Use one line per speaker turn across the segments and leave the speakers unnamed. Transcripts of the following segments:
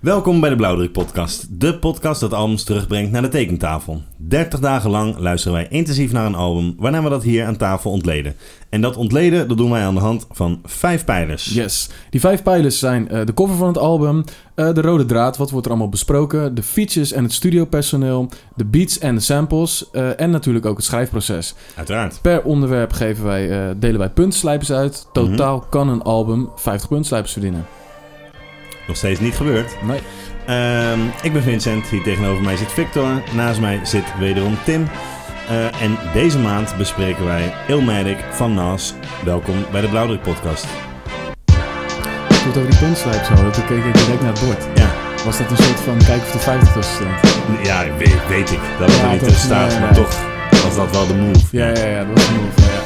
Welkom bij de Blauwdruk Podcast, de podcast dat albums terugbrengt naar de tekentafel. 30 dagen lang luisteren wij intensief naar een album, waarna we dat hier aan tafel ontleden. En dat ontleden, dat doen wij aan de hand van vijf pijlers.
Yes. Die vijf pijlers zijn eh, de cover van het album, eh, de rode draad, wat wordt er allemaal besproken, de features en het studiopersoneel, de beats en de samples eh, en natuurlijk ook het schrijfproces.
Uiteraard.
Per onderwerp geven wij, eh, delen wij puntslijpers uit. Totaal kan een album 50 puntslijpers verdienen.
Nog steeds niet gebeurd.
Nee.
Ehm, ik ben Vincent, hier tegenover mij zit Victor, naast mij zit wederom Tim. Eh, en deze maand bespreken wij Ilmatic van Nas. Welkom bij de Blauwdruk Podcast.
Toen we het over die puntslijpers hadden, toen keek ik direct naar het bord.
Ja,
Was dat een soort van kijken of er 50 tussen stond?
ja weet, weet ik dat eh, het
Ja,
er niet
dat-
tussen staat,
nee,
maar
nee.
toch was dat wel de move.
Ja, ja, ja, dat was een move. Ja, ja.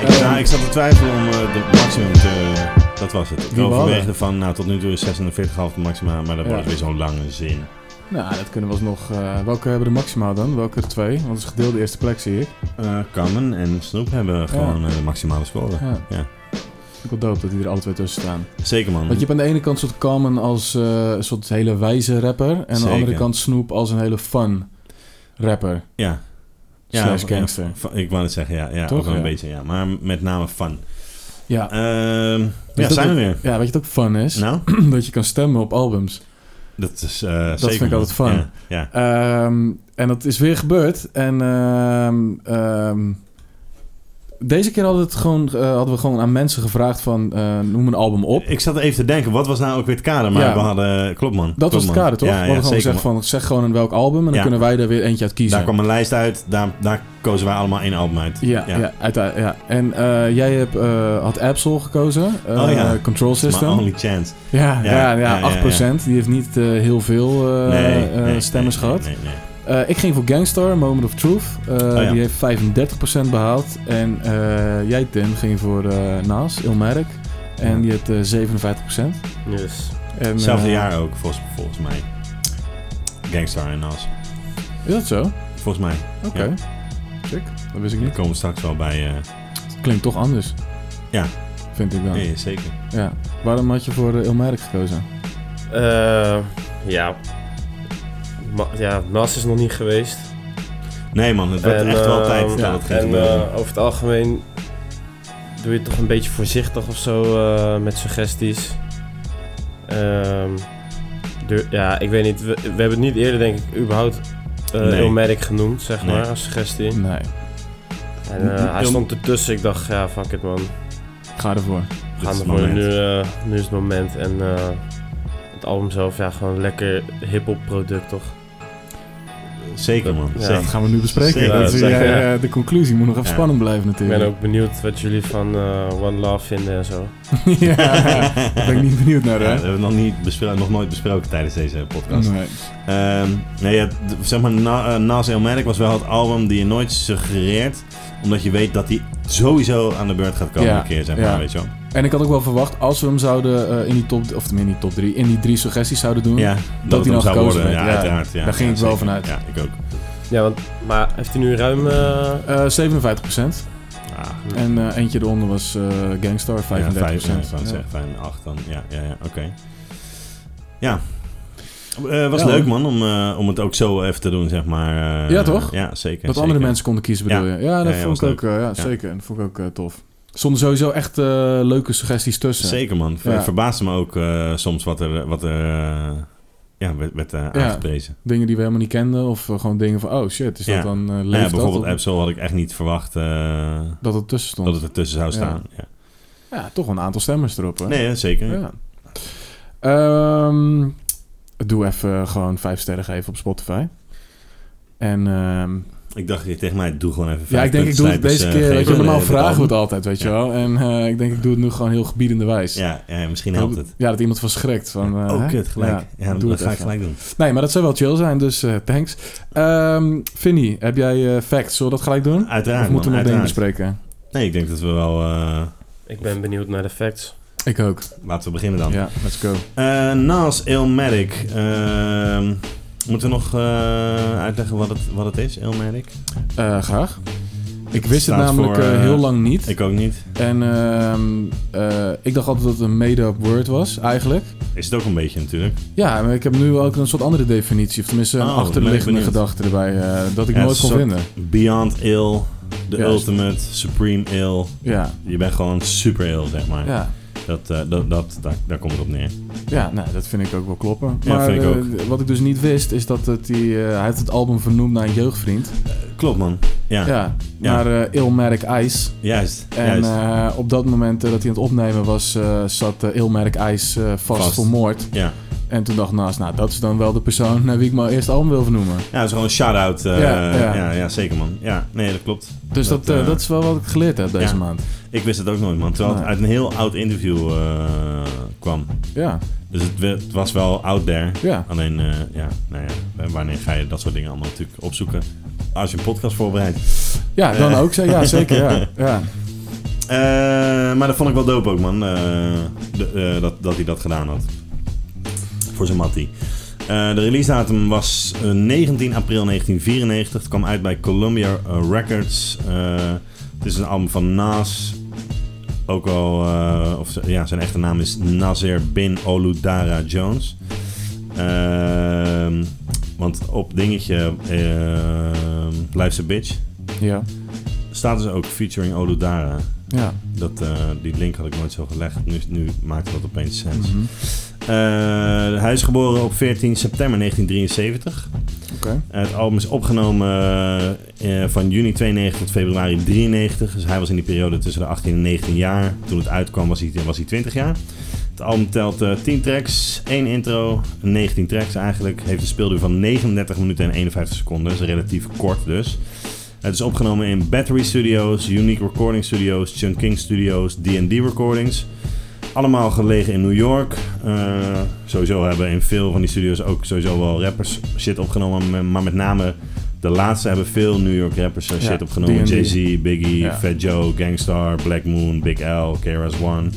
Ik,
Ehm,
nou, ik zat te twijfelen om eh, de maximum te... eh, dat was het. Ik
Die we
overweegde
hadden.
van, nou tot nu toe is 46,5 het maximum, maar dat
Ja.
was weer zo'n lange zin.
Nou, dat kunnen we alsnog. eh welke hebben de maximaal dan? Welke twee? Want het is gedeelde eerste plek, zie ik.
Eh Carmen en Snoep hebben gewoon eh, de maximale score.
Ja.
Ja.
Vind ik wel dope dat die er alle twee tussen staan.
Zeker man.
Want je hebt aan de ene kant soort Common als eh, een soort hele wijze rapper. En aan de
Zeker.
andere kant Snoop als een hele fun rapper.
Ja.
Ja, slash gangster.
Fa- Ik wou het zeggen, ja. ja
Toch,
ook wel een
ja.
beetje, ja. Maar met name fun.
Ja.
Ehm, ja,
Dus dat
zijn we
ook-
weer.
ja, weet je wat ook fun is?
Nou,
Dat je kan stemmen op albums.
dat is eh,
vind
zeker
ik altijd
man.
fun.
Ja, ja.
Ehm, en dat is weer gebeurd. En ehm, ehm, deze keer hadden, we het gewoon, eh, hadden we gewoon aan mensen gevraagd van eh, noem een album op.
Ik zat even te denken, wat was nou ook weer het kader? Maar
Ja.
we hadden... Klopt man.
Dat
klopt,
was het
man.
kader, toch?
Ja,
we
ja,
hadden gewoon
zeker,
gezegd
man.
van zeg gewoon een welk album en dan
Ja.
kunnen wij er weer eentje uit kiezen.
Daar kwam een lijst uit. Daar, daar kozen wij allemaal één album uit.
Ja, ja. uiteraard, ja. En eh, jij hebt, eh, had Absol gekozen, eh,
Oh ja.
Control
That's my
System.
only chance.
Ja,
Ja,
ja, ja,
ja, ja,
8%. Die heeft niet eh, heel veel eh,
nee,
eh,
nee,
stemmers
nee,
gehad.
Nee, nee, nee. Oh,
Eh, ik ging voor Gangstar, Moment of Truth. Eh,
ja.
Die heeft 35% behaald. En eh, jij, Tim, ging voor eh, Naas, Ilmatic. En die heeft eh, 57%.
Yes.
En,
Hetzelfde
eh,
jaar ook, volgens, volgens mij. Gangstar en Nas.
Is dat zo? Oké.
Volgens mij.
Check. Dat wist ik
Daar
niet.
komen we straks wel bij. eh
Het klinkt toch anders.
Ja.
Vind ik dan.
Nee, zeker.
Ja. Waarom had je voor eh, Ilmatic gekozen?
Eh, ja. Ma- ja, Nas is nog niet geweest.
Nee man, het wordt
En,
echt wel
eh,
tijd
ja,
dat het gaat
En
gebeuren.
eh, over het algemeen doe je het toch een beetje voorzichtig of zo eh, met suggesties. Ehm, dur- ja, ik weet niet. We, we hebben het niet eerder, denk ik, überhaupt eh
Nee.
Ilmatic genoemd, zeg
Nee.
maar, als suggestie.
Nee.
En eh, hij
Il-
stond ertussen. Ik dacht, ja, fuck it man.
Ga ervoor.
Dit
Gaan
is
we
het
voor
moment.
nu, eh, nu is het moment. En eh, het album zelf, ja, gewoon een lekker hip-hop product, toch?
Zeker man.
Ja.
Dat
Zeker.
gaan we nu bespreken.
Zeker,
Dat is-
zeker,
ja,
ja.
ja, de conclusie moet nog even
Ja.
spannend blijven
Ik
natuurlijk.
ben ook benieuwd wat jullie van eh, One Love vinden en zo.
ja, daar ben ik niet benieuwd naar,
Ja, dat
hè?
hebben we nog, niet bespro- nog nooit besproken tijdens deze podcast.
Nee.
Ehm, nee, ja, d- zeg maar, Na, eh, Nas Elmerk was wel het album die je nooit suggereert. Omdat je weet dat hij sowieso aan de beurt gaat komen
Ja,
een keer, zeg maar,
ja.
weet je wel.
En ik had ook wel verwacht, als we hem zouden eh, in die top, of tenminste in die top drie, in die drie suggesties zouden doen.
Ja,
Hm? hij
het hem
nog
zou
gekozen
worden.
werd,
Ja,
ja.
uiteraard. Ja,
Daar ging
ja,
ik wel
zeker.
vanuit.
Ja, ik ook.
Ja, want, maar heeft hij nu ruim... eh,
Eh, 57
Ah,
En eh, eentje eronder was eh, Gangstar, 35
Ja, vijf,
Ja.
ja, vijf en acht dan. Ja, ja, ja oké. Ja. Eh, was
Ja,
leuk
hoor.
man, om, eh, om het ook zo even te doen, zeg maar. eh,
Ja, toch?
Ja, zeker.
Dat
zeker.
andere mensen konden kiezen, bedoel
Ja.
je? Ja, dat
Ja, ja,
vond ik
was
ook, eh, ja, zeker. Dat vond ik ook eh, tof. Er stonden sowieso echt eh, leuke suggesties tussen.
Zeker man.
Ja.
Het verbaasde me ook eh, soms wat er, wat er eh, ja, werd, werd eh, aangeprezen.
Dingen die we helemaal niet kenden, of eh, gewoon dingen van, oh shit, is
Ja.
dat dan eh
Ja,
leeft dat?
bijvoorbeeld
Of-
Epsol had ik echt niet verwacht eh,
Dat het tussen stond.
dat het ertussen zou
Ja.
staan. Ja.
Ja, toch wel een aantal stemmers erop. Hè?
Nee, hè, zeker.
Ja. Ehm, doe even gewoon vijf sterren geven op Spotify. En ehm,
Ik dacht je tegen mij, doe gewoon even
ja,
vijf
ik denk ik doe het
puntsnijders,
deze
eh,
keer. Weet
geven,
je, normaal
eh,
vragen we het
album.
altijd, weet je
Ja.
wel. En eh, ik denk ik doe het nu gewoon heel gebiedende wijs.
Ja, ja, misschien helpt het.
Ja, dat iemand van schrikt. Van, eh,
oh,
hè?
kut, gelijk. Ja, dan
doe
dat
het
ga ik
even.
gelijk doen.
Nee, maar dat zou wel chill zijn, dus eh, thanks. Ehm Vinnie, heb jij eh, facts? Zullen we dat gelijk doen?
Uiteraard,
of moeten we
man,
nog dingen
uiteraard.
bespreken?
Nee, ik denk dat we wel... eh,
ik ben benieuwd naar de facts.
Ik ook.
laten we beginnen dan.
Ja, let's go.
Eh, Nas Ilmatic. Ehm, moeten we nog eh, uitleggen wat het, wat het is, Ilmatic?
Eh, graag. Ik wist het
staat
namelijk
voor,
eh,
eh,
heel lang niet.
Ik ook niet.
En ehm, eh, ik dacht altijd dat het een made-up word was, eigenlijk.
Is het ook een beetje natuurlijk.
Ja, maar ik heb nu ook een soort andere definitie. Of tenminste, een
Oh, ben ik
achterliggende
benieuwd.
gedachte erbij. eh, dat ik
Ja,
nooit kon
soort-
vinden.
Beyond ill, the
Ja.
ultimate, supreme ill.
Ja,
Je bent gewoon super ill, zeg maar.
ja.
Dat, eh, dat, dat, daar, daar komt het op neer.
Ja, nou, dat vind ik ook wel kloppen.
Ja,
maar
vind ik
eh,
ook.
wat ik dus niet wist, is dat het die, eh, hij heeft het album vernoemd naar een jeugdvriend.
Klopt, man. Ja,
Ja,
Ja.
naar eh Ilmerk IJs.
juist.
En
juist.
eh, op dat moment eh, dat hij aan het opnemen was, eh, zat eh, Ilmerk IJs eh, vast,
Vast.
voor moord.
ja.
En toen dacht Naast, nou, dat is dan wel de persoon naar wie ik mijn eerste album wil vernoemen.
ja, dat is gewoon een shout-out. eh,
Ja,
ja,
ja.
ja. zeker, man. Ja, nee, dat klopt.
Dus dat,
Dat,
dat,
eh,
dat is wel wat ik geleerd heb deze
ja.
maand.
Ik wist het ook nooit, man. Terwijl het
Nee.
uit een heel oud interview eh, kwam.
Ja,
Dus het, we- het was wel out there.
ja.
Alleen, eh, ja, nou ja, wanneer ga je dat soort dingen allemaal natuurlijk opzoeken? Als je een podcast voorbereidt.
Ja, dan
Eh.
ook. ze- Ja, zeker. Ja. Ja.
Eh, maar dat vond ik wel dope ook, man. eh, de- eh, dat, dat hij dat gedaan had. Voor zijn mattie. Eh, de release datum was eh, 19 april 1994. Het kwam uit bij Columbia eh, Records. Eh, het is een album van Nas. Ook al, eh, of z- ja, zijn echte naam is Nasir Bin Oludara Jones. Ehm, want op dingetje, ehm Life's a Bitch,
ja,
staat dus ook featuring Oludara.
ja.
Dat, eh, die link had ik nooit zo gelegd. Nu, nu maakt dat opeens sens.
Mhm.
Eh, hij is geboren op 14 september 1973.
Oké.
Eh, het album is opgenomen eh, eh, van juni 92 tot februari 93. Dus hij was in die periode tussen de 18 en 19 jaar. Toen het uitkwam was hij, was hij 20 jaar. Het album telt eh, 10 tracks, 1 intro, 19 tracks eigenlijk. Heeft een speelduur van 39 minuten en 51 seconden. Dat is relatief kort dus. Het is opgenomen in Battery Studios, Unique Recording Studios, Chungking Studios, D&D Recordings. Allemaal gelegen in New York. Eh, sowieso hebben in veel van die studios ook sowieso wel rappers shit opgenomen. maar- Maar met name de laatste hebben veel New York rappers eh,
Ja,
shit opgenomen.
D&D.
Jay-Z, Biggie,
Ja.
Fat Joe, Gangstar, Black Moon, Big L, KRS-One.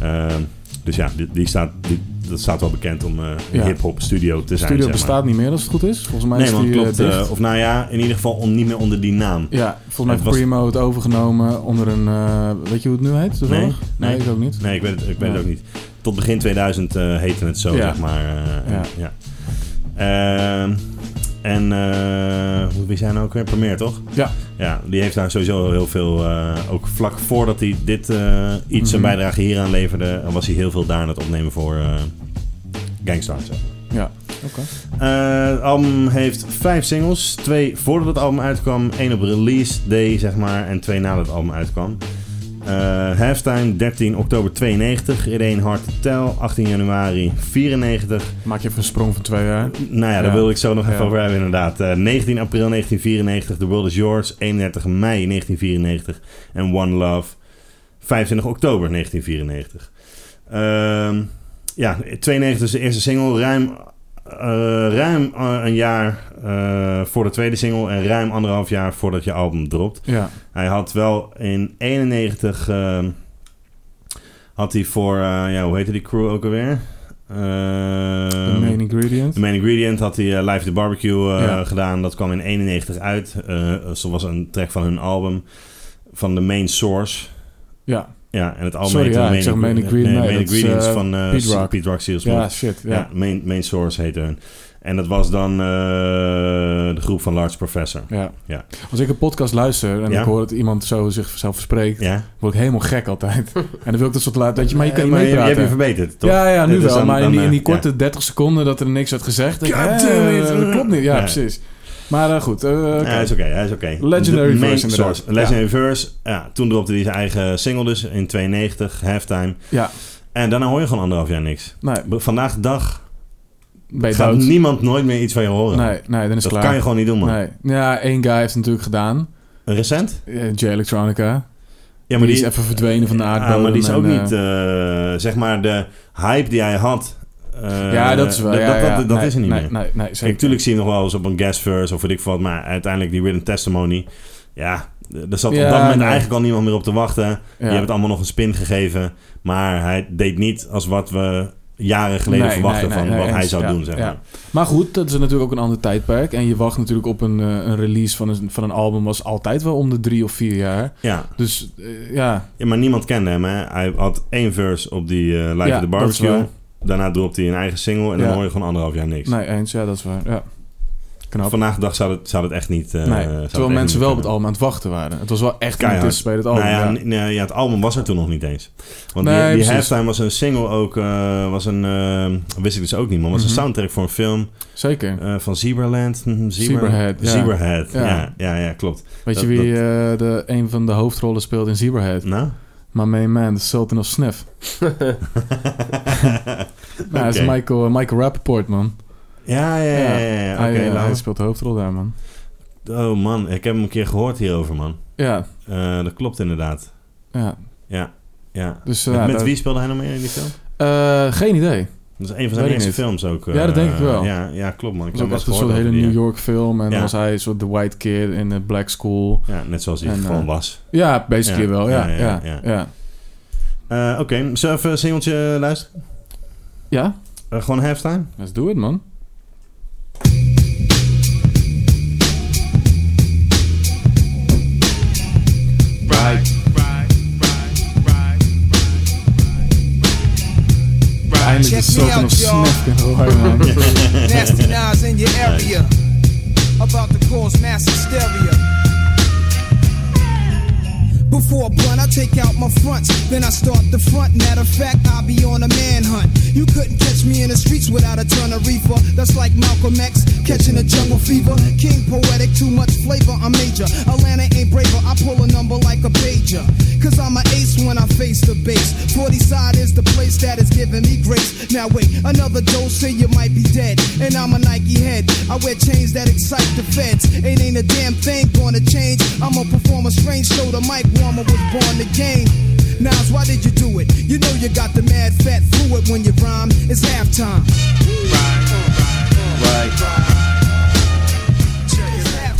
Ehm, dus ja, die, die staat, die, dat staat wel bekend om eh, een
Ja.
hip-hop studio te
De
zijn.
studio
zeg
bestaat niet meer als het goed is. Volgens mij
maar. Nee,
is
man,
die
klopt.
eh,
eh,
dicht.
of nou ja, in ieder geval on- niet meer onder die naam.
Ja, volgens mij
Het
heeft
was-
Primo het overgenomen onder een... eh, weet je hoe het nu heet? toevallig?
Nee, nee.
nee, ik ook niet.
Nee, ik weet het, ik weet het
Ja.
ook niet. Tot begin 2000 eh heette het zo,
Ja.
zeg maar. eh,
Ja.
ja. Ehm, en eh, hoe wie zijn nou ook weer? Premier, toch?
Ja.
Ja, die heeft daar sowieso heel veel... eh, ook vlak voordat hij dit eh, iets zijn
Mhm.
bijdrage hieraan leverde... was hij heel veel daar aan het opnemen voor eh Gangstar, zeg maar.
Ja, oké.
Eh, het album heeft vijf singles. Twee voordat het album uitkwam. één op release day, zeg maar. En twee nadat het album uitkwam. Eh, halftime 13 oktober 92. Irene Hard to Tell 18 januari 94.
Maak je even een sprong van twee jaar.
Nou ja, daar
Ja.
wil ik zo nog even
Ja.
over hebben inderdaad. Eh, 19 april 1994, The World Is Yours. 31 mei 1994 en One Love 25 oktober 1994. Ehm, ja, 92 is de eerste single. Ruim, eh, ruim eh, een jaar eh, voor de tweede single en ruim anderhalf jaar voordat je album dropt.
Ja,
Hij had wel in 91 ehm, had hij voor eh, ja, hoe heette die crew ook alweer?
de
Ehm,
main ingredient.
The Main Ingredient had hij eh, Live the Barbecue eh,
Ja.
gedaan. Dat kwam in 91 uit. Eh, Zo was een track van hun album van The Main Source.
Ja,
Ja, en het album
Sorry,
heette
ja,
The
ik zeg Main Ingredient.
Nee,
Nee,
Main
dat is,
Ingredients
eh,
van eh,
Pete Rock.
Pete Rock Seals.
ja shit.
Ja,
Ja.
main, main Source heette hun. En dat was dan eh, de groep van Large Professor.
Ja.
Ja.
Als ik een podcast luister en
Ja.
ik hoor dat iemand zo zichzelf verspreekt,
Ja?
word ik helemaal gek altijd. en dan wil ik dat soort laten, weet je, maar je kan niet
Maar je, je
meepraten.
hebt je verbeterd, toch?
Ja, ja, nu
Dus
wel.
dan-
maar in,
dan,
die, in die
eh,
korte 30 seconden dat er niks werd gezegd. denk ik,
God
hè,
damn it.
eh, dat klopt niet. Ja,
Ja.
precies. Maar eh, goed. eh, oké.
Ja, hij is oké, hij is oké.
Legendary
De main
verse inderdaad.
source. Legendary verse. Ja, toen dropte hij zijn eigen single dus in 92, halftime.
Ja.
En daarna hoor je gewoon anderhalf jaar niks.
Nee,
B- Vandaag de dag
ben je
gaat
dood?
niemand nooit meer iets van je horen.
Nee, nee, dan is
dat
klaar.
kan je gewoon niet doen, man.
Nee. Ja, één guy heeft het natuurlijk gedaan.
Recent?
Eh, J Electronica.
Ja,
die, is even verdwenen van de aardbodem.
Ah, maar die is ook
en, eh,
niet, eh, zeg maar, de hype die hij had. eh,
ja, dat is wel.
Dat,
ja,
dat,
ja.
dat- dat
Nee,
is er niet
nee,
meer.
Nee, nee, zeker.
Kijk, natuurlijk zie je hem nog wel eens op een guest verse of weet ik veel wat. Maar uiteindelijk die Written Testimony. Ja, d- er zat op
Ja,
dat moment
nee.
eigenlijk al niemand meer op te wachten.
Ja.
Je hebt het allemaal nog een spin gegeven. Maar hij deed niet als wat we jaren geleden
Nee,
verwachten
nee, nee,
van
nee,
wat hij
eens,
zou
ja,
doen, zeg
ja.
maar.
Maar goed, dat is natuurlijk ook een ander tijdperk. En je wacht natuurlijk op een, eh, een release van een, van een album... was altijd wel om de drie of vier jaar.
Ja.
Dus eh, ja,
Ja, maar niemand kende hem, hè? Hij had één verse op die eh, Live
Ja,
at the
dat is
Barbecue.
waar.
Daarna dropte hij een eigen single en dan
Ja.
hoor je gewoon anderhalf jaar niks.
nee, eens. Ja, dat is waar. Ja. Knap.
Vandaag de dag zou het, zou het echt niet... eh,
nee,
zou het echt
terwijl
niet
mensen wel op het
kunnen.
album aan het wachten waren. Het was wel echt een
Keihard.
bij het album.
Nou ja,
ja.
n- nee, ja, het album was er toen nog niet eens. Want
Nee,
die, die
precies.
halftime was een single ook, eh, was een, eh, wist ik dus ook niet, maar was
Mhm.
een soundtrack voor een film
Zeker.
eh, van Zebraland. Mhm, Zebra-
Zebrahead, ja.
Zebrahead, ja.
Ja.
Ja, ja, klopt.
Weet
dat-
je wie eh, de, een van de hoofdrollen speelt in Zebrahead?
Nou?
My main man, de Sultan of Sniff. Nou, dat is
Oké.
Michael, Michael Rappaport, man.
Ja, ja, ja, ja, ja.
hij,
Oké,
eh, hij
laat
speelt de hoofdrol daar, man.
Oh man, ik heb hem een keer gehoord hierover, man.
Ja,
Eh, dat klopt inderdaad.
ja.
Ja.
Dus,
Met,
ja,
met
dat-
wie speelde hij nog meer in die film?
Eh, geen idee.
Dat is een van zijn
Weet ik
eerste
niet.
films ook. eh,
Ja, dat denk ik wel.
Ja, ja klopt man. Ik
Het
heb hem
was ook echt een
eens
soort
gehoord
hele
over
New
die,
York film. En
Ja.
dan was hij een soort the white kid in de black school.
Ja, net zoals hij
En,
gewoon
eh,
was.
Ja, basically
Ja,
wel. Ja,
ja,
ja,
ja,
ja.
ja.
ja.
Eh, Oké, zullen we even een singeltje luisteren? Eh, gewoon halftime?
let's do it, man.
Right.
Eindelijk
Check
is
me
Sultan
out,
of
y'all.
Sniff. kunnen
Oh,
horen, man.
Nasty knives in your area. About to cause mass hysteria. Before a blunt, I take out my fronts. Then I start the front. Matter of fact, I'll be on a manhunt. You couldn't catch me in the streets without a ton of reefer. That's like Malcolm X catching a jungle fever. King poetic, too much flavor, I'm major. Atlanta ain't braver, I pull a number like a pager. Cause I'm an ace when I face the base. 40 side is the place that is giving me grace. Now wait, another dose, say you might be dead. And I'm a Nike head. I wear chains that excite the feds. It ain't a damn thing gonna change. I'ma perform a strange show. The mic warmer was born to gain. Nas, why did you do it? You know you got the mad fat fluid when you rhyme. It's halftime.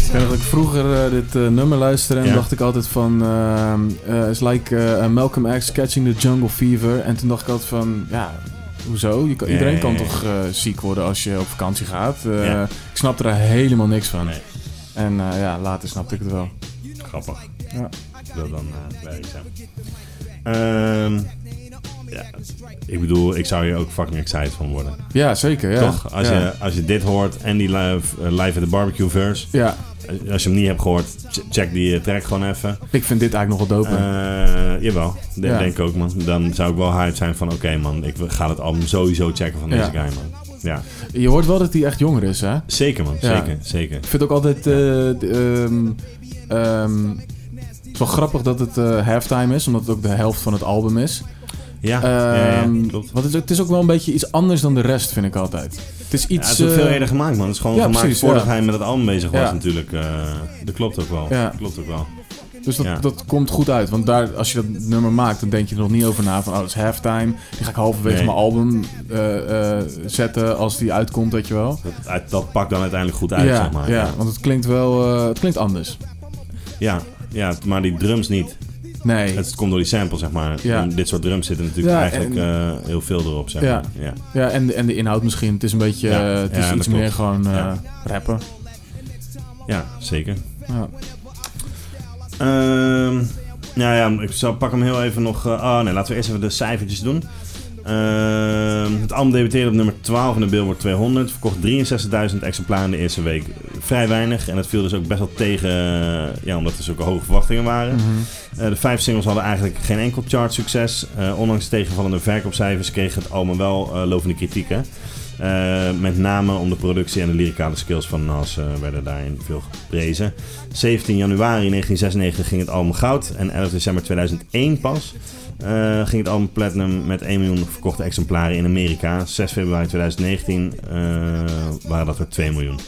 Ik weet nog dat ik vroeger eh, dit eh, nummer luisterde en
Ja.
dacht ik altijd van... ehm eh, It's like eh, Malcolm X catching the jungle fever. En toen dacht ik altijd van, ja, hoezo? Je kan,
Ja,
iedereen
ja,
kan
ja.
toch eh, ziek worden als je op vakantie gaat? Eh,
Ja.
Ik snapte daar helemaal niks van.
Nee.
En eh, ja, later snapte ik het wel.
Grappig.
Ja.
Dat dan eh, bij zijn. Ehm, ja, ik bedoel, ik zou hier ook fucking excited van worden.
Ja, zeker. Ja.
Toch? Als,
ja.
je, als je dit hoort en die live, eh, live at the barbecue verse.
Ja,
eh, Als je hem niet hebt gehoord, ch- check die eh, track gewoon even.
ik vind dit eigenlijk nog wel doper.
Eh, jawel, dat
Ja.
denk ik ook man. Dan zou ik wel hard zijn van oké man, ik ga het album sowieso checken van deze
Ja.
guy man. Ja,
Je hoort wel dat hij echt jonger is, hè?
zeker man,
Ja.
zeker, zeker.
Ik vind ook altijd... eh, d- ehm, ehm, het is wel grappig dat het eh, halftime is, omdat het ook de helft van het album is.
Ja, ja,
Ehm,
ja, klopt.
want het, is ook- het is ook wel een beetje iets anders dan de rest, vind ik altijd. Het is
Ja, het
iets...
is ook veel
eh,
eerder gemaakt, man. Het is gewoon
ja,
gemaakt
precies,
voordat
ja.
hij met het album bezig was,
Ja.
natuurlijk. eh, dat klopt ook wel.
Ja.
Klopt ook wel.
dus dat,
ja.
dat komt goed uit. Want daar, als je dat nummer maakt, dan denk je er nog niet over na. Van, oh, het is halftime. Die ga ik halverwege
Nee.
mijn album eh, eh, zetten als die uitkomt, weet je wel.
Dat, uit- dat pakt dan uiteindelijk goed uit,
ja,
zeg maar.
ja, want het klinkt wel... eh, het klinkt anders.
ja, ja, maar die drums niet.
Nee.
Het komt door die sample, zeg maar.
Ja.
En dit soort drums zitten natuurlijk
Ja,
eigenlijk eh, heel veel erop, zeg
Ja.
maar. Ja.
Ja, en, de- en de inhoud misschien. Het is een beetje...
Ja,
eh, het is
ja,
iets
dat
meer
klopt.
gewoon eh,
Ja.
rappen.
ja, zeker.
Ja.
Ehm, nou ja, ik zal, pak hem heel even nog... eh, oh nee, laten we eerst even de cijfertjes doen. Ehm, het album debuteerde op nummer 12 in de Billboard 200. Verkocht 63.000 exemplaren in de eerste week. Vrij weinig. En dat viel dus ook best wel tegen, eh, ja, omdat er zulke hoge verwachtingen waren.
Mhm.
Eh, de vijf singles hadden eigenlijk geen enkel chartsucces. Eh, ondanks tegenvallende verkoopcijfers kreeg het album wel eh, lovende kritiek. Hè? Eh, met name om de productie en de lyricale skills van Nas eh, werden daarin veel geprezen. 17 januari 1996 ging het album goud en 11 december 2001 pas eh, ging het album platinum met 1 miljoen verkochte exemplaren in Amerika. 6 februari 2019 eh, waren dat er 2 miljoen.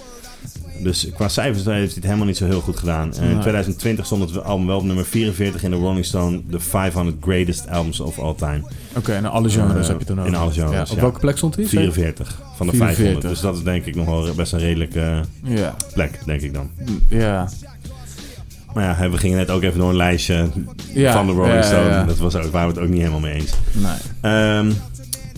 Dus qua cijfers heeft hij het helemaal niet zo heel goed gedaan. Eh, In
Nee.
2020 stond het album wel op nummer 44 in de Rolling Stone The 500 Greatest Albums of All Time.
Oké, nou alle genres
Eh,
heb je dan ook.
in alle genres,
Op
ja.
welke plek stond hij?
44 van de 500.
44.
Dus dat is denk ik nog wel best een redelijke
Ja.
plek, denk ik dan.
Ja.
Maar ja, we gingen net ook even door een lijstje
Ja,
van de Rolling
ja, ja,
Stone.
ja.
Dat was ook, waren we het ook niet helemaal mee eens.
Nee.
Ehm,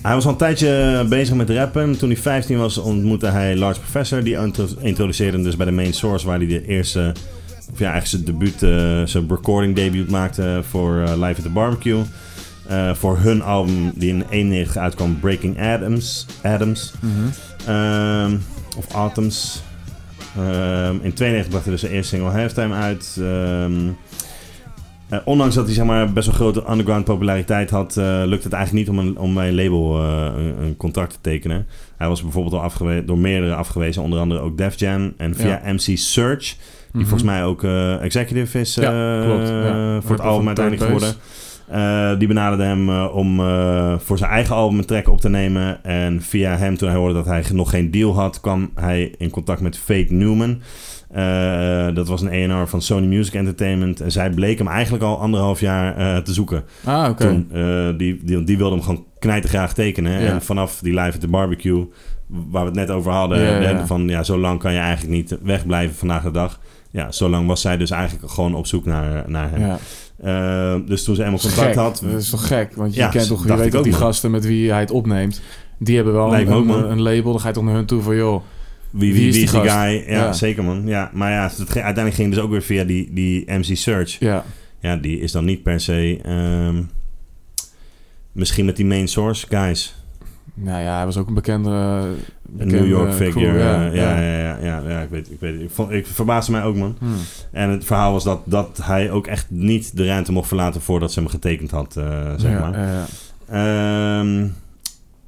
Hij was al een tijdje bezig met rappen. Toen hij 15 was ontmoette hij Large Professor. Die intro- introduceerde hem dus bij de Main Source, waar hij de eerste, of ja, eigenlijk zijn debuut, eh, zijn recording debut maakte voor eh, Live at the Barbecue. Eh, voor hun album die in 91 uitkwam, Breaking Adams. Adams.
Mhm.
Ehm, of Atoms. Ehm, in 92 bracht hij dus zijn eerste single Halftime uit. Ehm, eh, ondanks dat hij zeg maar, best wel grote underground populariteit had, eh lukte het eigenlijk niet om, een, om bij een label eh, een, een contract te tekenen. Hij was bijvoorbeeld al afgewe- door meerdere afgewezen, onder andere ook Def Jam en via MC Search, die
Mhm.
volgens mij ook eh, executive is eh,
Ja, klopt, ja.
eh, voor het
Rapper
album
van
uiteindelijk
Turnbuis.
geworden. Eh, die benaderde hem eh, om eh, voor zijn eigen album een track op te nemen. En via hem, toen hij hoorde dat hij nog geen deal had, kwam hij in contact met Fate Newman. Eh, dat was een ENR van Sony Music Entertainment. En zij bleek hem eigenlijk al anderhalf jaar eh, te zoeken.
Ah, oké.
Toen, eh, die, die, die wilde hem gewoon knijtergraag tekenen.
Ja.
En vanaf die live at the barbecue, waar we het net over hadden...
Ja, ja, ja.
van ja, zo lang kan je eigenlijk niet wegblijven vandaag de dag. Ja, zo lang was zij dus eigenlijk gewoon op zoek naar, naar hem.
ja.
Eh, dus toen ze eenmaal
Dat is
contact
gek.
had...
Dat is toch gek? Want je
Ja,
kent toch, je
dacht
weet
ik
toch
ook,
die
man.
gasten met wie hij het opneemt. Die hebben wel
Lijkt
een,
me ook, man.
een, een label. Dan ga je toch naar hun toe van, joh.
Wie, wie, wie is die,
gast?
guy? Ja,
Ja.
zeker man. Ja, maar ja, het ging- uiteindelijk ging het dus ook weer via die, die MC Search.
Ja,
Ja, die is dan niet per se... ehm, misschien met die main source guys.
nou ja, hij was ook een bekende...
Een
bekende
New York
crew,
figure.
ja,
eh, ja, ja. Ja, ja, ja, ik weet ik weet Ik, vond, ik verbaasde mij ook, man.
Hmm.
En het verhaal was dat, dat hij ook echt niet de ruimte mocht verlaten... voordat ze hem getekend had, eh, zeg
Ja,
maar.
ja, ja.
Ehm,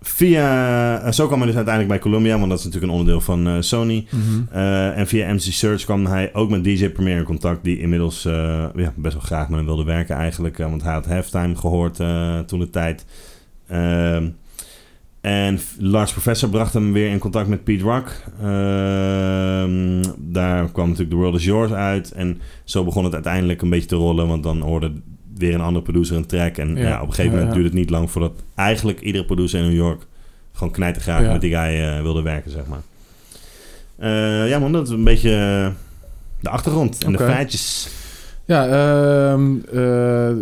via... eh, Zo kwam hij dus uiteindelijk bij Columbia... want dat is natuurlijk een onderdeel van eh, Sony...
Mhm.
Eh, en via MC Search kwam hij ook met DJ Premier in contact, die inmiddels eh, ja, best wel graag met hem wilde werken eigenlijk. eh, want hij had halftime gehoord eh, toen de tijd. Ehm, en F- Lars Professor bracht hem weer in contact met Pete Rock. Ehm, daar kwam natuurlijk The World Is Yours uit. En zo begon het uiteindelijk een beetje te rollen, want dan hoorde weer een andere producer een track. En ja.
Ja.
op een gegeven
Ja,
moment
ja.
duurde het niet lang voordat eigenlijk iedere producer in New York gewoon knijtergraag
Ja.
met die guy eh, wilde werken, zeg maar. Eh, ja man, dat is een beetje eh, de achtergrond en
Oké.
de feitjes.
Ja, ehm, eh,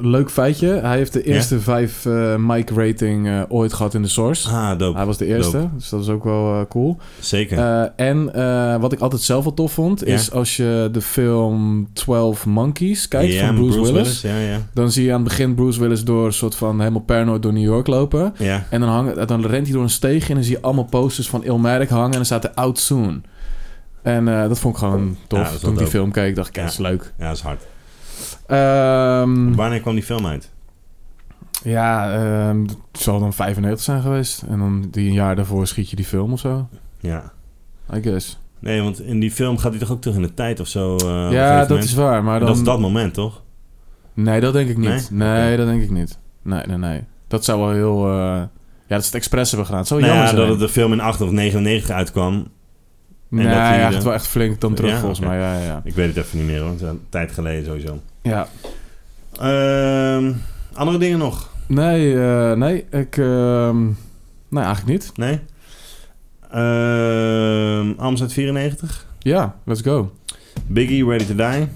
leuk feitje. Hij heeft de eerste vijf eh mic rating eh, ooit gehad in de Source.
Ah, dope.
Hij was de eerste, dus dat is ook wel eh, cool.
Zeker.
Eh, en eh, wat ik altijd zelf wel tof vond,
Ja.
is als je de film 12 Monkeys kijkt
Ja,
van
met
Bruce, Willis,
Ja, ja.
dan zie je aan het begin Bruce Willis door een soort van helemaal paranoid door New York lopen.
Ja,
En dan, hangen, dan rent hij door een steeg en dan zie je allemaal posters van Ilmatic hangen en dan staat er Out Soon. En eh, dat vond ik gewoon tof.
dat is wel
Toen ik die
dope.
film keek, dacht ik, ja,
Ja.
dat is leuk.
ja, dat is hard.
Ehm,
Wanneer kwam die film uit?
ja, ehm het zal dan 95 zijn geweest. En dan die een jaar daarvoor schiet je die film of zo.
Ja.
I guess.
Nee, want in die film gaat hij toch ook terug in de tijd of zo? eh, op een gegeven
ja, dat
moment?
is waar. Maar dan... Oh,
Dat is dat moment, toch?
Nee, dat denk ik niet.
Nee?
Nee, dat denk ik niet. Nee, nee, nee. Dat zou wel heel... eh, Ja, dat is het expres hebben gedaan. Het zou
Nou
jammer
ja,
zijn.
dat het de film in 8 of 99 uitkwam.
Nee,
en dat hij
hij
de-
gaat wel echt flink dan terug
eh, Ja,
volgens
oké.
mij. Ja, ja, ja.
Ik weet het even niet meer hoor, het is een tijd geleden sowieso.
ja.
Ehm, andere dingen nog?
Nee, eh, nee, ik... ehm, Nee, eigenlijk niet.
Nee? Ehm Amsterdam 94.
Ja, let's go.
Biggie, Ready to Die.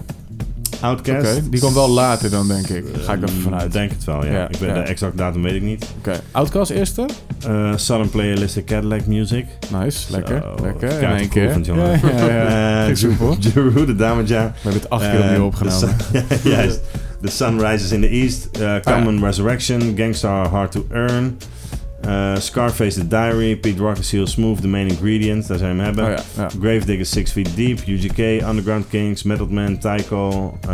Oké,
Outcast.
die kwam wel later dan, denk ik. Ga ik even
Ik
vanuit. Oké,
Ehm, denk het wel, ja.
Ja,
ik weet,
ja.
De exacte datum weet ik niet.
Outcast eerste?
Eh Southern Playalistic Cadillac Music.
Nice, lekker,
Zo,
lekker.
het
In één
kaartje
keer.
geoefend,
Ja,
jongen.
ja, ja.
Eh, dus,
Ging soepel.
Jeru- Jeru, de Eh, Damaja.
We hebben het acht keer opnieuw opgenomen. Ah,
Juist. The Sun Rises in the East. eh, Common Resurrection. Gangstar Hard to Earn. eh, Scarface The Diary. Pete Rock and Seal Smooth. The Main Ingredient. Daar zijn we hem hebben.
Oh ja, ja.
Gravedigger Six Feet Deep, UGK, Underground Kings, Method Man, Tycho, eh,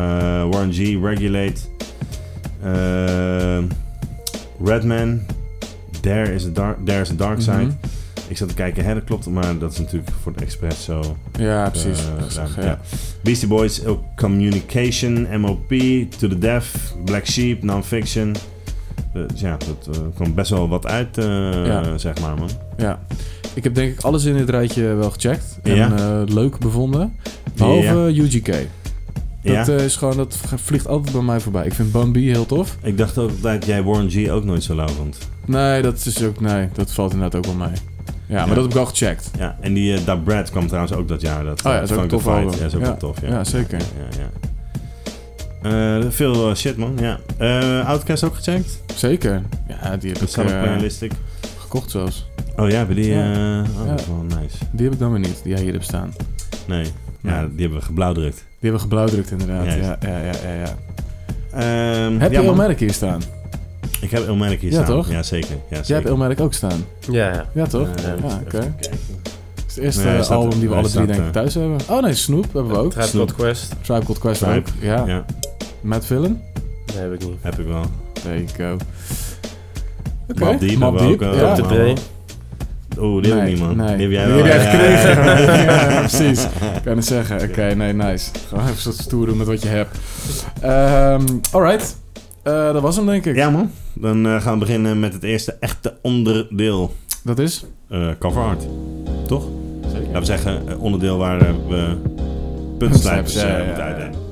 Warren G, Regulate, eh, Redman, There is a Dark, There is a dark Side.
Mhm.
Ik zat te kijken, hè, dat klopt, maar dat is natuurlijk voor het expres zo.
Ja,
eh,
precies.
ruim,
Zeg, ja.
ja. Beastie Boys, Ill Communication, MOP, To The Deaf, Black Sheep, Nonfiction. Eh, dus ja, dat eh, kwam best wel wat uit, eh,
Ja.
zeg maar, man.
Ja. Ik heb denk ik alles in dit rijtje wel gecheckt. En
Ja.
eh, leuk bevonden. Behalve UGK. Dat
ja.
eh, is gewoon, dat vliegt altijd bij mij voorbij. Ik vind Bambi heel tof.
Ik dacht ook dat jij Warren G ook nooit zo lauw vond.
Nee, dat is ook, nee, dat valt inderdaad ook wel mee. Ja, maar
Ja.
dat heb ik al gecheckt.
Ja, en die eh Da Brad kwam trouwens ook dat jaar. Dat,
Oh ja,
eh,
dat is ook
Funk
een tof
the Fight.
album.
Ja, is ook
Ja.
wel tof. Ja,
Ja, zeker.
Ja, ja. Eh, veel eh, shit, man. Ja. Eh, Outcast ook gecheckt?
Zeker. Ja, die heb
Dat
ik
staat op
eh,
Playalistic.
gekocht zelfs.
Oh ja, hebben die... eh oh,
Ja.
dat is wel nice.
Die heb ik dan weer niet, die jij hier hebt staan.
Nee. Ja, die hebben we geblauwdrukt.
Die hebben we geblauwdrukt inderdaad. Ja,
Juist.
ja, ja, ja, ja.
Ehm,
Heb
ja,
je
man.
Elmerk hier staan?
Ik heb Ilmatic hier
Ja,
staan.
toch?
Ja, zeker. Ja, zeker.
Jij hebt Elmerk ook staan.
Ja, ja.
Ja, toch?
Eh,
ja, oké. Het is het
Nee,
eerste
hij staat-
album die we
hij
alle drie
staat,
denk ik
eh,
thuis hebben. Oh nee, Snoep hebben we ook.
Tribe
Snoep.
Called Quest.
Tribe Called Quest
Tribe.
ook. Ja.
Ja,
Matt Villen.
Nee, heb ik niet.
heb ik wel.
There you go. Oké.
Mobb Deep
Mobb
hebben we
Deep,
ook, eh,
ja.
Op de
allemaal.
P.
Oeh, die heb ik niet, man.
Nee.
Die heb jij
Die
wel.
heb jij
ja.
gekregen. Ja, precies. Ik kan het zeggen. Oké, nee, nice. Gewoon even zo stoer doen met wat je hebt. Ehm alright. Eh, dat was hem, denk ik.
Ja, man. Dan eh, gaan we beginnen met het eerste echte onderdeel.
Dat is.
eh, cover art. Toch?
Zeker.
Laten we zeggen, eh, onderdeel waar eh, we puntslijpers
Ja, ja,
eh,
ja.
moeten uitdelen.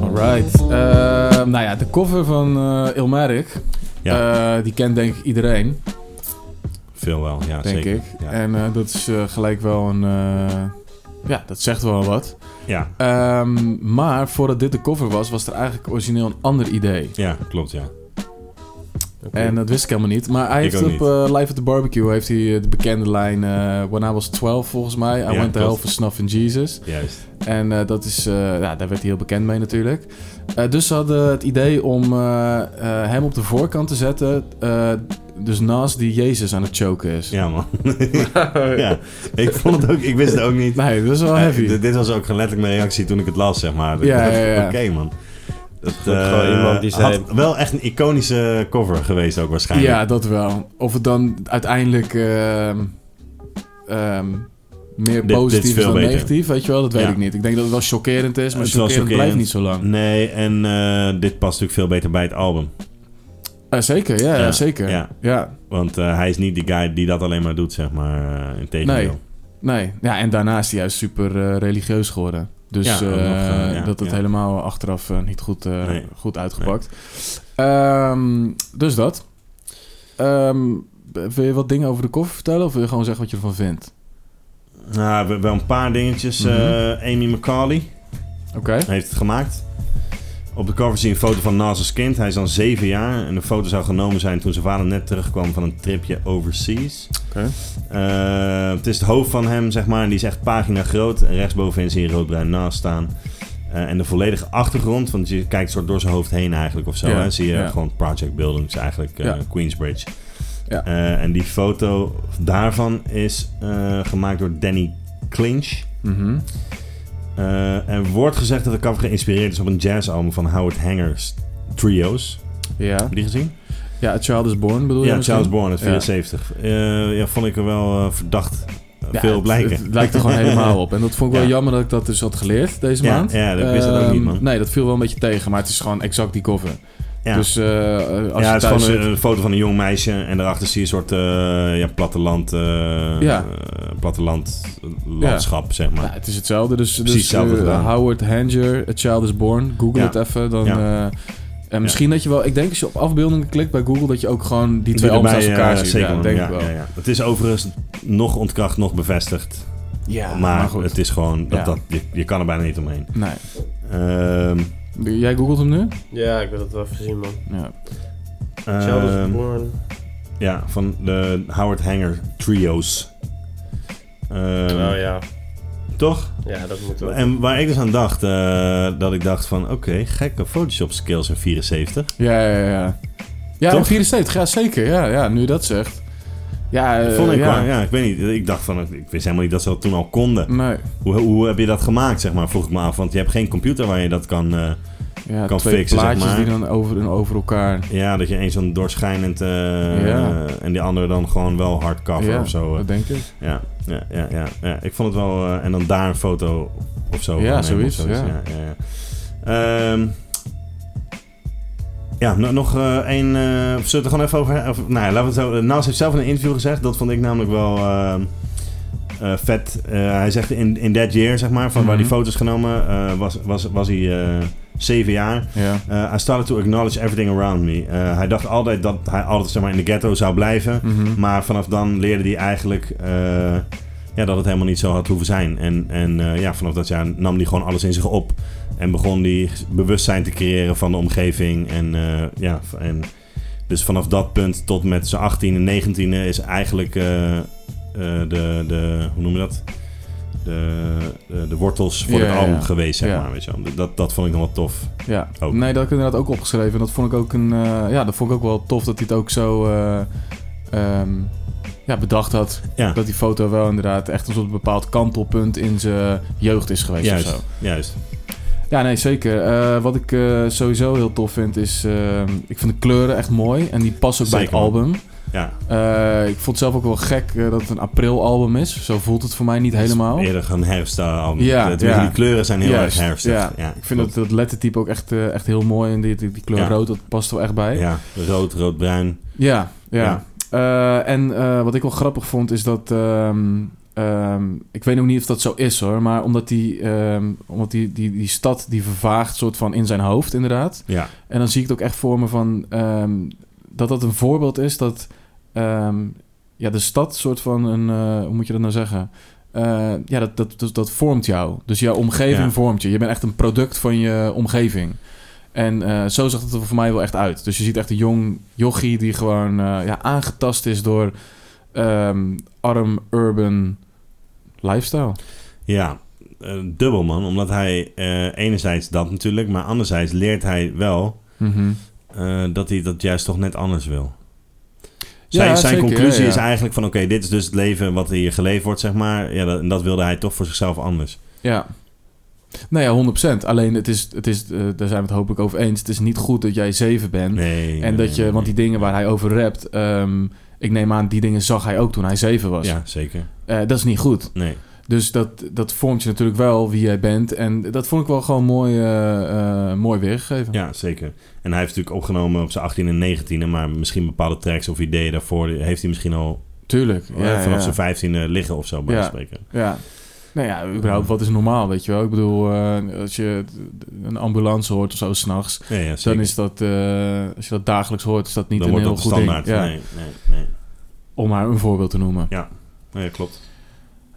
Alright. Eh, nou ja, de cover van eh Ilmarik. eh, die kent denk ik iedereen,
Veel wel, ja,
denk
zeker.
ik.
Ja.
En eh, dat is eh, gelijk wel een. eh, ja, dat zegt wel wat.
ja.
Ehm, maar voordat dit de cover was, was er eigenlijk origineel een ander idee.
Ja, klopt, ja.
En dat wist ik helemaal niet. Maar hij
Ik
heeft
ook
op eh, Live at the Barbecue heeft hij eh, de bekende lijn... eh When I was 12 volgens mij.
Ja,
I went to hell
klopt.
for snuffing Jesus.
Juist.
En eh, dat is, eh, ja, daar werd hij heel bekend mee natuurlijk. Eh, dus ze hadden het idee om eh, eh, hem op de voorkant te zetten. eh, dus naast die Jezus aan het choken is.
Ja, man. eh, ja. Ik vond het ook, ik wist het ook niet.
Nee, dat is wel
Eh,
heavy.
dit- dit was ook letterlijk mijn reactie toen ik het las, zeg maar.
Ja,
Ik dacht,
ja, ja.
Oké, man. Dat
Ook
eh,
gewoon iemand die zei-
had wel echt een iconische cover geweest ook waarschijnlijk.
ja, dat wel. Of het dan uiteindelijk ehm, ehm, meer
dit is
positief is,
veel
dan
beter.
negatief, weet je wel? Dat weet
Ja.
ik niet. Ik denk dat het wel chockerend is, maar
Het is wel
chockerend blijft
chockerend. Mm.
niet zo lang.
Nee, en eh, dit past natuurlijk veel beter bij het album.
Eh, zeker, ja,
Ja,
zeker.
ja.
Ja.
Want eh, hij is niet die guy die dat alleen maar doet, zeg maar. eh, Integendeel.
Nee. nee. Ja, en daarna is hij juist super eh, religieus geworden. Dus
Ja,
eh,
ook nog, eh, ja,
dat het
ja.
helemaal achteraf eh, niet goed, eh,
Nee.
goed uitgepakt. Ehm, dus dat. Ehm, wil je wat dingen over de koffer vertellen of wil je gewoon zeggen wat je ervan vindt?
Nou, we- wel een paar dingetjes. Eh, Amy McCauley
Oké.
heeft het gemaakt. Op de cover zie je een foto van Nas als kind. Hij is dan zeven jaar. En de foto zou genomen zijn toen zijn vader net terugkwam van een tripje overseas.
Oké.
Eh, het is het hoofd van hem, zeg maar. En die is echt pagina groot. En rechtsbovenin zie je roodbruin Nas staan. Eh, en de volledige achtergrond, want je kijkt soort door zijn hoofd heen eigenlijk of zo.
Ja,
hè, zie je
ja.
gewoon Project Buildings eigenlijk, eh,
Ja.
Queensbridge.
Ja.
Eh, en die foto daarvan is eh, gemaakt door Danny Clinch.
Mhm.
Eh, er wordt gezegd dat de cover geïnspireerd is op een jazzalbum van Howard Hangers Trios.
Ja.
Heb je die gezien?
ja, A Child is Born bedoel je
ja,
misschien?
Charles Bourne uit
Ja.
74. Eh, ja, vond ik er wel eh, verdacht eh,
Ja,
veel
het-
op lijken.
Het, lijkt er gewoon helemaal op. En dat vond ik wel
Ja.
jammer dat ik dat dus had geleerd deze
Ja,
maand.
ja, dat wist ik ook niet,
Ehm,
man.
Nee, dat viel wel een beetje tegen, maar het is gewoon exact die cover.
ja.
Dus eh, als
ja,
je
het is
thuis
gewoon eh,
zit-
een, een foto van een jong meisje en daarachter zie je een soort eh, ja, platteland, eh,
Ja.
eh, platteland landschap, zeg maar.
Nou, het is hetzelfde. Dus, dus
hetzelfde
eh,
gedaan.
Howard Hanger, A Child is Born. Google
Ja.
het even. Dan, eh, en misschien dat je wel... Ik denk als je op afbeeldingen klikt bij Google... dat je ook gewoon die twee albums naast
erbij,
elkaar
eh,
ziet.
zeker,
ja,
man.
denk
Ja,
ik wel.
ja, ja. Het is overigens nog ontkracht, nog bevestigd.
Ja,
maar het is gewoon, dat,
Ja.
dat, je, je kan er bijna niet omheen.
Nee.
Ehm
Jij googelt hem nu?
Ja, ik wil dat wel even zien, man.
Ja.
Child was
ehm,
Born.
Ja, van de Howard Hanger Trios. Ehm,
Oh ja.
Toch?
Ja, dat moet wel.
En waar ik dus aan dacht, eh, dat ik dacht van... Oké, gekke Photoshop skills in 74.
Ja, ja, ja, ja. Ja,
Toch?
in 74. Ja, zeker. Ja, ja, nu je dat zegt. Ja, eh,
Vond ik
ja. Mm.
waar, ja, ik weet niet. Ik dacht van, ik wist helemaal niet dat ze dat toen al konden.
Nee.
Hoe, hoe heb je dat gemaakt, zeg maar, vroeg ik me af. Want je hebt geen computer waar je dat kan... eh,
Ja,
Kan
twee
fixen, zeg
plaatjes
maar.
die dan over, over elkaar...
ja, dat je één zo'n doorschijnend... eh,
Ja.
En die andere dan gewoon wel hardcover
ja,
of zo. eh.
dat denk ik.
Ja, ja, ja, ja, ja. Ik vond het wel... eh, en dan daar een foto of zo.
Ja,
van nemen of
zoiets, ja.
Ja, ja, ja. Ehm, ja, no- nog eh, één... eh, zullen we het er gewoon even over... hebben? Of, nou, ja, laten we het zo... Naast heeft zelf in een interview gezegd. Dat vond ik namelijk wel... ehm, eh, vet. Eh, hij zegt in, in that year, zeg maar, van waar die
Mhm.
foto's genomen, eh, was, was, was hij eh, zeven jaar.
Ja.
Eh, I started to acknowledge everything around me. Eh, hij dacht altijd dat hij altijd zeg maar, in de ghetto zou blijven.
Mhm.
Maar vanaf dan leerde hij eigenlijk eh, ja, dat het helemaal niet zo had hoeven zijn. En, en eh, ja, vanaf dat jaar nam hij gewoon alles in zich op. En begon hij bewustzijn te creëren van de omgeving. En, eh, ja, v- en dus vanaf dat punt tot met zijn 18e en 19e is eigenlijk eh, eh, de, de, hoe noem je dat? De, de, de wortels voor
Ja,
het
ja,
album
ja.
geweest, zeg
Ja.
maar. Weet je wel. Dat, dat vond ik nog wel tof.
Ja,
Ook.
nee, dat heb ik inderdaad ook opgeschreven. Dat vond ik ook een. eh, ja, dat vond ik ook wel tof dat hij het ook zo eh, ehm, ja, bedacht had.
Ja.
Dat die foto wel inderdaad echt een soort bepaald kantelpunt in zijn jeugd is geweest of
Juist,
zo.
juist.
Ja, nee, zeker. Eh, wat ik eh, sowieso heel tof vind is. ehm, ik vind de kleuren echt mooi en die passen ook bij
Zeker,
het
man.
album.
Ja,
Eh, ik vond het zelf ook wel gek eh, dat het een april-album is. Zo voelt het voor mij niet helemaal.
Eerder gaan herfstalbum.
Ja,
Ja,
ja.
Die kleuren zijn heel
Juist,
erg herfstig.
ja.
Ja.
Ik vind dat, dat lettertype ook echt, eh, echt heel mooi. En die, die, die kleur
Ja.
rood, dat past er wel echt bij.
Ja, rood, rood-bruin.
Ja, ja.
Ja.
Eh, en eh, wat ik wel grappig vond is dat. ehm, ehm, ik weet ook niet of dat zo is hoor, maar omdat, die, ehm, omdat die, die, die stad die vervaagt soort van in zijn hoofd inderdaad.
Ja,
En dan zie ik het ook echt voor me van ehm, dat dat een voorbeeld is dat ehm, ja, de stad soort van een, eh, hoe moet je dat nou zeggen? Eh, ja, dat, dat, dat, dat vormt jou. Dus jouw omgeving
Ja.
vormt je. Je bent echt een product van je omgeving. En eh, zo zag het er voor mij wel echt uit. Dus je ziet echt een jong jochie die gewoon eh, ja, aangetast is door ehm, arm urban lifestyle.
ja. Eh, dubbel man, omdat hij eh, enerzijds dat natuurlijk, maar anderzijds leert hij wel
Mhm.
eh, dat hij dat juist toch net anders wil. Zijn,
Ja,
zijn
zeker,
conclusie
ja, ja.
is eigenlijk van oké, dit is dus het leven wat hier geleefd wordt, zeg maar. Ja, dat, en dat wilde hij toch voor zichzelf anders.
Ja. Nou ja, 100%. Alleen, het is, het is, eh, daar zijn we het hopelijk over eens. Het is niet goed dat jij zeven bent.
Nee.
en dat je, want die dingen waar hij over rapt, ehm, ik neem aan, die dingen zag hij ook toen hij zeven was.
Ja, zeker.
Eh, dat is niet goed.
Nee.
Dus dat, dat vormt je natuurlijk wel wie jij bent. En dat vond ik wel gewoon mooi, eh, eh, mooi weergegeven.
Ja, zeker. En hij heeft natuurlijk opgenomen op zijn 18 en 19 maar misschien bepaalde tracks of ideeën daarvoor heeft hij misschien al
Tuurlijk.
eh,
Ja,
vanaf
ja.
zijn 15e liggen of zo, bij
Ja.
wijze van spreken.
Ja. Nou ja, überhaupt, wat is normaal, weet je wel? Ik bedoel, eh, als je een ambulance hoort of zo s'nachts,
Ja, ja,
dan
zeker.
is dat, eh, als je dat dagelijks hoort, is dat niet
Dan
een
wordt
heel
dat de
goed
standaard.
ding. Ja.
Nee, nee, nee.
Om maar een voorbeeld te noemen.
Nee, klopt.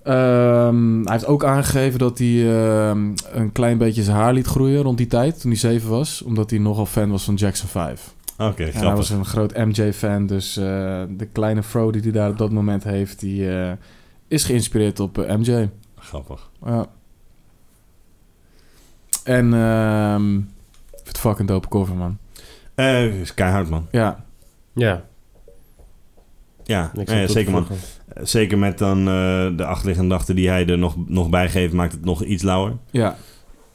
Ehm, hij heeft ook aangegeven dat hij ehm, een klein beetje zijn haar liet groeien rond die tijd, toen hij zeven was. Omdat hij nogal fan was van Jackson 5.
Ah, Oké,
En hij
grappig.
was een groot MJ-fan, dus eh, de kleine fro die hij daar op dat moment heeft, die eh, is geïnspireerd op eh, MJ.
Grappig.
Ja. En ehm, ik vind het fucking dope cover, man.
Eh, is keihard, man.
Ja,
Ja,
Ja,
niks
nee,
aan toe te
zeker, man.
voegen.
Zeker met dan eh, de achterliggende dag die hij er nog, nog bij geeft, maakt het nog iets lauwer.
ja.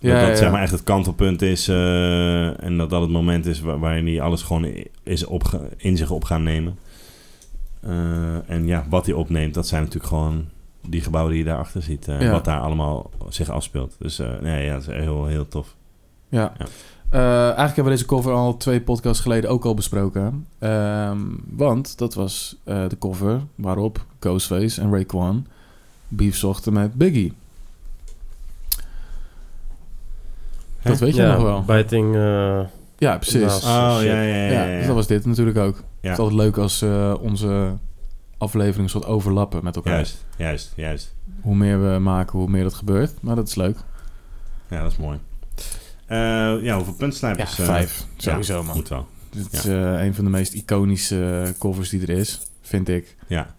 Dat
Ja,
dat
ja,
zeg
ja.
maar echt het kantelpunt is eh, en dat dat het moment is waar, waarin hij alles gewoon i- is opge- in zich op gaan nemen. Eh, en ja, wat hij opneemt, dat zijn natuurlijk gewoon die gebouwen die je daarachter ziet. eh,
Ja.
Wat daar allemaal zich afspeelt. Dus eh, nee, ja, dat is heel, heel tof.
Ja.
Ja.
Eh, eigenlijk hebben we deze cover al twee podcasts geleden ook al besproken. Ehm, want dat was eh, de cover waarop Ghostface en Raekwon beef zochten met Biggie.
Hè?
Dat weet je
ja,
nog wel.
Biting, eh,
Ja, precies.
Nou,
Oh,
shit.
ja, ja, ja.
ja,
ja,
dus
ja.
dat was dit natuurlijk ook.
Ja.
Het is altijd leuk als eh, onze afleveringen soort overlappen met elkaar.
Juist, juist, juist.
Hoe meer we maken, hoe meer dat gebeurt. Maar dat is leuk.
Ja, dat is mooi. Eh, ja, hoeveel
Ja,
puntsnijpers? eh,
vijf. Sowieso, man.
Moet wel.
Dit is eh, een van de meest iconische eh, covers die er is, vind ik.
Ja.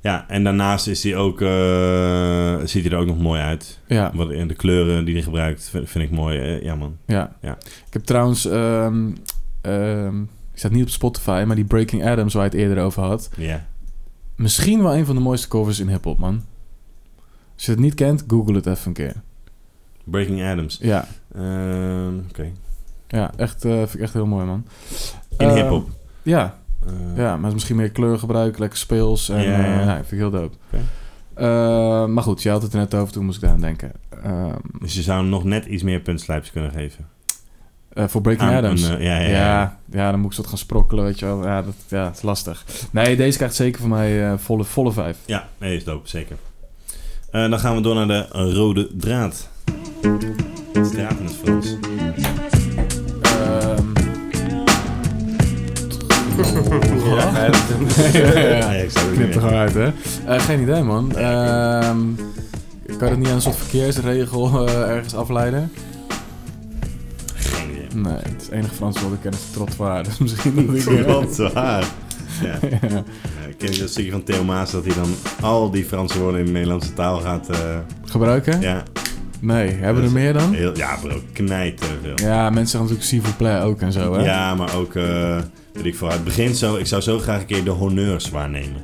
Ja, en daarnaast is hij ook, eh, ziet hij er ook nog mooi uit.
Ja.
Wat, en de kleuren die hij gebruikt vind, vind ik mooi. Eh, ja, man.
Ja.
Ja.
Ik heb trouwens... ehm ehm, ik zat niet op Spotify, maar die Breaking Adams waar je het eerder over had.
Ja.
Misschien wel een van de mooiste covers in hip-hop, man. Als je het niet kent, google het even een keer.
Breaking Adams.
Ja,
Ehm, Oké.
ja echt, eh, vind ik echt heel mooi, man.
In
Eh,
hip-hop.
Ja,
Eh,
ja, maar het is misschien meer kleurgebruik, lekker speels. En,
Ja, ja, ja.
eh, ja, vind ik heel dope.
Oké.
Eh, maar goed, je had het er net over, toen moest ik daaraan denken. Ehm,
Dus je zou hem nog net iets meer puntslijpers kunnen geven.
eh, Voor Breaking
Aan
Adams.
een, eh, ja, ja, ja.
Ja, ja, dan moet ik ze wat gaan sprokkelen, weet je wel. Ja, dat, ja, het is lastig. Nee, deze krijgt zeker van mij eh, volle, volle vijf.
Ja, nee, is dope, zeker. Eh, dan gaan we door naar de rode draad. Het is draad in het Frans.
Merci.
Ehm. ja, ja.
Ajax, dat weet Ah, ik
Knipt
niet
er
meer.
gewoon uit, hè? Eh, geen idee, man. Ehm, kan het niet aan een soort verkeersregel eh, ergens afleiden?
Geen idee.
Nee, het is het enige Frans wat ik ken is trottoir. Dus misschien dat ik... eh,
Wat waar. Ja.
ja.
Ja, ik ken je dat stukje van Theo Maas dat hij dan al die Franse woorden in de Nederlandse taal gaat... eh,
Gebruiken?
ja,
Nee. Hebben we er
Dat is-
meer dan?
heel, ja, bro, knijterveel.
Ja, mensen zeggen natuurlijk s'il vous plaît ook en zo, hè?
Ja, maar ook, eh weet ik veel, uit het begin zo, ik zou zo graag een keer de honneurs waarnemen.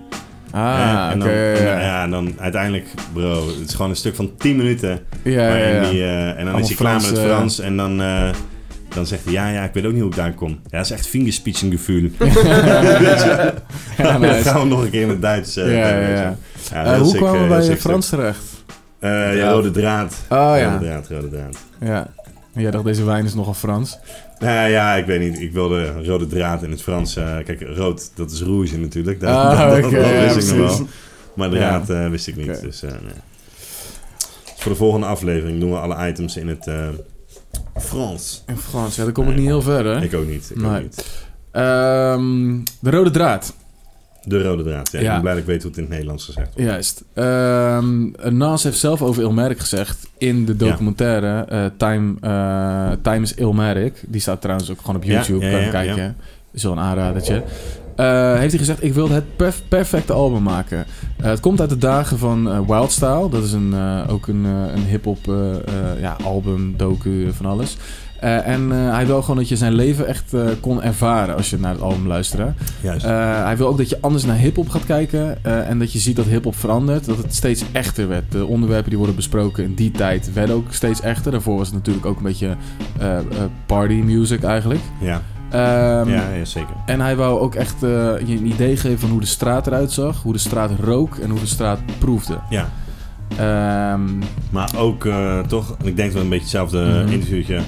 Hè?
Ah,
en
oké.
dan, en dan-
ja, ja.
ja, en dan uiteindelijk, bro, het is gewoon een stuk van 10 minuten.
Ja, ja,
waarin
ja.
die, eh, en dan
Allemaal
is hij klaar met het
Frans, eh,
Frans en dan, eh, dan zegt hij, ja, ja, ik weet ook niet hoe ik daar kom. Ja, dat is echt fingerspitsengevoel. gevoel. eh,
Ja,
dan
nice.
gaan we nog een keer in het Duits. eh,
Ja, ja,
weet je.
ja.
Ja,
Eh,
heel
hoe
sick, eh,
kwamen we
heel
bij
sick
eh,
stuk.
Frans terecht?
Eh, ja, rode draad.
Oh ja.
Rode draad, rode draad.
Ja. En jij dacht, deze wijn is nogal Frans.
Nou ja, ik weet niet. Ik wilde rode draad in het Frans. eh, kijk, rood, dat is rouge natuurlijk. Dat,
Ah,
dat, dat-
oké,
dat
ja,
wist ik nog
precies.
wel. Maar
Ja.
draad eh, wist ik niet.
Oké.
Dus, eh, nee. Dus voor de volgende aflevering doen we alle items in het eh, Frans.
In Frans, ja, dan kom ik niet heel ver, hè?
Ik ook niet. Ik ook
Nee.
niet.
Ehm, de rode draad.
De rode draad. Ja, Ik
Ja.
ben blij dat ik weet hoe het in het Nederlands gezegd wordt.
Juist. Ehm Nas heeft zelf over Ilmerik gezegd in de documentaire eh, Time, eh, Time is Ilmerik. Die staat trouwens ook gewoon op
Ja,
YouTube.
ja,
kan je
ja,
kijken. Is wel een aanradertje. Eh, heeft hij gezegd, ik wilde het perf- perfecte album maken. Eh, het komt uit de dagen van eh, Wildstyle. Dat is een, eh, ook een, eh, een hip-hop eh, eh, ja, album, docu, van alles. Eh, en eh, hij wil gewoon dat je zijn leven echt eh, kon ervaren als je naar het album luisterde.
Juist.
Eh, hij wil ook dat je anders naar hip-hop gaat kijken. eh, en dat je ziet dat hip-hop verandert. Dat het steeds echter werd. De onderwerpen die worden besproken in die tijd werden ook steeds echter. Daarvoor was het natuurlijk ook een beetje eh, eh, party music eigenlijk.
ja.
Ehm,
ja, ja, zeker.
En hij wou ook echt eh, je een idee geven van hoe de straat eruit zag. Hoe de straat rook en hoe de straat proefde.
Ja.
Ehm,
Maar ook eh, toch, ik denk dat we een beetje hetzelfde
Mhm.
interviewtje.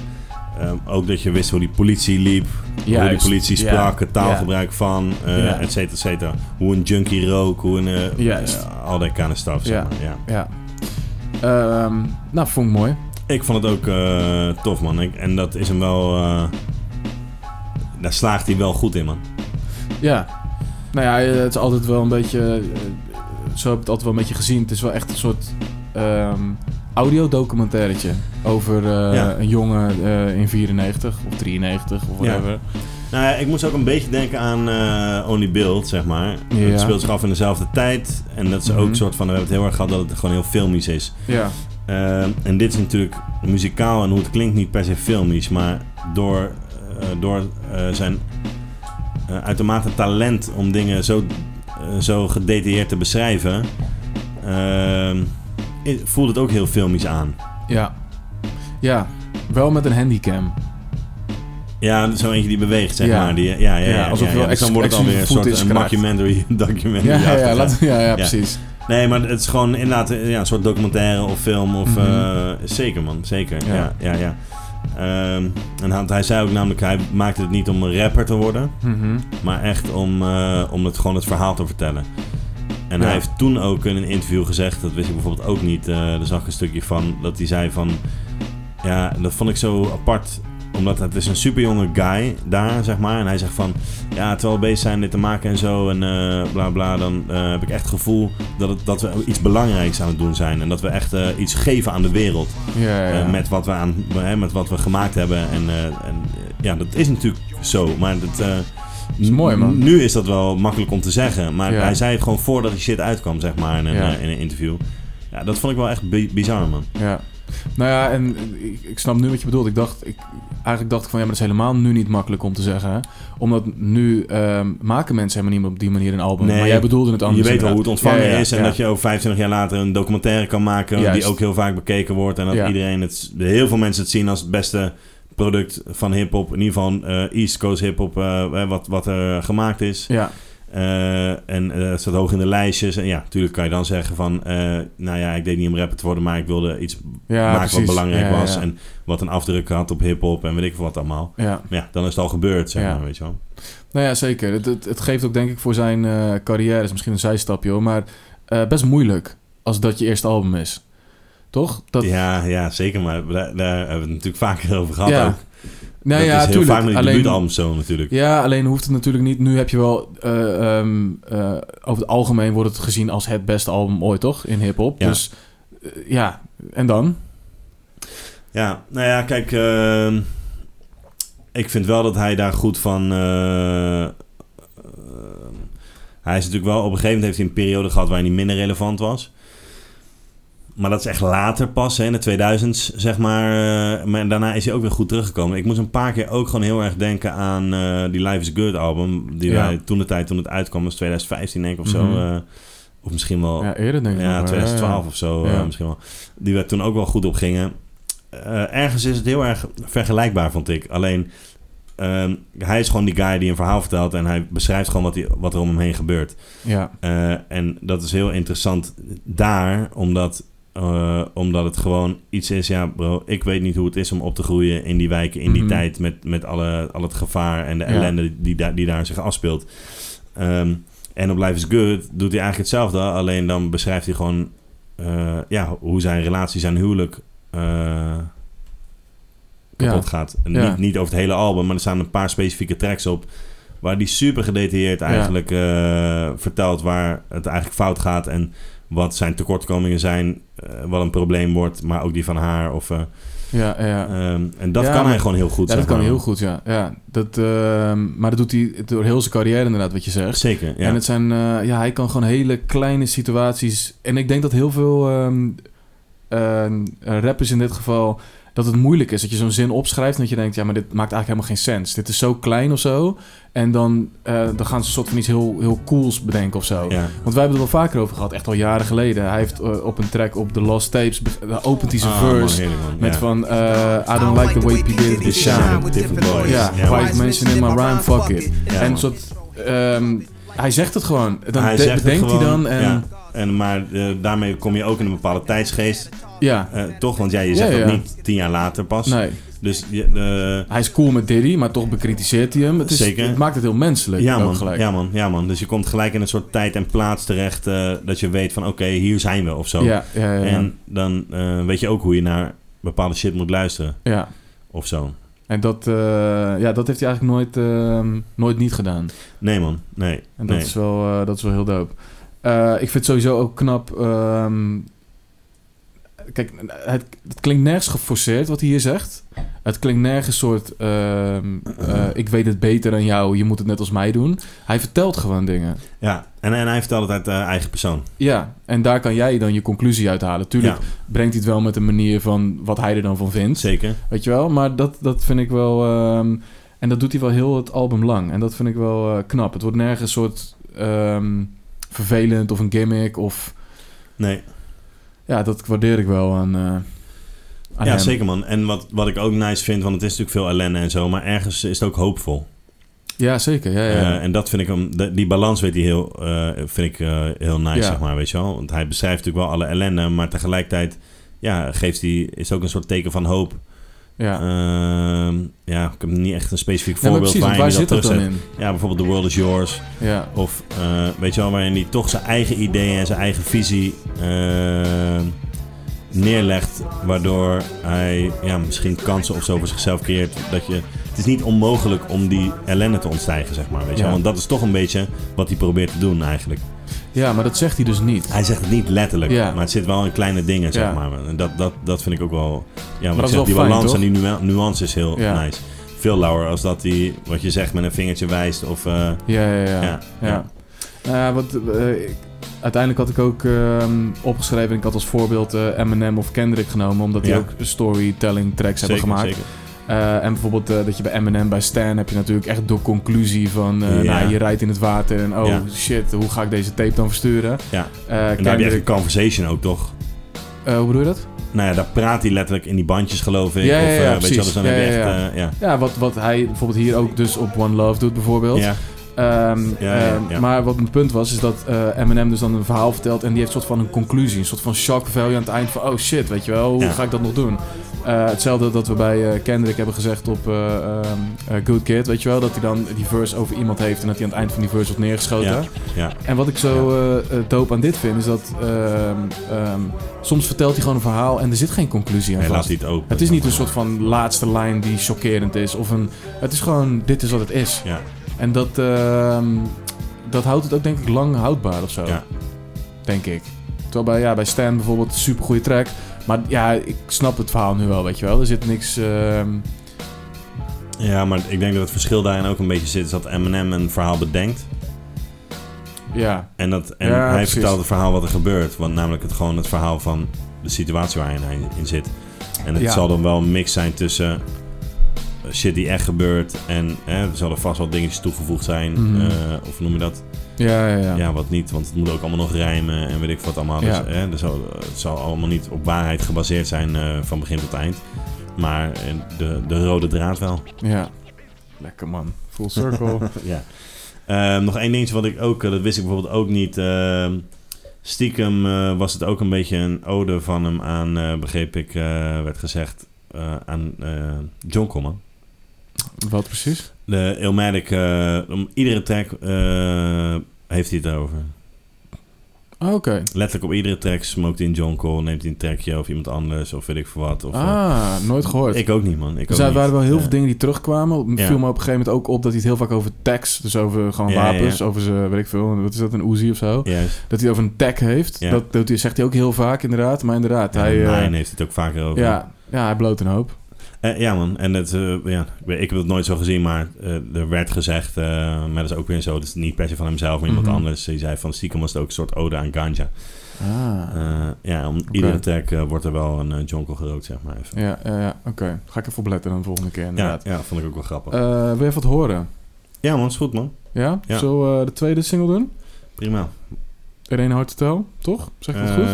ehm, ook dat je wist hoe die politie liep. hoe
juist.
die politie
Ja,
sprak, het
ja.
taalgebruik van, eh
Ja.
et cetera, et cetera. Hoe een junkie rook, hoe een... eh,
Juist.
ja, al dat kind of stuff, zeg
Ja.
maar. Ja.
Ja. Ehm, nou, vond ik mooi.
Ik vond het ook eh, tof, man. Ik, en dat is hem wel... eh, daar slaagt hij wel goed in, man.
Ja. Nou ja, eh, het is altijd wel een beetje... eh, Zo heb ik het altijd wel een beetje gezien. Het is wel echt een soort ehm audiodocumentairetje. Over eh,
Ja.
een jongen eh, in 94 of 93
Ja.
of whatever.
Nou ja, ik moest ook een beetje denken aan eh, Only Build, zeg maar.
Ja.
Het speelt zich af in dezelfde tijd. En dat is ook
Mhm.
een soort van... We hebben het heel erg gehad dat het gewoon heel filmisch is.
Ja.
Ehm, en dit is natuurlijk muzikaal en hoe het klinkt niet per se filmisch, maar door, eh, door eh, zijn eh, uitermate talent om dingen zo, eh, zo gedetailleerd te beschrijven, ehm, i- voelt het ook heel filmisch aan.
Ja. Ja. Wel met een handycam.
Ja, zo eentje die beweegt, zeg
Ja.
maar. Die, ja, ja, ja,
Ja, alsof
ja,
je wel
Dus dan
ex-
wordt het alweer een
exclusief
soort
footage
een
krijgt.
mockumentary. documentary
ja, ja, ja,
achtig,
laat- ja, ja, precies.
Nee, maar het is gewoon inderdaad eh, ja, een soort documentaire of film. Of,
Mhm.
eh, zeker, man. Zeker. Ja,
Ja.
ja, ja. Ehm, en hij- hij zei ook namelijk, hij maakte het niet om een rapper te worden,
Mhm.
maar echt om, eh, om het, gewoon het verhaal te vertellen. En
Ja.
hij heeft toen ook in een interview gezegd, dat wist ik bijvoorbeeld ook niet, eh daar zag ik een stukje van, dat hij zei van, ja, dat vond ik zo apart, omdat het is een superjonge guy daar, zeg maar. En hij zegt van, ja, terwijl we bezig zijn dit te maken en zo en eh, bla bla, dan eh, heb ik echt het gevoel dat, het, dat we iets belangrijks aan het doen zijn. En dat we echt eh, iets geven aan de wereld
Ja, ja,
eh,
ja.
met, wat we aan, hè, met wat we gemaakt hebben. En, eh, en eh, ja, dat is natuurlijk zo, maar dat... eh,
is mooi, man.
Nu is dat wel makkelijk om te zeggen, maar
Ja.
hij zei het gewoon voordat die shit uitkwam, zeg maar, in een,
Ja.
eh, in een interview. Ja, dat vond ik wel echt bi- bizar, man.
Ja. Nou ja, en ik, ik snap nu wat je bedoelt. Ik dacht, ik, eigenlijk dacht ik van ja, maar dat is helemaal nu niet makkelijk om te zeggen. hè. Omdat nu ehm, maken mensen helemaal niet meer op die manier een album.
Nee,
maar jij bedoelde het
Je
anders.
weet wel hoe het ontvangen
Ja, ja, ja,
is en
ja.
dat je over 25 jaar later een documentaire kan maken
Juist.
die ook heel vaak bekeken wordt. En dat
Ja.
iedereen het, heel veel mensen het zien als het beste product van hip-hop, in ieder geval eh, East Coast hip-hop, eh, eh, wat, wat er gemaakt is.
Ja,
Eh, en eh, het staat hoog in de lijstjes. En ja, natuurlijk kan je dan zeggen van, eh, nou ja, ik deed niet om rapper te worden, maar ik wilde iets
ja
maken
precies.
wat belangrijk
Ja, ja,
was
ja.
en wat een afdruk had op hip-hop en weet ik veel wat allemaal.
Ja.
Maar ja, dan is het al gebeurd, zeg
Ja.
maar, weet je wel.
Nou ja, zeker. Het, het, het geeft ook denk ik voor zijn eh, carrière, is misschien een zijstapje hoor, maar eh, best moeilijk als dat je eerste album is. Toch? Dat,
Ja, ja, zeker, maar daar, daar hebben we het natuurlijk vaker over gehad
Ja.
ook.
Nou
dat
ja,
is heel
tuurlijk.
vaak met die
Alleen-
debuutalbums zo natuurlijk.
Ja, alleen hoeft het natuurlijk niet. Nu heb je wel. eh, ehm, eh, over het algemeen wordt het gezien als het beste album ooit, toch? In hip-hop.
Ja.
Dus eh, ja, en dan?
Ja, nou ja, kijk. ehm, ik vind wel dat hij daar goed van. eh, eh, hij is natuurlijk wel. Op een gegeven moment heeft hij een periode gehad waarin hij minder relevant was. Maar dat is echt later pas, hè, in de 2000s, zeg maar. eh, maar daarna is hij ook weer goed teruggekomen. Ik moest een paar keer ook gewoon heel erg denken aan eh, die Life is Good album. Die
Ja.
wij toen de tijd, toen het uitkwam, was 2015 denk ik of zo.
Mhm.
eh, of misschien wel
Ja, eerder denk ik. nog
Oh.
eh,
ja,
wel.
2012
Ja,
of zo
Ja.
eh, misschien wel. Die we toen ook wel goed op gingen. Eh, ergens is het heel erg vergelijkbaar, vond ik. Alleen, ehm, hij is gewoon die guy die een verhaal vertelt... en hij beschrijft gewoon wat, die, wat er om hem heen gebeurt.
ja.
Eh, en dat is heel interessant daar, omdat, eh, omdat het gewoon iets is... Ja, bro, ik weet niet hoe het is om op te groeien in die wijken in die
Mhm.
tijd... met, met alle, al het gevaar en de
Ja.
ellende die, daar die daar zich afspeelt. Ehm, en op Life is Good doet hij eigenlijk hetzelfde... alleen dan beschrijft hij gewoon eh, ja, hoe zijn relatie, zijn huwelijk... eh, kapot
Ja.
gaat. En
Ja.
Niet, niet over het hele album, maar er staan een paar specifieke tracks op. Waar die super gedetailleerd
Ja.
eigenlijk eh, vertelt waar het eigenlijk fout gaat. En wat zijn tekortkomingen zijn. eh, wat een probleem wordt, maar ook die van haar. Of, eh,
Ja, ja, ja.
ehm, en dat
Ja,
kan hij
maar-
gewoon heel goed.
Ja, dat
zeg
kan
maar.
heel goed, ja. ja dat, ehm, maar dat doet hij door heel zijn carrière inderdaad, wat je zegt.
Zeker, ja.
En het zijn, eh, ja, hij kan gewoon hele kleine situaties. En ik denk dat heel veel ehm, ehm, rappers in dit geval. dat het moeilijk is. Dat je zo'n zin opschrijft. en dat je denkt, ja, maar dit maakt eigenlijk helemaal geen sens. Dit is zo klein of zo. En dan, eh, dan gaan ze een soort van iets heel, heel cools bedenken of zo.
ja.
Want wij hebben het al vaker over gehad, echt al jaren geleden. Hij heeft eh, op een track op The Lost Tapes. be- daar opent hij zijn
Ah, man,
verse.
heerlijk, man.
met
Ja.
van. eh, I don't like the way P. Diddy
Diddy
did
shine.
shine. Ja,
Ja.
white mensen in my rhyme, fuck it.
Ja,
en
man.
een soort, ehm, hij zegt het gewoon. Dan
Hij
de-
zegt het
bedenkt hij
gewoon,
dan. En,
ja. En, maar eh, daarmee kom je ook in een bepaalde tijdsgeest.
Ja,
eh, toch? Want jij je zegt
Ja,
dat
ja.
niet tien jaar later pas.
nee.
Dus je, de-
Hij is cool met Diddy, maar toch bekritiseert hij hem. Het, is,
Zeker.
het maakt het heel menselijk.
Ja
ook
man,
gelijk.
ja, man, ja man. Dus je komt gelijk in een soort tijd en plaats terecht eh, dat je weet van oké, hier zijn we of zo.
Ja, ja, ja, ja.
En dan eh, weet je ook hoe je naar bepaalde shit moet luisteren
Ja.
of zo.
En dat, eh, ja, dat heeft hij eigenlijk nooit, ehm, nooit niet gedaan.
Nee man, nee.
En dat,
nee.
is, wel, eh, dat is wel heel dope. Eh, ik vind het sowieso ook knap. ehm, kijk, het, het klinkt nergens geforceerd wat hij hier zegt. Het klinkt nergens soort. ehm, eh, ik weet het beter dan jou, je moet het net als mij doen. Hij vertelt gewoon dingen.
Ja, en, en hij vertelt het uit eh, eigen persoon.
Ja, en daar kan jij dan je conclusie uit halen. Tuurlijk
Ja.
brengt hij het wel met een manier van wat hij er dan van vindt.
Zeker.
Weet je wel? Maar dat, dat vind ik wel. ehm, en dat doet hij wel heel het album lang. En dat vind ik wel eh, knap. Het wordt nergens een soort ehm, vervelend of een gimmick. Of,
Nee.
ja, dat waardeer ik wel aan. eh, aan
ja,
hem.
zeker man. En wat, wat ik ook nice vind, want het is natuurlijk veel ellende en zo, maar ergens is het ook hoopvol.
Ja, zeker. Ja, ja.
Eh, en dat vind ik hem, de- die balans weet hij heel, eh, vind ik eh, heel nice,
Ja.
zeg maar, weet je wel. Want hij beschrijft natuurlijk wel alle ellende, maar tegelijkertijd ja, geeft hij, is ook een soort teken van hoop.
ja.
Ehm, ja, ik heb niet echt een specifiek
Nee, maar
voorbeeld
precies, want
waarin hij
waar zit
dat
dat dan
terugzet.
in?
Ja, bijvoorbeeld The World Is Yours.
Ja,
Of eh, weet je wel, waarin hij toch zijn eigen ideeën en zijn eigen visie ehm, neerlegt. Waardoor hij ja, misschien kansen of zo voor zichzelf creëert. Dat je, het is niet onmogelijk om die ellende te ontstijgen, zeg maar. Weet je
Ja.
wel? Want dat is toch een beetje wat hij probeert te doen eigenlijk.
ja, maar dat zegt hij dus niet.
Hij zegt het niet letterlijk,
Ja.
maar het zit wel in kleine dingen, zeg
Ja.
maar. En dat, dat, dat vind ik ook wel... Ja,
dat
want
is
zeg,
wel
die
fijn,
balans
toch?
en die nua- nuance is heel
Ja.
nice. Veel lauwer als dat hij, wat je zegt, met een vingertje wijst of... eh,
Ja, ja,
Ja,
ja. ja,
ja.
Nou ja, want, eh, ik- uiteindelijk had ik ook ehm, opgeschreven... en ik had als voorbeeld eh, Eminem of Kendrick genomen... omdat die
Ja.
ook storytelling tracks
zeker,
hebben gemaakt.
zeker.
Eh, en bijvoorbeeld eh, dat je bij Eminem, bij Stan... heb je natuurlijk echt de conclusie van... eh,
Ja.
nou, je rijdt in het water en oh
Ja.
shit, hoe ga ik deze tape dan versturen?
Ja.
Eh,
En daar heb je echt
Kendrick,
een conversation ook, toch?
eh, hoe bedoel je dat?
Nou ja, daar praat hij letterlijk in die bandjes, geloof ik.
Ja,
of,
ja,
eh,
ja,
weet je wel, dus
precies.
dan
Ja,
heb je
ja,
echt...
ja.
eh, ja.
Ja, wat, wat hij bijvoorbeeld hier ook dus op One Love doet bijvoorbeeld.
Ja,
Ehm,
Ja, ja,
ehm,
ja.
Maar wat mijn punt was, is dat eh, Eminem dus dan een verhaal vertelt... en die heeft een soort van een conclusie, een soort van shock value aan het eind van... oh shit, weet je wel, hoe
Ja.
ga ik dat nog doen? Eh, hetzelfde dat we bij eh, Kendrick hebben gezegd op eh, ehm, eh, Good Kid, weet je wel? Dat hij dan die verse over iemand heeft en dat hij aan het eind van die verse wordt neergeschoten.
Ja, ja.
En wat ik zo eh, eh, dope aan dit vind, is dat ehm, ehm, soms vertelt hij gewoon een verhaal en er zit geen conclusie aan
Hij laat
vast.
niet open.
Het is niet een soort van laatste lijn die chockerend is. Of een, het is gewoon, dit is wat het is.
Ja,
En dat, ehm, dat houdt het ook denk ik lang houdbaar of zo.
Ja.
Denk ik. Terwijl bij, ja, bij Stan bijvoorbeeld super goede track. Maar ja, ik snap het verhaal nu wel, weet je wel. Er zit niks. ehm,
ja, maar ik denk dat het verschil daarin ook een beetje zit. Is dat Eminem een verhaal bedenkt.
ja,
En, dat, en
Ja,
hij
precies.
vertelt het verhaal wat er gebeurt. Want namelijk het, gewoon het verhaal van de situatie waarin hij in zit. En het
Ja.
zal dan wel een mix zijn tussen eh, shit die echt gebeurt. En hè, er zullen vast wel dingetjes toegevoegd zijn.
Mhm.
eh, of hoe noem je dat?
ja, ja, ja.
Ja. wat niet, want het moet ook allemaal nog rijmen en weet ik wat allemaal.
Ja.
Dus, hè, er zal, het zal allemaal niet op waarheid gebaseerd zijn eh, van begin tot eind. Maar eh, de, de rode draad wel.
Ja. Lekker man. Full circle.
ja. Ehm, nog één dingetje wat ik ook, eh, dat wist ik bijvoorbeeld ook niet. ehm, stiekem eh, was het ook een beetje een ode van hem aan, eh, begreep ik, eh, werd gezegd, eh, aan eh, John Coleman.
wat precies?
De Illmatic, eh, om iedere track eh, heeft hij het over.
Oh, Oké.
Letterlijk op iedere track smokt in John Cole, neemt hij een trackje of iemand anders of weet ik veel wat. Of,
Ah, nooit gehoord.
eh, ik ook niet, man. Ik
Dus er
ook
zijn-
niet.
waren wel heel
Ja.
veel dingen die terugkwamen. Het
Ja.
viel me op een gegeven moment ook op dat hij het heel vaak over tags, dus over gewoon
Ja, ja, ja.
wapens, over zijn, weet ik veel, wat is dat, een Uzi of zo?
Juist.
Dat hij over een tag heeft.
Ja.
Dat, dat hij- zegt hij ook heel vaak, inderdaad. Maar inderdaad,
Ja,
hij... eh,
Nine heeft het ook vaker over.
ja, ja, hij bloot een hoop.
Eh, ja, man. En het, eh, ja, ik weet- ik heb het nooit zo gezien, maar eh, er werd gezegd, eh, maar dat is ook weer zo, dat is niet per se van hemzelf, maar iemand
Mhm.
anders. Die zei van stiekem was het ook een soort ode aan ganja.
Ah.
Eh, ja, om iedere track eh, wordt er wel een eh, John Cole gerookt, zeg maar even.
Ja, ja, ja oké. Ga ik even opletten dan de volgende keer,
Ja,
inderdaad.
ja, vond ik ook wel grappig.
Eh, wil je even wat horen?
ja, man, is goed, man.
Ja?
Ja.
Zullen we eh, de tweede single doen?
Prima.
Irene Hard to Tell, toch? Zeg ik dat goed?
Eh,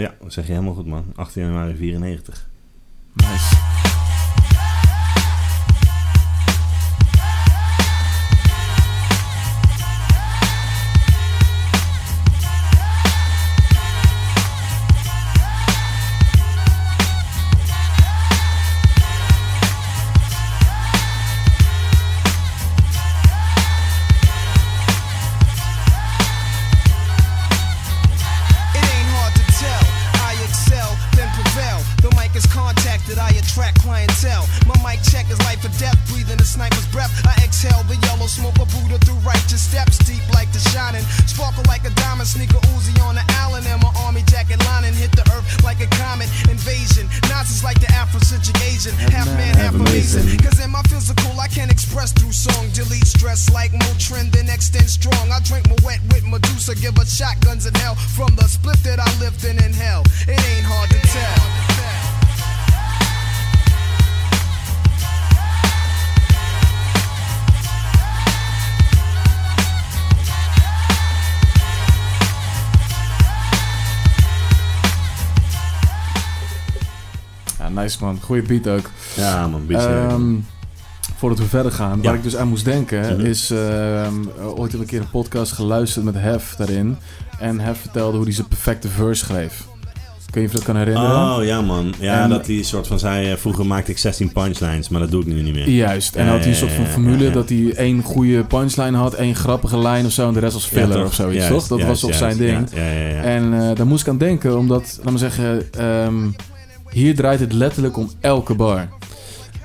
ja, dat zeg je helemaal goed, man. 18 januari 94.
Nice.
It ain't hard to tell. I excel, then prevail. The mic is contacted, I attract clientele. My mic check is life or death, breathing a sniper's breath. I exhale the yellow smoke of Buddha through righteous steps, deep like the shining. Sparkle like a diamond, sneaker Uzi on the island, and my army jacket lining hit the earth like a comet invasion. Nazis like the Afrocentric Asian, half man, half amazing. Cause in my physical, I can express through song. Delete stress like Motrin, then extend strong. I drink my wet with Medusa, give her shotguns in hell. From the split that I lived in in hell, it ain't hard to tell.
Ja, nice man. Goeie beat ook.
Ja, man, beetje.
Ehm, voordat we verder gaan, waar
Ja.
ik dus aan moest denken,
Mhm.
is ehm, ooit heb ik een keer een podcast geluisterd met Hef daarin. En Hef vertelde hoe hij zijn perfecte verse schreef. Kun je of je dat kan herinneren?
oh ja, man. Ja,
En-
dat die soort van zei: eh, vroeger maakte ik 16 punchlines, maar dat doe ik nu niet meer.
Juist, en
Ja,
had hij een
ja,
soort
ja,
van
ja,
formule
ja, ja.
dat hij één goede punchline had, één grappige lijn of zo en de rest als
Ja,
filler
toch?
of zoiets,
Juist,
toch? Dat
juist,
was op
juist,
zijn ding.
Ja, ja, ja. ja.
En eh, daar moest ik aan denken, omdat, laat maar zeggen, ehm, hier draait het letterlijk om elke bar.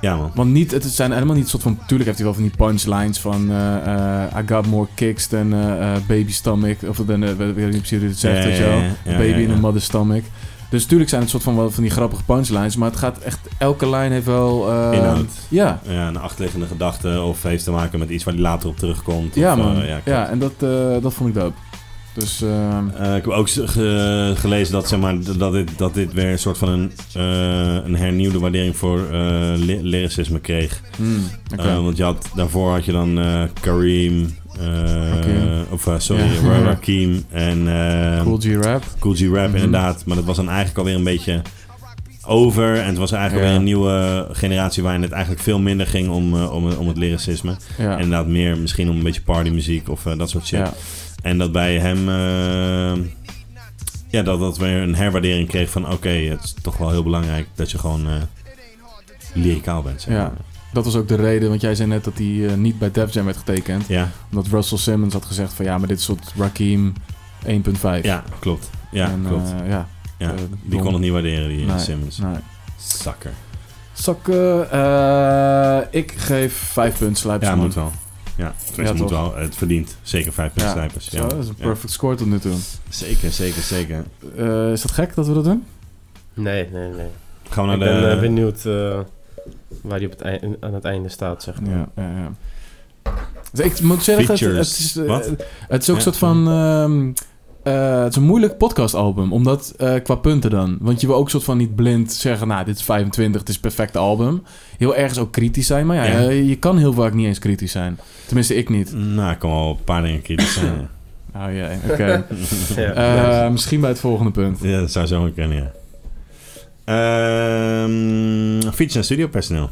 Ja, man.
Want niet, het zijn helemaal niet soort van. Tuurlijk heeft hij wel van die punchlines van. eh, eh, I got more kicks than eh, eh, baby stomach. Of dan, eh, weet ik niet precies hoe het zegt,
Ja,
weet je
ja,
wel.
ja, ja,
baby
ja,
in
ja.
a mother stomach. Dus tuurlijk zijn het soort van, wel van die grappige punchlines. Maar het gaat echt. Elke lijn heeft wel. eh,
Inhoud.
Ja.
Ja, een achterliggende gedachte of heeft te maken met iets waar die later op terugkomt.
Ja,
of,
man.
eh,
ja,
klopt.
en dat, eh, dat vond ik dope. Dus. ehm,
Eh, ik heb ook z- ge- gelezen dat, zeg maar, d- dat, dit, dat dit weer een soort van een, eh, een hernieuwde waardering voor eh, ly- lyricisme kreeg.
mm, oké.
Eh, want je had, daarvoor had je dan eh, Kareem, eh,
Hakeem.
of eh, sorry,
Ja.
Ra- Rakim en eh,
cool G-Rap.
Cool G Rap
Mhm.
inderdaad. Maar dat was dan eigenlijk alweer een beetje over. En het was eigenlijk
Ja.
alweer een nieuwe generatie waarin het eigenlijk veel minder ging om, eh, om, om het lyricisme.
Ja.
En inderdaad meer misschien om een beetje partymuziek of eh, dat soort shit.
ja.
En dat bij hem... eh, ja, dat dat weer een herwaardering kreeg van... Oké, het is toch wel heel belangrijk dat je gewoon... eh, lyricaal bent. zeg
Ja.
maar.
Dat was ook de reden, want jij zei net dat hij eh, niet bij Def Jam werd getekend.
ja.
Omdat Russell Simmons had gezegd van ja, maar dit is soort Rakim 1.5.
Ja, klopt. Ja,
En, eh,
klopt.
ja.
ja.
eh,
die kon het niet waarderen, die eh,
Nee,
Simmons.
Nee.
Zakker.
Zakken, eh, ik geef 5 punten sluipers.
Ja,
man.
moet wel. Ja, tenminste,
Ja,
moet
toch?
wel. Het verdient. Zeker vijf punten
Ja.
snipers.
Zo,
Ja.
dat is een
Ja.
perfect score tot nu toe.
Zeker, zeker, zeker.
Eh, is dat gek dat we dat doen?
Nee, nee, nee.
Gaan we
ik
naar
ben
de...
eh, benieuwd eh, waar hij op het ei- aan het einde staat, zeg maar.
Ja, ja, ja. Dus ik moet zeggen, het, het,
Features.
is, eh,
Wat?
het is ook
Ja.
een soort van... ehm, eh, het is een moeilijk podcastalbum, omdat eh, qua punten dan. Want je wil ook soort van niet blind zeggen, nou, dit is 25, het is het perfecte album. Heel ergens ook kritisch zijn, maar ja,
Ja.
eh, je kan heel vaak niet eens kritisch zijn. Tenminste, ik niet.
nou, ik kan wel een paar dingen kritisch zijn.
Oh jee, oké.
Ja.
Eh, misschien bij het volgende punt.
ja, dat zou zo kunnen, ja. Ehm fiets en studiopersoneel.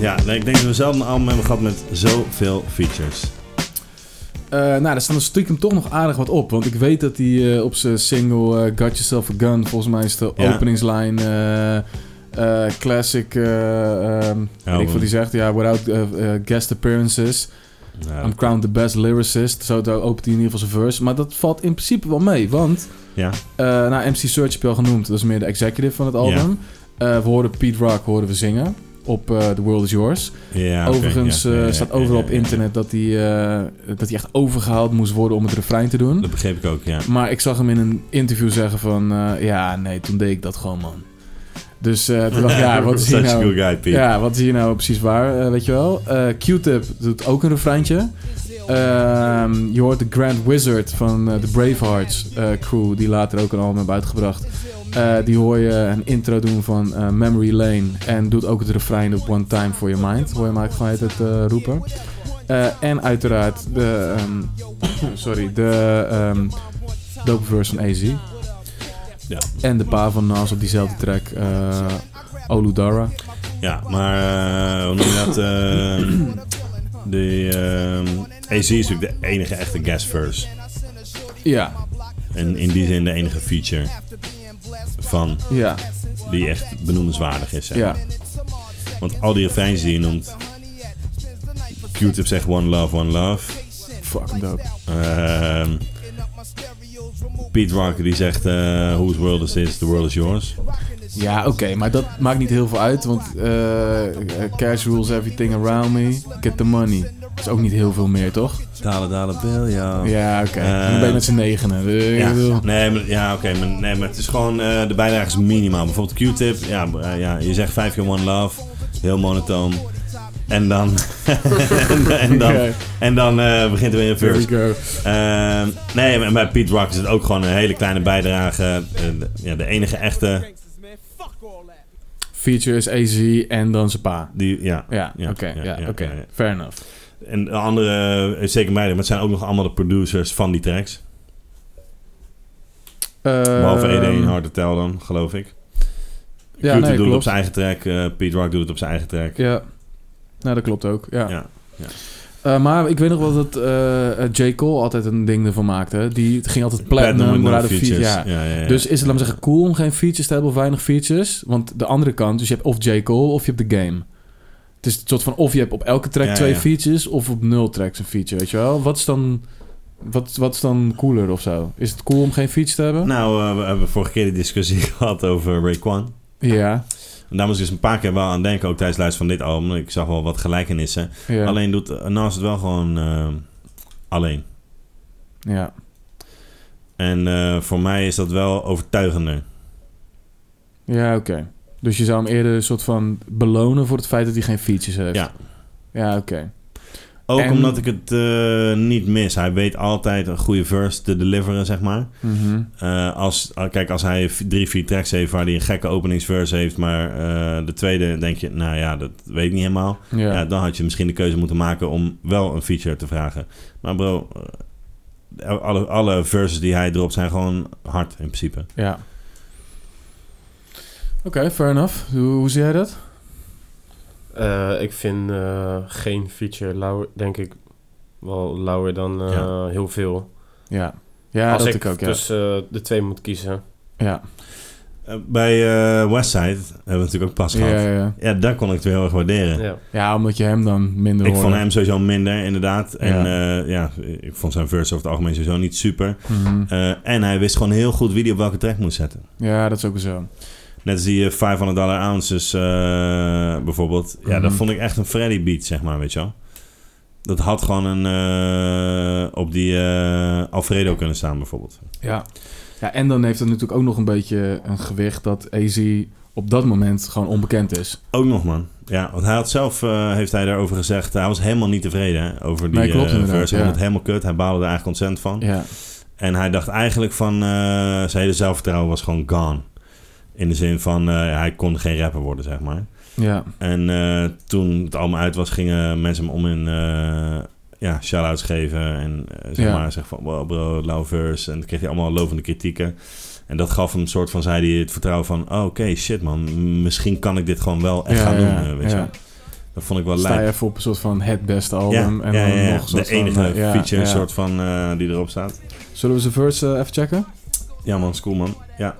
Ja, nee, ik denk dat we zelden een album hebben gehad met zoveel features.
Eh, nou, daar staan stiekem toch nog aardig wat op. Want ik weet dat hij eh, op zijn single eh, Got Yourself a Gun... volgens mij is de
Ja.
openingslijn... eh, eh, classic... eh, ehm, weet ik
Album.
wat hij zegt. Ja, without eh, eh, guest appearances...
Ja,
I'm crowned the best lyricist. Zo daar opent hij in ieder geval zijn verse. Maar dat valt in principe wel mee. Want,
ja.
eh nou, MC Search heb je al genoemd. Dat is meer de executive van het album. Eh, we horen Pete Rock horen we zingen... op eh, The World Is Yours...
Ja, oké,
Overigens
ja,
eh,
ja, ja,
staat
ja, ja,
overal op
ja, ja.
internet dat hij, eh, dat hij echt overgehaald moest worden om het refrein te doen.
Dat begreep ik ook, ja.
Maar ik zag hem in een interview zeggen van... eh, ja, nee, toen deed ik dat gewoon, man. Dus eh toen dacht ik, ja, wat is hier
Such a
nou...
cool guy, Pete.
Ja, wat is hier nou precies waar, eh, weet je wel? Eh, Q-Tip doet ook een refreintje. Ehm, je hoort de Grand Wizard van eh, de Bravehearts eh, crew... die later ook een album hebben uitgebracht. Eh, die hoor je een intro doen van eh, Memory Lane... en doet ook het refrein op One Time For Your Mind. Hoor je Mike van het roepen. Eh, en uiteraard de... ehm, sorry, de... ehm dope verse van AZ.
Ja.
En de pa van Nas op diezelfde track... eh, Oludara.
Ja, maar eh, hoe noem je dat? eh, de eh, AC is natuurlijk de enige echte guest verse.
Ja,
En in die zin de enige feature van
ja,
die echt benoemenswaardig is. zeg
ja.
maar. Want al die refreins die je noemt... Q-tip zegt One Love, One Love.
Fucking dope.
Ehm Pete Rocker die zegt eh, Whose world is this? The world is yours.
Ja, oké, maar dat maakt niet heel veel uit, want eh, eh, cash rules everything around me, get the money. Dat is ook niet heel veel meer, toch?
Dalen, dalen, bill, ja.
Ja, oké.
Eh,
Dan ben je met z'n negenen. Eh, ik bedoel-
Ja, nee, maar, ja oké, maar, nee, maar het is gewoon, eh, de bijdrage is minimaal. Bijvoorbeeld Q-tip, ja, eh, ja, je zegt vijf keer One Love, heel monotoon. En dan, en, dan,
Oké,
en dan eh, begint er weer een
here
verse.
we go.
Ehm, nee, maar bij Pete Rock is het ook gewoon een hele kleine bijdrage. Eh, de- ja, de enige echte,
Feature is AZ en dan zijn pa.
die, ja.
Ja,
Ja,
oké,
ja,
ja,
ja,
oké.
ja, ja.
Fair enough.
En de andere, eh, zeker mij, maar het zijn ook nog allemaal de producers van die tracks. Behalve ED1 Hard to Tell dan, geloof ik.
Ehm,
Q-tip
Ja, nee,
doet het op
klopt.
zijn eigen track, eh, Pete Rock doet het op zijn eigen track.
Ja. Nou, dat klopt ook, ja.
Ja, ja.
Eh, maar ik weet nog wel dat eh, eh, J. Cole altijd een ding ervan maakte. Die het ging altijd
Platinum
platinum,
with no
maar de feature.
features.
Ja,
Ja, ja, ja.
Dus is het, laat maar zeggen, cool om geen features te hebben of weinig features? Want de andere kant, dus je hebt of J. Cole of je hebt The Game. Het is een soort van of je hebt op elke track
Ja,
twee
ja.
features of op nul tracks een feature, weet je wel? Wat is dan, wat, wat is dan cooler of zo? Is het cool om geen feature te hebben?
Nou, eh, we hebben vorige keer de discussie gehad over Raekwon.
Ja,
En daar moest ik dus een paar keer wel aan denken, ook tijdens het luisteren van dit album. Ik zag wel wat gelijkenissen.
ja,
Alleen doet eh, Nas het wel gewoon eh, alleen.
ja.
En eh, voor mij is dat wel overtuigender.
ja oké. Dus je zou hem eerder een soort van belonen voor het feit dat hij geen features heeft?
Ja.
Ja, oké.
Ook
En-
omdat ik het eh, niet mis. Hij weet altijd een goede verse te deliveren, zeg maar.
Mhm.
Eh, als, ah, kijk, als hij v- drie, vier tracks heeft waar hij een gekke openingsverse heeft... maar eh, de tweede denk je, nou ja, dat weet ik niet helemaal.
Ja.
Ja, dan had je misschien de keuze moeten maken om wel een feature te vragen. Maar bro, eh, alle, alle verses die hij dropt zijn gewoon hard in principe.
Ja. Oké, fair enough. Hoe, hoe zie jij dat?
Eh, ik vind eh, geen feature lauwer, denk ik wel lauwer dan eh,
Ja.
heel veel.
Ja. Ja,
als
dat
ik
ik ook, ja.
dus-
tussen eh, de twee moet kiezen.
ja.
Eh, bij eh, Westside hebben we natuurlijk ook pas
Ja,
gehad.
ja, ja.
Ja, daar kon ik het heel erg waarderen.
Ja.
Ja, omdat je hem dan minder
Ik vond
hoorde.
hem sowieso minder, inderdaad. En ja, ja ik vond zijn verse over het algemeen sowieso niet super.
Mhm.
Eh, en hij wist gewoon heel goed wie hij op welke track moest zetten.
Ja, dat is ook weer zo.
Net als die eh, 500 dollar ounces eh, bijvoorbeeld. Ja, dat
Mhm.
vond ik echt een Freddy beat, zeg maar, weet je wel. Dat had gewoon een, eh, op die eh, Alfredo kunnen staan, bijvoorbeeld.
Ja. ja, en dan heeft het natuurlijk ook nog een beetje een gewicht dat AZ op dat moment gewoon onbekend is.
Ook nog, man. Ja, want hij had zelf, eh, heeft hij daarover gezegd, hij was helemaal niet tevreden hè, over die
Nee, klopt
eh,
inderdaad,
verse. Hij
ja.
vond het helemaal kut, hij baalde er eigenlijk ontzettend van.
Ja,
En hij dacht eigenlijk van, eh, zijn hele zelfvertrouwen was gewoon gone. In de zin van, eh, hij kon geen rapper worden, zeg maar.
ja.
En eh, toen het allemaal uit was, gingen mensen hem om in eh, ja, shout-outs geven. En eh, zeg
Ja.
maar zeggen van, wow bro, lauw verse. En dan kreeg hij allemaal lovende kritieken. En dat gaf hem een soort van, zei hij, het vertrouwen van... Oh, oké, shit man, m- misschien kan ik dit gewoon wel echt
ja,
gaan
ja,
doen, eh, weet je
ja.
wel. Dat vond ik wel
Sta je
lijp.
even op een soort van het beste
Ja,
album. en
ja,
dan
ja, ja.
nog een soort
de enige
van, eh, ja,
feature
ja.
soort van eh, die erop staat.
Zullen we zijn verse eh, even checken?
Ja man, is cool man. Ja.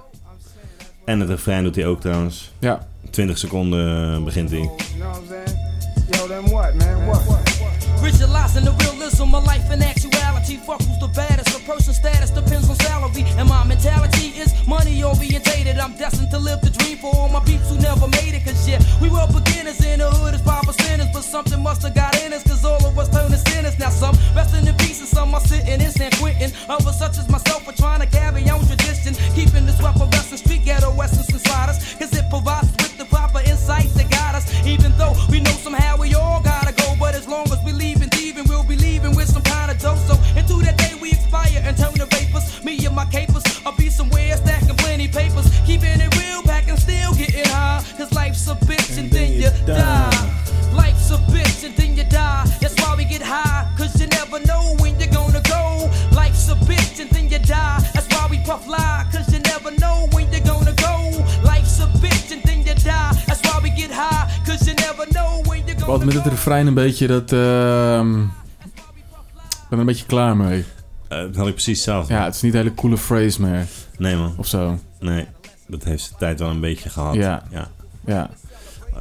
En het refrein doet hij ook trouwens.
Ja.
20 seconden eh, begint hij.
You know what I'm saying? Yo, then what, man? What?
Visualizing the realism of life in actuality. Fuck who's the baddest. A person's status depends on salary. And my mentality is money orientated. I'm destined to live the dream for all my peeps who never made it. Cause yeah, we were beginners in the hood as proper sinners. But something must have got in us. Cause all of us turned to sinners. Now some resting in peace and some are sitting in San Quentin. Others such as myself are trying to carry on tradition. Keeping this weapon wrestling street ghetto essence inside us. Cause it provides us with the proper insight to guide us. Even though we know somehow we all gotta go. But as long as we leave and thieving, we'll be leaving with some kind of dough. So into that day we expire and turn to vapors. Me and my capers, I'll be somewhere stacking plenty papers. Keeping it real, packing still getting high. Cause life's a bitch and then you die. Life's a bitch and then you die. That's why we get high, cause you never know when you're gonna go. Life's a bitch and then you die. That's why we puff lie, cause you never know when you're gonna go. Life's a bitch and then you die. That's why we get high, cause you never know when you're
Wat
gonna
met het
go.
refrein een beetje dat... ehm, ik ben er een beetje klaar mee.
Eh, dat had ik precies zelf.
Ja, het is niet een hele coole phrase meer.
Nee man,
Of zo.
nee. Dat heeft zijn tijd wel een beetje gehad.
Ja.
ja.
Ja.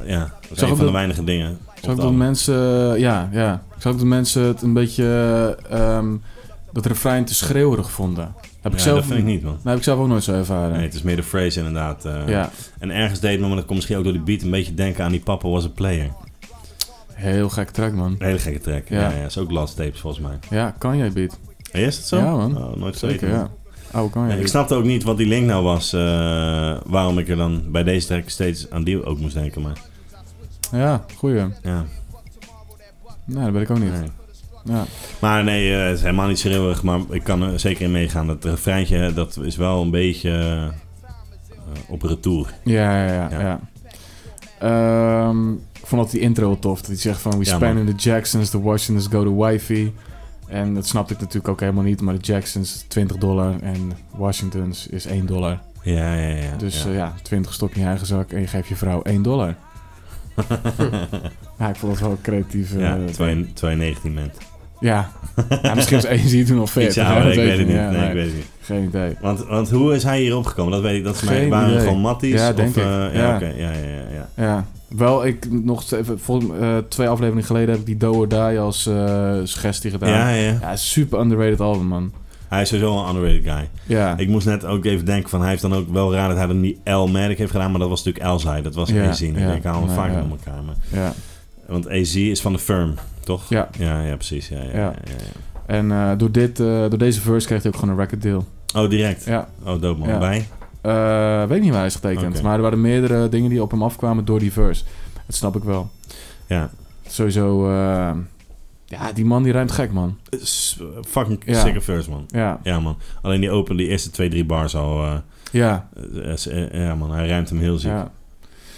Ja, dat is een
Zag
van
ook
de
dat-
weinige dingen.
Ik zag ook dat mensen... eh, Ja, ja. Ik zag ook dat mensen het een beetje... ehm, dat refrein te schreeuwerig vonden. Heb ik
Ja,
zelf...
dat vind ik niet, man.
Nou, heb ik zelf ook nooit zo ervaren.
Nee, het is meer de phrase inderdaad. eh.
Ja,
En ergens deed me, maar dat komt misschien ook door die beat, een beetje denken aan die Papa Was A Player.
heel gek track, man.
Een hele gekke track. Ja,
Ja.
ja, is ook last tapes volgens mij.
Ja, kan jij beat.
Is het zo?
Ja, man.
Oh, nooit
Zeker,
geweten.
ja. Oh, kan
Nee,
jij
ik snapte ook niet wat die link nou was. eh, waarom ik er dan bij deze track steeds aan die ook moest denken. Maar
Ja, goeie.
ja,
Nee, dat ben ik ook niet.
nee.
Ja.
Maar nee, eh, het is helemaal niet schreeuwig. Maar ik kan er zeker in meegaan. Dat refreintje, hè, dat is wel een beetje eh, op retour.
Ja, ja, ja.
Ja.
ja. Ehm, ik vond altijd die intro wel tof. Dat hij zegt van, we
Ja,
span in the Jacksons, the Washingtons go to wifey. En dat snapte ik natuurlijk ook helemaal niet. Maar de Jacksons is 20 dollar en Washingtons is 1 dollar.
Ja, ja, ja.
Dus
ja.
eh, ja, 20 stop je in je eigen zak en je geeft je vrouw 1 dollar. Ja, ik vond dat wel een creatief. eh,
ja,
ding.
terwijl je- terwijl je 19 bent.
ja. Ja, misschien was één zie je toen al vet.
Iets ouder, ik weet het niet.
Ja,
nee,
nee,
ik weet het niet.
Geen idee.
Want, want hoe is hij hierop gekomen? Dat weet ik. Dat is mij,
Geen
waren het
idee.
gewoon matties?
Ja,
of,
denk ik.
eh, ja,
Ja.
oké. ja, ja, ja, ja.
Ja, wel ik nog steeds- volgens, eh, twee afleveringen geleden heb ik die Do or Die als eh, suggestie gedaan.
Ja, ja.
Ja, super underrated album, man.
Hij is sowieso een underrated guy.
Ja,
Ik moest net ook even denken van... Hij heeft dan ook wel raar dat hij dan die L-Medic heeft gedaan. Maar dat was natuurlijk Elzai. Dat was
Ja,
AZ. En
ja.
ik haal hem
Ja,
vaak
ja.
om elkaar. Maar,
ja.
want AZ is van de firm, toch?
ja.
Ja, ja, precies. Ja, ja, ja.
Ja.
ja,
En eh, door, dit, eh, door deze verse kreeg hij ook gewoon een record deal.
ja. Oh, direct.
Ja.
Oh, dope man.
Ja.
Bij?
Eh, weet niet waar hij is getekend,
Oké.
maar er waren meerdere dingen die op hem afkwamen door die verse. Dat snap ik wel.
Ja.
Sowieso, eh, ja, die man die ruimt gek, man.
S- Fucking
Ja.
sicker first, man.
Ja,
Ja, man. Alleen die open, die eerste twee, drie bars al... eh,
ja,
eh, eh, ja, man. Hij ruimt hem heel ziek.
ja.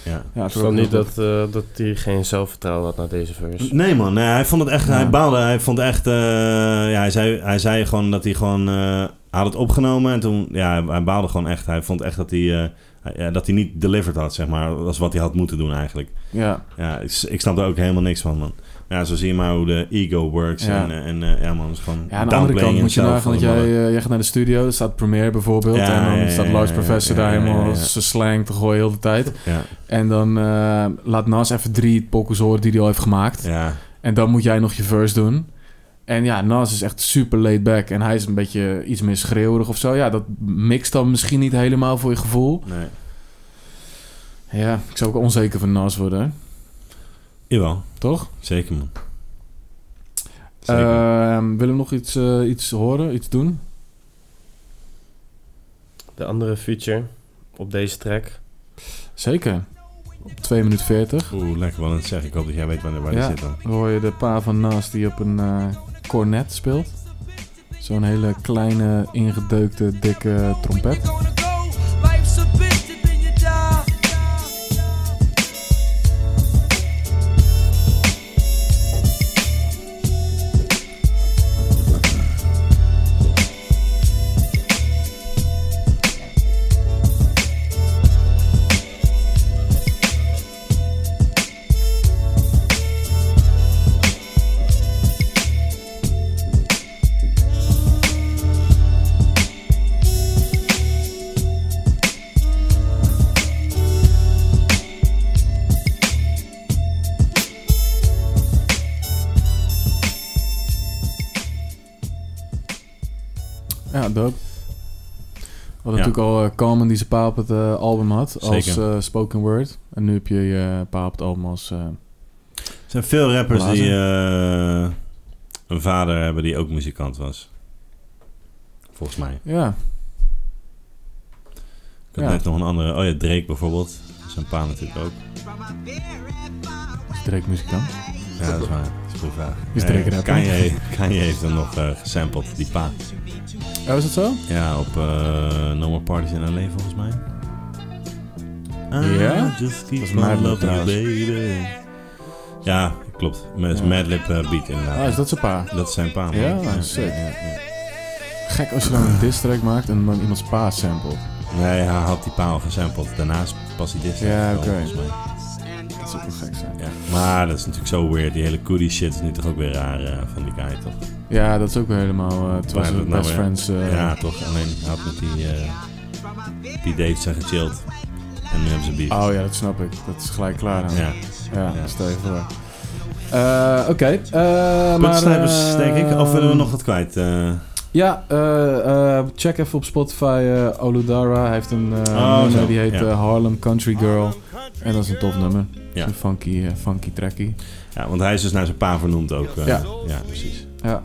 ja.
ja
Ik snap niet dat, eh, dat hij geen zelfvertrouwen had na deze verse.
Nee man, nee, hij vond het echt,
Ja.
hij baalde, hij vond echt, eh, ja, hij zei, hij zei gewoon dat hij gewoon, eh, hij had het opgenomen en toen, ja, hij baalde gewoon echt. Hij vond echt dat hij eh, eh, dat hij niet delivered had, zeg maar. Dat is wat hij had moeten doen eigenlijk.
Ja,
Ja, ik, s- ik snap er ook helemaal niks van, man. Ja, zo zie je maar hoe de ego works.
Ja.
En, eh, en eh, ja, man, het is gewoon
ja aan de andere kant moet je nagaan dat jij, eh, jij gaat naar de studio, daar staat Premiere bijvoorbeeld.
Ja,
en dan
ja, ja,
staat
ja,
Lars
ja,
Professor
ja,
daar
ja, ja,
helemaal
ja.
zijn slang te gooien heel de tijd.
Ja,
En dan eh, laat Nas even drie pokkels horen die hij al heeft gemaakt.
ja,
En dan moet jij nog je verse doen. En ja, Nas is echt super laid back. En hij is een beetje iets meer schreeuwerig of zo. Ja, dat mixt dan misschien niet helemaal voor je gevoel.
nee.
Ja, ik zou ook onzeker van Nas worden, hè?
Jawel,
toch?
zeker, man. Zeker.
Ehm willen we nog iets, eh, iets horen, iets doen?
De andere feature op deze track.
Zeker. Op 2 minuten 40
Oeh, lekker wel aan het zeggen. Ik hoop dat jij weet waar, waar die
Ja.
zit dan.
hoor je de pa van Nas die op een eh, cornet speelt. Zo'n hele kleine, ingedeukte, dikke trompet.
Where you gonna go? Life's a bitch and then you die.
Ja, dope. We hadden
Ja.
natuurlijk al eh, Carmen die zijn pa op het eh, album had als
Zeker.
eh, spoken word. En nu heb je je pa op het album als... eh,
Er zijn veel rappers
Blazen.
die eh, een vader hebben die ook muzikant was. Volgens mij.
ja,
Ik had
Ja.
net nog een andere. Oh ja, Drake bijvoorbeeld. Zijn pa natuurlijk ook.
is Drake muzikant.
Ja, dat is waar. Dat is een vraag.
Is Drake
Eh,
rapper?
Kanye, Kanye heeft hem nog eh, gesampled, die pa.
Oh, is dat zo?
Ja, op eh No More Parties in L.A. volgens mij.
Ja?
I Just keep
is
my
Madlib
love
trouwens.
baby. Ja, klopt. Met
Ja.
Madlib eh, beat inderdaad.
Oh, is dat zijn pa?
Dat is zijn pa. man.
Ja, sick.
ja.
Gek als je dan een diss track maakt en dan iemands pa sample.
Nee, hij had die paal gesampled. Daarnaast pas hij dit.
Ja,
wel,
oké.
volgens mij.
Dat zou wel gek zijn.
Ja. Maar dat is natuurlijk zo weird. Die hele Cootie shit is nu toch ook weer raar eh, van die guy, toch?
Ja, dat is ook weer helemaal... eh terwijl
Waar
ze
dat nou
best
weer?
friends... eh,
ja, toch. Alleen hij had met die, eh die Dave zijn gechilled. En nu hebben ze beef.
Oh ja, dat snap ik. Dat is gelijk klaar. dan.
Ja.
Ja,
Ja.
stel je voor. Eh, Oké, eh, maar...
Puntsnijpers,
eh,
denk ik. Of willen we nog wat kwijt? eh?
Ja, eh, eh, check even op Spotify eh, Oludara. Hij heeft een eh,
Oh,
nummer
zo.
die heet
Ja.
eh, Harlem Country Girl. En dat is een tof nummer.
Ja.
Een funky, eh, funky trackie.
ja, want hij is dus naar zijn pa vernoemd ook. eh.
Ja.
ja, precies.
Ja.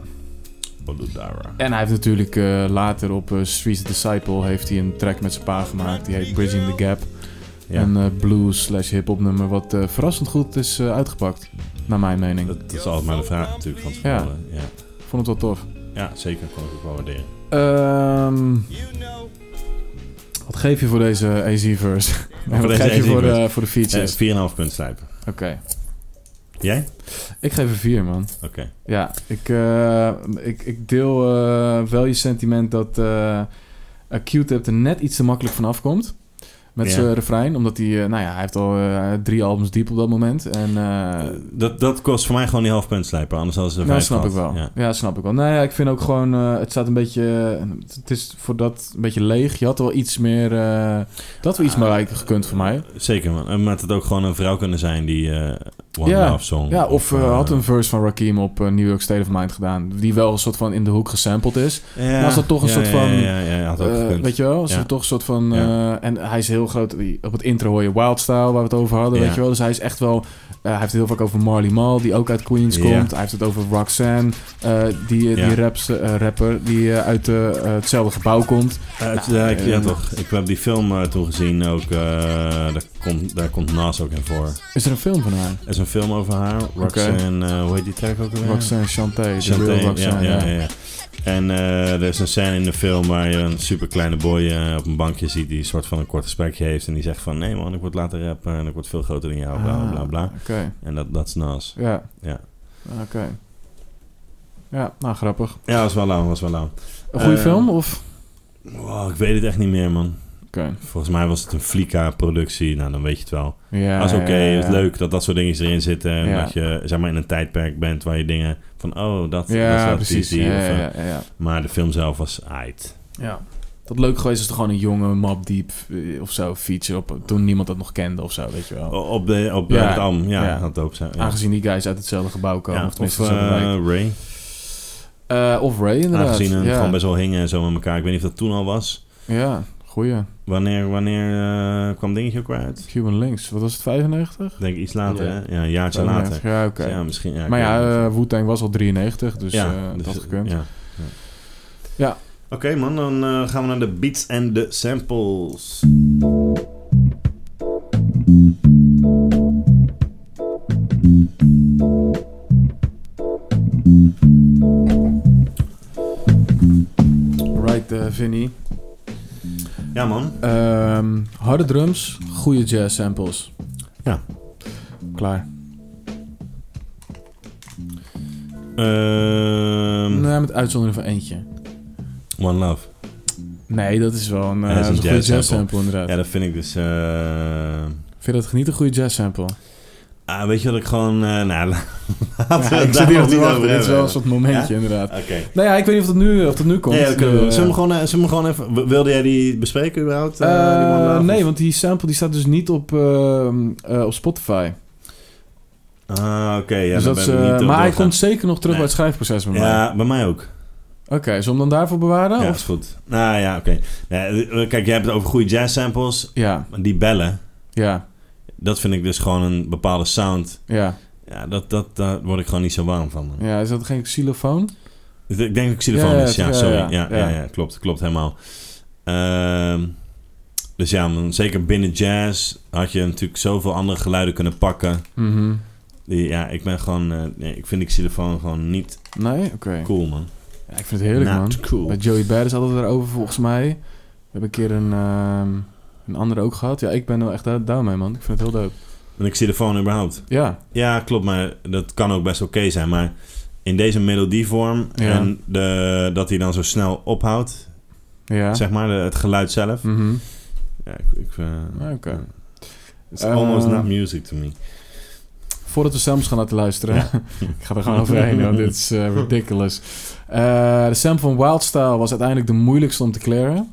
Boludara.
En hij heeft natuurlijk eh, later op eh, Streets Disciple heeft hij een track met zijn pa gemaakt. Die heet Bridging the Gap.
Ja.
Een eh, blues slash hip-hop nummer wat eh, verrassend goed is eh, uitgepakt. Naar mijn mening.
Dat, dat is altijd maar de vraag natuurlijk van
eh, Ja.
tevoren. Ja.
Vond het wel tof.
ja, zeker. Kan ik ook wel waarderen.
Ehm wat geef je voor deze AZ-verse? En
Voor
wat
deze
geef je voor
AZ-verse?
de, voor de features?
Eh, 4,5 punt slijpen.
Oké.
Jij?
Ik geef er vier, man.
Oké.
Ja, ik, eh, ik, ik deel eh, wel je sentiment dat eh eh, Q-Tip er net iets te makkelijk vanaf komt. Met
Ja.
zijn refrein. Omdat hij, eh, nou ja, hij heeft al eh, drie albums diep op dat moment. En eh,
dat, dat kost voor mij gewoon die half punt slijpen. Anders hadden ze er
Nou,
vijf
snap ik
gehad.
wel. Ja.
Ja.
snap ik wel. Nou ja, ik vind ook gewoon... eh, het staat een beetje... eh, Het is voor dat een beetje leeg. Je had wel iets meer... eh, dat we iets
Ah.
meer rijker gekund voor mij.
Zeker, man. En Maar het had ook gewoon een vrouw kunnen zijn die eh One
Ja.
Love Song...
Ja, of eh,
eh,
had een verse van Rakim op eh, New York State of Mind gedaan. Die wel een soort van in de hoek gesampled is.
Ja.
was dat toch een
Ja,
soort
ja,
van,
Ja, ja, ja, had ook
Eh,
gekund.
weet je wel? Als
Ja.
we toch een soort van...
Ja.
eh, en hij is heel groot. die- Op het intro hoor je Wildstyle, waar we het over hadden.
Ja.
Weet je wel? Dus hij is echt wel... eh, hij heeft het heel vaak over Marley Mal, die ook uit Queens
Ja.
komt. Hij heeft het over Roxanne, eh, die, eh,
Ja.
die raps, eh, rapper, die eh, uit eh, eh, hetzelfde gebouw komt.
Eh, het-
Nou,
ja, ik- ja,
eh,
toch. Ik heb die film eh, toen gezien ook. eh, daar, komt, daar komt Nas ook in voor.
Is er een film van haar?
Er is een film over haar. Roxanne, eh hoe heet die track ook alweer?
Roxanne Chanté, de real
Chanté, ja,
Roxanne.
ja, ja. En eh, er is een scène in de film waar je een super kleine boy eh, op een bankje ziet die een soort van een kort gesprekje heeft. En die zegt van, nee man, ik word later rapper en ik word veel groter dan jou, bla bla bla. bla.
Ah, Oké,
En dat, dat is Nas.
ja.
Ja.
Oké. Ja, nou grappig.
Ja, was wel lauw, was wel lauw.
Een goede
Eh,
film of?
Wow, ik weet het echt niet meer man.
Oké.
Volgens mij was het een Flika-productie. Nou, dan weet je het wel.
Ja,
dat is oké.
ja, ja,
Het is
ja.
leuk dat dat soort dingen erin zitten. En
Ja.
dat je zeg maar, in een tijdperk bent waar je dingen van... Oh, dat, dat is
Ja,
wel
precies.
cheesy,
Ja,
of, eh,
ja, ja, ja.
Maar de film zelf was ah, uit.
Ja. Dat leuk geweest is toch gewoon een jonge Map Deep eh, of zo feature op toen niemand dat nog kende of zo, weet je wel.
Op, de, op
Ja.
het Am. Ja,
Ja.
dat had ook zijn. Oh, Ja.
Aangezien die guys uit hetzelfde gebouw komen.
Ja,
of
of
tenminste, hetzelfde wijk.
eh, Ray.
Eh, of Ray inderdaad.
Aangezien het
ja.
gewoon best wel hingen en zo met elkaar. Ik weet niet of dat toen al was.
ja, goeie.
Wanneer, wanneer eh, kwam dingetje ook weer uit?
Cuban Links, wat was het, 95?
Ik denk iets later,
Ja.
hè? Ja, een jaartje later.
95, Ja, oké.
Dus Ja, misschien. Ja, ik
maar ja,
weet het niet.
eh, Wu-Tang was al 93, dus, eh
dus,
dat had gekund.
Ja.
Ja.
Oké man, dan eh, gaan we naar de beats en de samples.
Right, eh, Vinny.
Ja man,
Ehm, harde drums, goede jazz samples.
Ja. Hm.
Klaar.
Ehm,
Nou, met uitzondering van eentje.
One Love.
Nee, dat is wel een, eh
Ja, dat is
dat is
een
een goede
jazz
jazz
sample.
sample inderdaad.
Ja, dat vind ik dus... eh,
Vind je dat niet een goede jazz sample?
ah, weet je wat ik gewoon... eh nou, laten we het
Ja, ik
daar
zit hier
nog
op te
niet
wachten.
over
Dit is wel
hebben.
een soort momentje inderdaad.
Oké.
Nou ja, ik weet niet of dat nu, of dat nu komt.
Ja, dat kunnen we.
Eh,
Zullen we hem gewoon, eh, zullen we hem gewoon even... w- Wilde jij die bespreken überhaupt? eh, die One
eh,
Love?
nee, want die sample die staat dus niet op, eh, eh, op Spotify.
Ah, oké. ja,
dus
dan
dat is,
ben ik
eh,
niet op
maar hij
doorgaan.
komt zeker nog terug
Nee.
bij het schrijfproces bij mij. Oh.
Ja, bij mij ook.
Oké, zullen we hem dan daarvoor bewaren?
Ja,
of-
is goed. Nou ja, oké. Nee, eh, kijk, jij hebt het over goede jazz samples.
ja,
Maar die bellen,
ja,
dat vind ik dus gewoon een bepaalde sound.
ja.
Ja, dat, dat, daar word ik gewoon niet zo warm van. man.
Ja, is dat geen xylofoon?
Ik denk dat ik xylofoon
Ja, ja,
is. Ja,
ja,
sorry. Ja,
ja,
ja,
ja.
ja, klopt. Klopt helemaal. Ehm, dus ja, man, zeker binnen jazz had je natuurlijk zoveel andere geluiden kunnen pakken.
Mhm.
Die, ja, ik ben gewoon... eh, nee, ik vind die xylofoon gewoon niet
Nee? Oké.
cool, man.
Ja, ik vind het heerlijk, man.
Not cool.
Bij Joey Badass hadden we het erover, volgens mij. We hebben een keer een, ehm, een andere ook gehad. Ja, ik ben wel echt da- down mee, man. Ik vind het heel dope.
Een xylofoon überhaupt.
Ja,
Ja, klopt, maar dat kan ook best oké zijn. Maar in deze melodievorm
Ja.
en de, dat hij dan zo snel ophoudt,
ja.
zeg maar, de- het geluid zelf.
Mhm.
Ja, ik, ik, eh,
Ah, oké.
ja. It's almost
Eh,
not music to me.
Voordat we samen gaan laten luisteren. ik ga er gewoon overheen, want dit is eh, ridiculous. Eh, de sample van Wildstyle was uiteindelijk de moeilijkste om te clearen.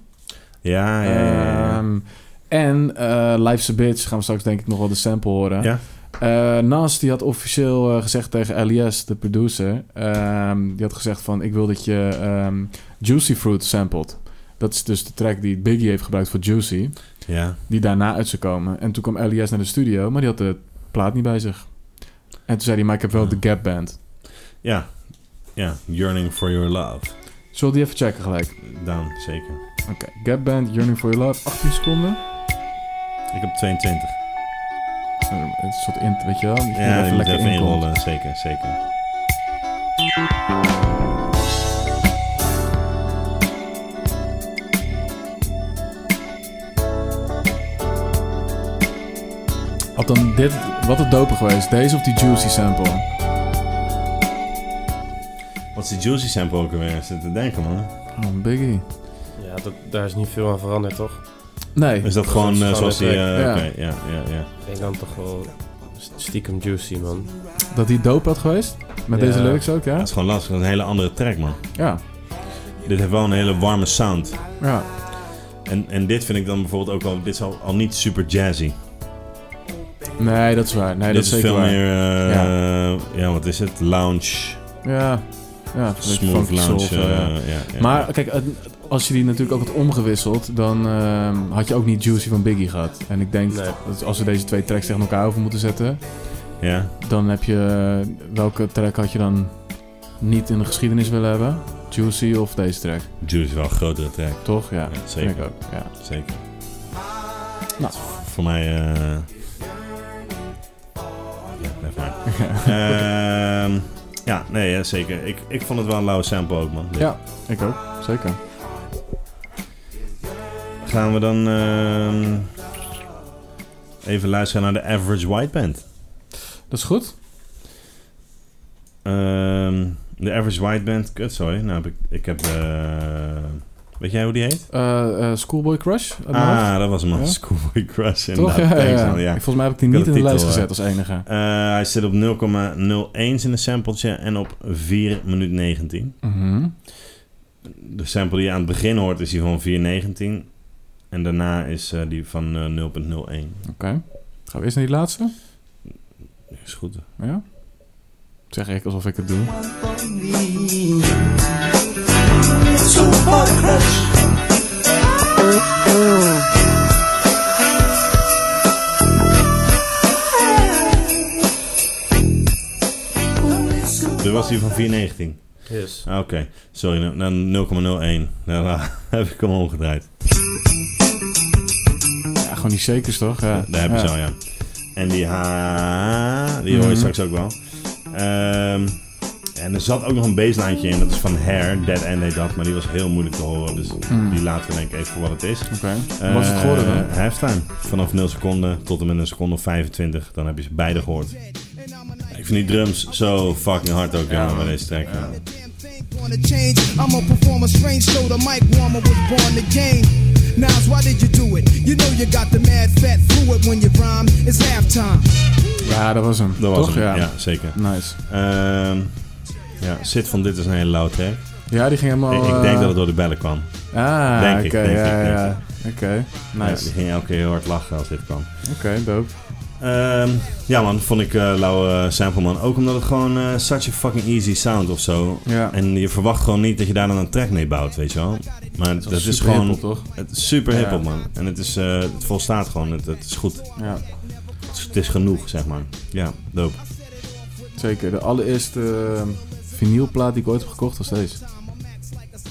Ja, Ah, ja, ja. ja, ja.
Ehm, en eh Life's a Bitch gaan we straks denk ik nog wel de sample horen.
Ja.
Eh, Nas die had officieel eh, gezegd tegen LES, de producer... ehm, die had gezegd van ik wil dat je ehm, Juicy Fruit samplet. Dat is dus de track die Biggie heeft gebruikt voor Juicy.
ja.
Die daarna uit zou komen. En toen kwam LES naar de studio, maar die had de plaat niet bij zich. En toen zei hij, maar ik heb wel de Gap Band.
Ja. Ja, Yearning for Your Love.
Zullen we die even checken gelijk?
Down, zeker.
Oké, Gap Band, Yearning for Your Love, 18 seconden.
Ik heb 22.
Eh, Een soort int, weet je wel? Die
Ja,
er
je moet even
in komt.
inrollen. Zeker, zeker.
Had dan dit, wat het doper geweest, deze of die Juicy sample?
Wat is die Juicy sample ook alweer? Ik Zit te denken, man.
Oh, Biggie.
Ja, dat, daar is niet veel aan veranderd, toch?
Nee.
Is dat gewoon
is
eh,
gewoon
zoals die...
een
eh,
track.
Oké, ja, ja, ja.
Ik denk dan toch wel st- stiekem juicy, man.
Dat die dope had geweest? Met
Ja.
deze lyrics ook,
Dat
ja?
is gewoon lastig. Dat is een hele andere track, man.
Ja.
Dit heeft wel een hele warme sound.
Ja.
En, en dit vind ik dan bijvoorbeeld ook al, dit is al, al niet super jazzy.
Nee, dat is waar. Nee,
dit
dat
is
is zeker
veel
waar.
meer, eh, ja. wat is het? Lounge,
Ja. Ja, een beetje
smooth
funky soul
lounge.
of zo, ja.
eh, ja, ja.
Maar kijk, het- als je die natuurlijk ook had omgewisseld, dan ehm, had je ook niet Juicy van Biggie gehad. En ik denk
Nee.
dat als we deze twee tracks tegen elkaar over moeten zetten,
ja.
dan heb je. eh, Welke track had je dan niet in de geschiedenis willen hebben? Juicy of deze track?
Juice is wel een grotere track,
Toch? Ja,
Ja,
vind
zeker.
ik ook. Ja.
zeker.
Nou.
Voor mij, eh ja, blijf maar. Ehm, ja, nee, ja, zeker. Ik, ik vond het wel een lauwe sample ook, man. Dit.
Ja. Ik ook, zeker.
Gaan we dan ehm, even luisteren naar de Average White Band.
Dat is goed.
Ehm, De Average White Band. Kut, sorry. Nou, heb ik, ik heb eh, Weet jij hoe die heet?
Eh, eh, Schoolboy Crush? uit mijn hoofd.
Ah, dat was hem.
Ja.
al. Schoolboy Crush.
Toch?
Inderdaad.
Ja, ja,
Thanks,
ja.
man. Ja.
Volgens mij heb ik die
Ik
niet
had
in
de
de lijst
titel,
gezet als enige.
Eh, hij zit op 0,01 in een sampletje en op 4 minuut 19.
Mhm.
De sample die je aan het begin hoort is die van 4,19. En daarna is eh, die van eh, 0,01.
Gaan we eerst naar die laatste?
Is goed.
Ja? Zeg ik alsof ik het doe.
Dit was die van 4,19.
Yes.
Ah, Oké, sorry, nou, dan 0,01. Daarna Nou, heb ik hem omgedraaid.
Ja, gewoon die shakers toch? Ja.
Daar heb je
Ja.
zo, ja. En die ha, die hoor je
Mhm.
straks ook wel. Ehm, en er zat ook nog een baselijntje in, dat is van Hair, Dead End heet dat, maar die was heel moeilijk te horen, dus
Mm.
die laten we denk ik even voor wat het is.
Oké. Wat is het geworden dan?
Eh, halftime. Vanaf 0 seconden tot en met een seconde of 25, dan heb je ze beide gehoord. Ik vind die drums zo fucking hard ook ja, bij deze track. Ja.
Gonna change. I'm a performer, strange, so the mic warmer was born to game. Nas, why did you do it? You know you got the mad fat fluid when you rhyme. It's halftime.
Ja, dat was hem.
Dat was
toch?
hem, ja,
Ja.
zeker.
Nice.
Ehm ja, Sid van Dit is een hele lauwe track.
Ja, die ging helemaal...
ik, ik
eh,
denk dat het door de bellen kwam.
Ah,
Denk
oké.
ik, denk
ja,
ik, denk
ja. Oké.
Ja, die
Nice.
ging elke keer heel hard lachen als dit kwam.
Oké, dope.
Ehm, ja man, vond ik eh lauwe sample man. Ook omdat het gewoon eh, such a fucking easy sound of zo.
Ja.
En je verwacht gewoon niet dat je daar dan een track mee bouwt, weet je wel. Maar dat, is
Super
gewoon
hiphop, toch?
het is super hip
Ja.
man. En het, is, eh, het volstaat gewoon, het, het is goed.
Ja.
Het is, het is genoeg, zeg maar. Ja, dope.
Zeker, de allereerste eh, vinylplaat die ik ooit heb gekocht was deze.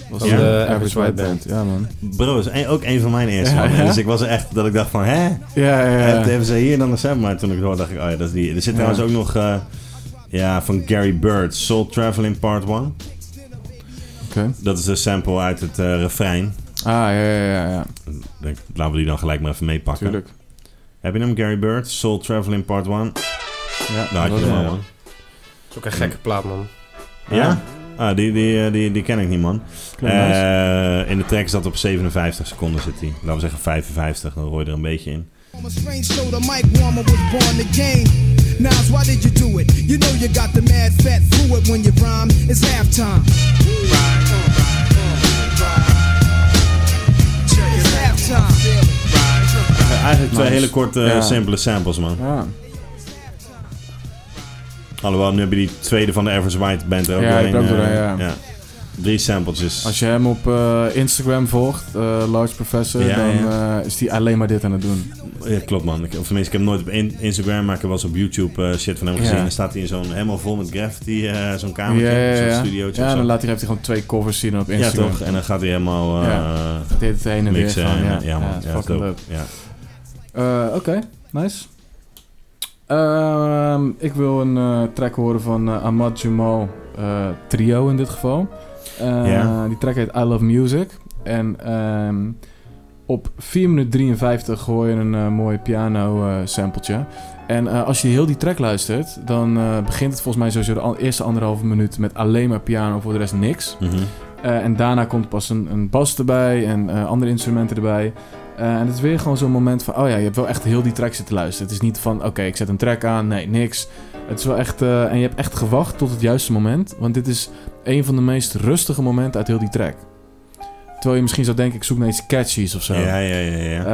Was
Van
de
de
Average White Band. Ja, man.
Bro, is een- ook een van mijn eerste.
Ja,
man.
ja.
Dus ik was er echt dat ik dacht van, hè?
Ja, ja,
En
ja.
toen hebben ze hier dan een sample, maar toen ik het hoorde dacht ik, oh ja, dat is die. Er zit
Ja.
trouwens ook nog eh, ja, van Gary Bird, Soul Traveling Part 1.
Oké.
Dat is een sample uit het eh, refrein.
Ah, ja, ja, ja, ja.
Ik Denk, laten we die dan gelijk maar even meepakken.
Tuurlijk.
Heb je hem, Gary Bird, Soul Traveling Part 1?
Ja,
Daar had je hem al,
dat- ja.
Nou, man.
is ook een gekke plaat, man.
Ja? Ah, die, die, eh, die, die ken ik niet, man.
Klinkt
Eh,
nice.
in de track zat op 57 seconden zit hij. Laten we zeggen 55, dan hoor je er een beetje in.
I'm a strange, so the mic warmer was born to game. Nas, why did you do it? You know you got the mad fat fluid when you rhyme. It's halftime. It's halftime.
eigenlijk twee
Eh, Nice.
hele korte, eh,
Ja.
simpele samples, man.
Ja.
Alhoewel, nu heb je die tweede van de Average White Band er ook
Ja,
doorheen.
ik ben ook
eh,
doorheen, ja.
Drie sampletjes.
Als je hem op eh, Instagram volgt, eh Large Professor,
Ja,
dan
ja.
eh, is hij alleen maar dit aan het doen.
Ja, klopt man. Ik, of tenminste, ik heb hem nooit op in- Instagram, maar ik heb wel eens op YouTube eh, shit van hem
Ja.
gezien. Dan staat hij in zo'n helemaal vol met graffiti, eh, zo'n
Ja,
kamertje,
ja, ja.
zo'n
Ja,
studiootje. of zo.
dan laat hij, heeft hij gewoon twee covers zien op
ja
Instagram.
toch? En dan gaat hij helemaal eh
Ja. Dit het heen en weer
mixen.
gaan.
en-
Ja,
ja, man. Ja,
fucking
dope.
dope.
Ja.
Eh, Oké, nice. Ehm, ik wil een eh, track horen van eh, Ahmad Jamal eh, Trio in dit geval. Eh,
Ja.
Die track heet I Love Music. En ehm, op 4 minuten 53 hoor je een eh, mooi piano eh sampletje. En eh, als je heel die track luistert, dan eh, begint het volgens mij sowieso de al- eerste anderhalve minuut met alleen maar piano, voor de rest niks.
Mhm.
Eh, en daarna komt pas een, een bas erbij en eh, andere instrumenten erbij. Eh, en het is weer gewoon zo'n moment van... Oh ja, je hebt wel echt heel die track zitten luisteren. Het is niet van, oké, ik zet een track aan. Nee, niks. Het is wel echt... eh, en je hebt echt gewacht tot het juiste moment. Want dit is een van de meest rustige momenten uit heel die track. Terwijl je misschien zou denken, ik zoek naar iets catchies of zo.
ja, ja, ja, ja.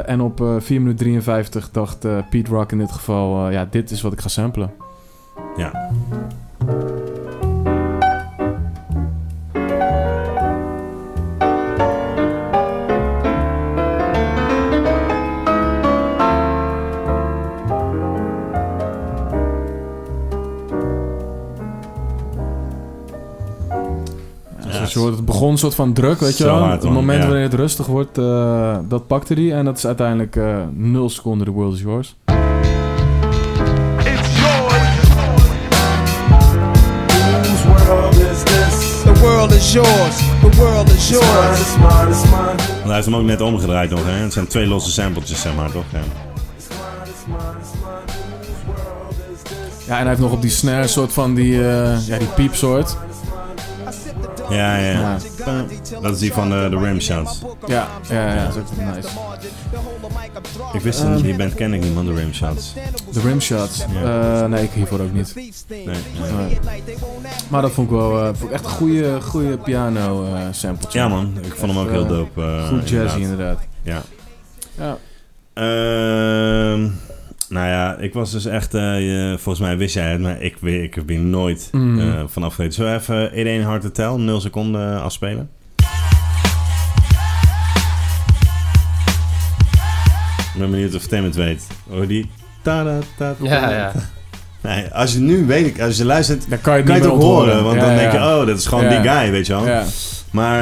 Eh, en op eh 4 minuten 53 dacht eh Pete Rock in dit geval... eh, ja, dit is wat ik ga samplen.
ja.
Ja,
Ja,
dus je hoort, het begon soort van druk, weet je
Zo
wel.
hard,
het
man,
moment
ja.
wanneer het rustig wordt, eh, dat pakte hij. En dat is uiteindelijk eh 0 seconden The World Is Yours.
The world is yours. The world is yours.
Want hij heeft hem ook net omgedraaid nog, hè? Het zijn twee losse sampletjes, zeg maar, toch? Ja.
Ja, en hij heeft nog op die snare soort van die, eh ja, die piepsoort.
I sip the
Ja, ja.
Ja.
Pam. Dat is die van eh, de, de Ramshots.
Ja, ja, ja, dat is ook nice.
Ik wist
Eh.
niet, die band ken ik niet, man, de Ramshots.
De rimshots.
Ja.
Eh, nee, ik hiervoor ook niet.
Nee.
Nee. Maar dat vond ik wel eh, vond ik echt een goede, goede piano eh sample.
Ja, man. Ik vond hem ook heel dope. eh,
Goed jazzy
inderdaad.
inderdaad.
Ja.
Ja.
Ehm, nou ja, ik was dus echt... eh, je- volgens mij wist jij het, maar ik, we- ik heb hier nooit
Mm.
eh, vanaf geweten. Zullen we even 1-1 Hard to Tell, 0 seconden eh, afspelen? Ik ben benieuwd of Tim het weet. Hoor die... Ta -da -ta -ta.
Ja, ja.
Nee, als je nu weet, ik, als je luistert,
Dan kan je het
kan je
niet
het
meer
ook horen.
onthoren.
Want
Ja,
dan
ja.
denk je, oh, dat is gewoon die
Ja.
guy, weet je wel.
Ja.
Maar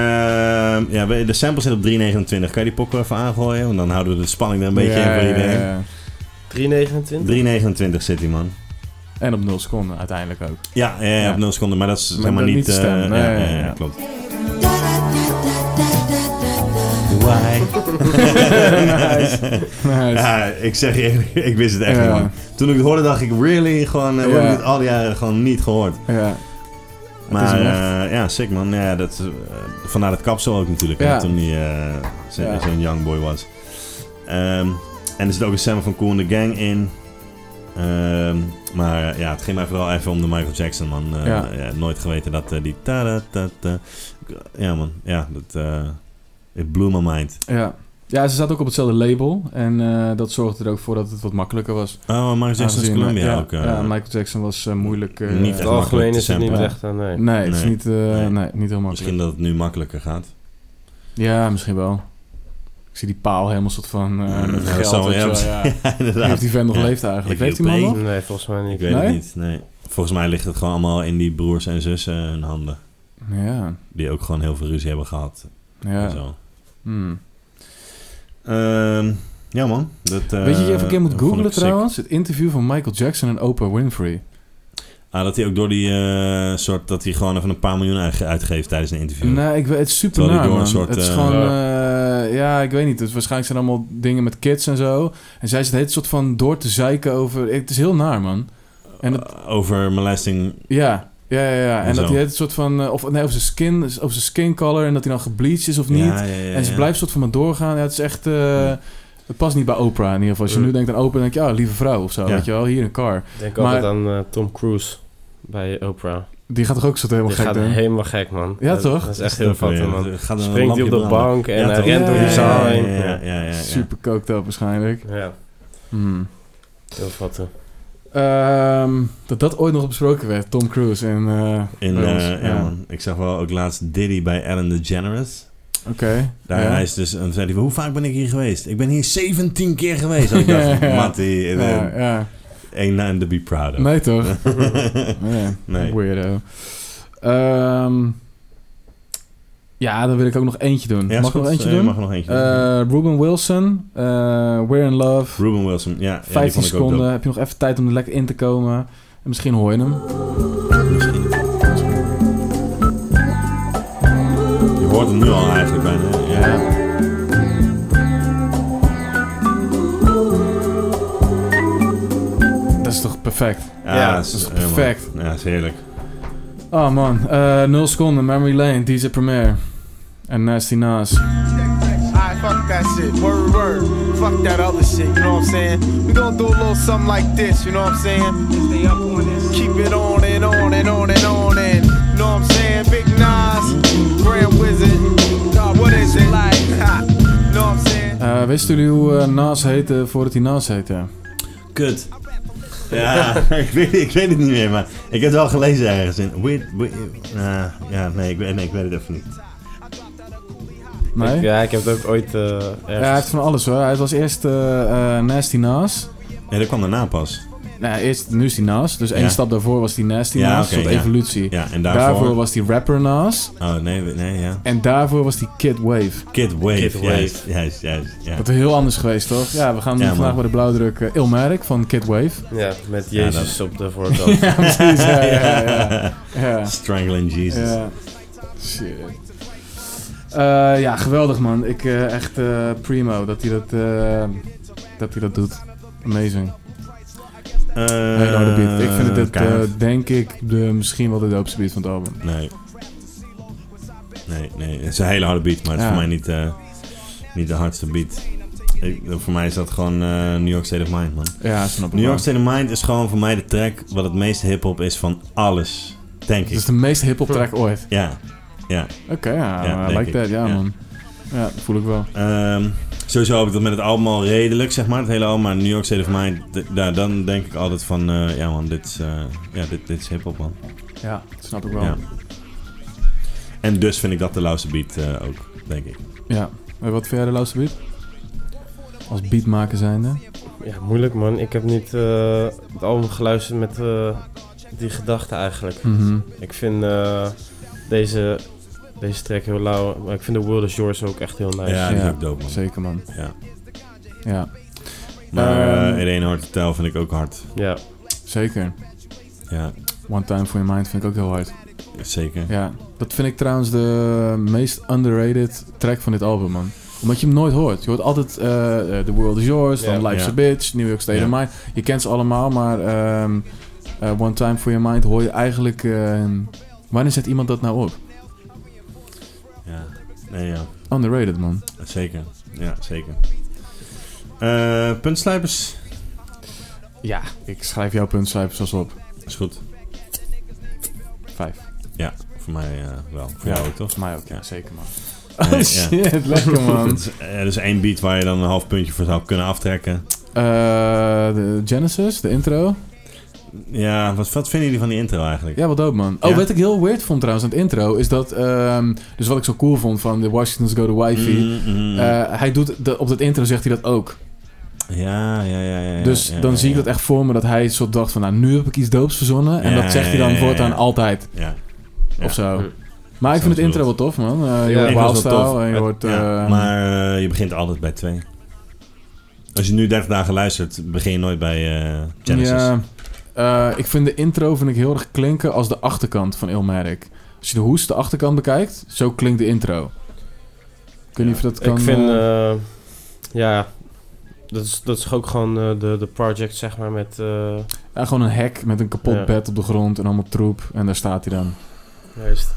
eh, ja, we- de sample zit op 3,29. Kan je die pokken even aangooien? Want dan houden we de spanning er een beetje
Ja,
in voor
ja,
iedereen.
ja, ja.
329?
3,29 zit die man.
En op 0 seconden uiteindelijk ook.
Ja, ja, ja,
Ja.
op 0 seconden, maar dat is
Maar
helemaal
dat
niet...
niet te
eh,
stemmen. Nee,
ja, ja,
ja,
ja,
ja.
klopt.
Why?
nice. Nice.
Ja, ik zeg je eerlijk, ik wist het echt
Ja.
niet man. Toen ik het hoorde dacht ik, really? Gewoon, eh, we
Ja.
hebben dit al die jaren gewoon niet gehoord.
Ja. is
Maar
hem
eh, ja, sick man. Ja, dat, eh, vandaar dat kapsel ook natuurlijk, hè,
Ja.
toen hij eh, zo-
Ja.
zo'n young boy was. Ehm, en er zit ook een sample van Cool and the Gang in. Ehm, maar eh, ja, het ging mij vooral even om de Michael Jackson, man. Eh,
Ja.
ja, nooit geweten dat eh, die... Ta -ta -ta Ja, man. Ja, dat... eh it blew my mind.
Ja. ja, ze zat ook op hetzelfde label. En eh, dat zorgde er ook voor dat het wat makkelijker was.
Oh, Michael Jackson is
Aangezien,
Columbia
ja,
ook. eh,
ja, Michael Jackson was eh, moeilijk. eh,
Niet
In
echt
het algemeen
makkelijk
is
te
het niet
samplen.
echt, eh, nee.
Nee, het is
Nee.
niet, eh,
Nee.
nee. niet heel makkelijk.
Misschien dat het nu makkelijker gaat.
Ja, misschien wel. Ik zie die paal helemaal soort van eh,
Mm,
met
ja,
geld.
dat zou-
weet je
ja,
wel, ja.
Ja,
Heeft
inderdaad.
die vent nog
Ja.
leeft eigenlijk?
Ik
Heeft die man
hielp
nog?
mee.
Nee, volgens mij
Ik
niet.
weet het
Nee?
niet, nee. Volgens mij ligt het gewoon allemaal in die broers en zussen hun handen.
Ja.
Die ook gewoon heel veel ruzie hebben gehad. En
ja.
zo.
Hmm.
Ehm, ja man. Dat, eh,
Weet je, je even een keer moet
vond ik
googlen
sick.
trouwens. Het interview van Michael Jackson en Oprah Winfrey.
Ah, dat hij ook door die eh, soort... Dat hij gewoon even een paar miljoen uitge- uitgeeft tijdens een interview.
Nee, ik weet het is super
Terwijl die
naar,
door een
man.
soort,
het is
eh,
gewoon, eh, ja, ik weet niet. Het, waarschijnlijk zijn allemaal dingen met kids en zo. En zij zit het hele soort van door te zeiken over. Het is heel naar, man. En het,
Eh, over molesting...
ja, ja, ja. ja. En
Zo.
dat hij het soort van, eh, of nee, over zijn skin, over zijn skin color en dat hij dan gebleached is of niet.
Ja, ja, ja,
en ze
ja.
blijft soort van maar doorgaan. Ja, het is echt, eh, het past niet bij Oprah in ieder geval. Als je
Mm.
nu denkt aan Oprah, dan denk je, ja, lieve vrouw of zo.
Ja.
Weet je wel, hier een car.
Ik denk
Maar-
altijd aan eh, Tom Cruise bij Oprah.
Die gaat toch ook zo helemaal
Die
gek
gaat
doen?
helemaal gek, man.
Ja,
dat,
toch?
Dat is echt heel vet,
Ja,
man.
het gaat een
Springt hij
lampje
op de
branden.
bank en
Ja,
hij
toch?
rent door die
Ja,
zaal
ja,
heen.
ja, ja,
Ja,
ja, ja, ja.
Super cooked up waarschijnlijk.
Ja,
Hmm.
heel vet. hè.
Ehm, dat dat ooit nog besproken werd, Tom Cruise en... eh,
In,
bij ons.
eh, ja, man. Ik zag wel ook laatst Diddy bij Ellen DeGeneres.
Oké.
Daar
ja.
hij is dus, en toen zei hij, hoe vaak ben ik hier geweest? Ik ben hier 17 keer geweest. En ik
Ja,
dacht,
ja.
Mattie, eh,
Ja, ja.
ain't nothing to be proud of.
Nee toch? nee.
Nee.
Weirdo. Ehm, ja, dan wil ik ook nog eentje
Ja,
doen.
is
mag ik
goed.
nog eentje
Eh, je
doen?
Mag er nog eentje doen.
Eh, Ruben Wilson, eh, We're in Love.
Ruben Wilson, ja.
15
ja, die vond ik ook
seconden. Heb je nog even tijd om er lekker in te komen? En misschien hoor je hem.
dope. Je hoort hem nu al eigenlijk bijna. Ja.
Dat is toch perfect?
Ja,
is
dat is
helemaal-
perfect.
Ja, is heerlijk.
Oh man, Eh 0 seconden, Memory Lane, DJ Premier. En Nasty Nas.
Alright, fuck that shit. Word, word. Fuck that other shit, you know what I'm saying? We gonna do a little something like this, you know what I'm saying? Keep it on and on and on and on and, you know what I'm saying? Big Nas, Grand Wizard, God, what is it like? Ha, you know what I'm saying?
Eh, wisten jullie hoe eh, Nas heette voordat hij Nas heette?
Kut. Ja, ik, weet, ik weet het niet meer, maar ik heb het wel gelezen ergens in. Weird, weird, eh, ja, nee ik, weet- nee, ik weet het even niet.
Nee?
Ja, ik heb het ook ooit eh
Ja, hij heeft
ergens...
van alles hoor. Hij was eerst eh, eh, Nasty Nas.
Ja, dat kwam daarna pas.
Nou, eerst, nu is hij Nas. Dus één
Ja.
stap daarvoor was hij Nasty
Ja,
Nas.
oké,
een soort
ja.
evolutie.
Ja, en
daarvoor...
daarvoor...
was hij rapper Nas.
Oh, nee, nee, ja.
En daarvoor was hij Kid Wave.
Kid Wave,
Kid Wave.
juist, juist, juist. Ja.
Dat is heel anders geweest, toch? Ja, we gaan
Ja,
vandaag
man.
bij de blauwdruk eh, Ilmatic van Kid Wave.
Ja, met Jezus op de voorkant.
ja, precies. Ja, ja, ja. ja.
Strangling Jesus.
ja. Shit. Eh, ja, geweldig man. Ik eh, echt eh, primo dat hij dat, eh, dat hij dat doet. Amazing.
Eh,
Hele harde beat. Ik vind het, dit, eh,
kaart.
denk ik, de, misschien wel de doopste beat van het album.
Nee. Nee, nee, het is een hele harde beat, maar het is
Ja.
voor mij niet, eh, niet de hardste beat. Ik, voor mij is dat gewoon eh, New York State of Mind, man.
Ja, snap ik
New York
wel.
State of Mind is gewoon voor mij de track wat het meeste hip-hop is van alles, denk
Het
ik.
is de meest hip-hop track ooit.
Ja, ja.
Oké, ja,
Ja,
I
denk
like
ik.
that, ja,
Ja.
man. Ja, dat voel ik wel.
Ehm, sowieso heb ik dat met het album al redelijk, zeg maar. Het hele album, maar New York State of Mind, d- daar- dan denk ik altijd van, eh, ja man, dit is, eh, ja, dit, dit is hip-hop, man.
Ja, snap ik wel.
Ja.
Ja.
En dus vind ik dat de lauwste beat eh, ook, denk ik.
En wat vind jij de laatste beat? Als beatmaker zijnde?
Ja, moeilijk man. Ik heb niet eh, het album geluisterd met eh, die gedachte eigenlijk.
Mhm.
Ik vind eh, deze, deze track heel lauw. Maar ik vind The World is Yours ook echt heel nice.
Ja, die is
Ja.
ook dope, man.
Zeker, man.
Ja.
Ja,
Maar
Ehm.
eh, It Ain't Hard to Tell vind ik ook hard.
Ja.
zeker.
Ja,
One Time For Your Mind vind ik ook heel hard.
zeker.
Ja, dat vind ik trouwens de meest underrated track van dit album, man. Omdat je hem nooit hoort. Je hoort altijd eh, eh, The World Is Yours,
Ja.
dan Life's
Ja.
a Bitch, New York State
Ja.
of Mind. Je kent ze allemaal, maar ehm, eh, One Time For Your Mind hoor je eigenlijk... eh, wanneer zet iemand dat nou op?
Ja. Nee, ja.
Underrated, man.
Zeker. Ja, zeker. Eh puntslijpers.
Ja, ik schrijf jouw puntcijfers als op.
Is goed.
Vijf.
Voor mij eh, wel. Voor
Ja.
jou ook, toch?
Voor mij ook,
Ja.
ja, zeker, man.
Nee, ja.
Oh shit, lekker, man.
Dus, eh, Er is één beat waar je dan een half puntje voor zou kunnen aftrekken.
Eh, de Genesis, de intro.
Ja, wat, wat vinden jullie van die intro eigenlijk?
Ja, wat dope, man. Oh,
Ja.
wat ik heel weird vond trouwens aan het intro, is dat... ehm, dus wat ik zo cool vond van de Washington's Go to Wifey...
Mm, mm,
eh, hij doet de- op dat intro zegt hij dat ook.
ja, ja, ja, ja, ja,
dus
ja,
dan
ja,
zie ik
ja.
dat echt voor me dat hij soort dacht van... nou, nu heb ik iets doops verzonnen. En
Ja,
dat zegt
ja,
hij dan
ja, ja,
voortaan
ja.
altijd,
Ja. Ja.
of zo.
Hm.
Maar ik vind
Zo
het intro wel tof, man. Eh, je
Ja,
hoort
ik was
wel tof.
Wildstyle en je hoort...
Ja,
eh,
maar eh, je begint altijd bij twee. Als je nu 30 dagen luistert, begin je nooit bij eh, Genesis.
Ja, eh, ik vind de intro vind ik heel erg klinken als de achterkant van Ilmatic. Als je de hoes, de achterkant bekijkt, zo klinkt de intro. Ik weet niet of je dat kan...
ik vind,
eh,
eh, ja, dat is, dat is ook gewoon eh, de, de project, zeg maar, met... eh,
ja, gewoon een hek met een kapot
Ja.
bed op de grond en allemaal troep. En daar staat hij dan.
juist.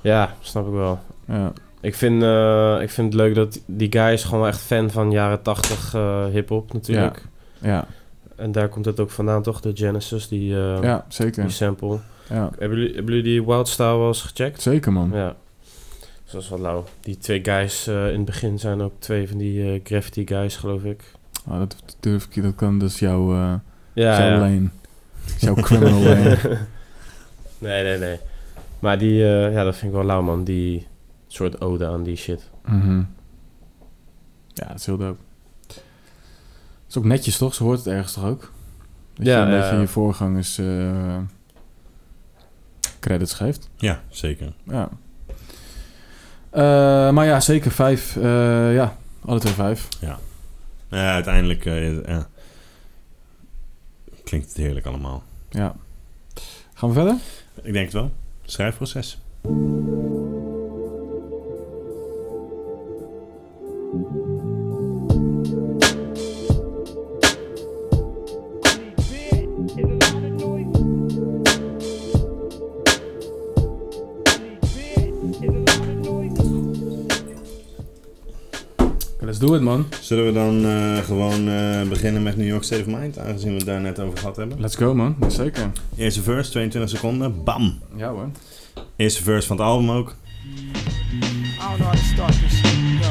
Ja, snap ik wel.
Ja,
Ik vind, eh, ik vind het leuk dat die guy is gewoon echt fan van jaren 80 eh hip-hop natuurlijk.
ja,
En daar komt het ook vandaan, toch? De Genesis, die, eh,
ja
die
zeker.
sample.
Ja.
Hebben jullie, hebben jullie die Wildstyle wel eens gecheckt?
Zeker, man.
Ja. Dus dat is wel lauw. Die twee guys eh, in het begin zijn ook twee van die eh, graffiti guys, geloof ik.
Oh, dat durf ik, dat kan dus jouw, eh
Ja,
jouw
ja.
lane. Jouw criminal lane.
nee, nee, nee. Maar die, eh, ja, dat vind ik wel lauw, man. Die soort ode aan die shit.
Mhm. Ja, dat is heel dope. Het is ook netjes, toch? Ze hoort het ergens toch ook? Dat
Ja,
je een
ja,
beetje
ja.
je voorgangers eh, credits geeft.
Ja, zeker.
Ja. Eh, maar ja, zeker vijf. Eh, ja, alle twee vijf.
Ja, uiteindelijk eh, is- ja. klinkt het heerlijk allemaal.
Ja. Gaan we verder?
Ik denk het wel. Schrijfproces.
Let's do it, man.
Zullen we dan eh, gewoon eh, beginnen met New York Save Mind, aangezien we het daar net over gehad hebben?
Let's go, man. Zeker.
Eerste verse, 22 seconden, bam!
Ja, hoor.
Eerste verse van het album ook.
I don't know how to start this shit. Yo.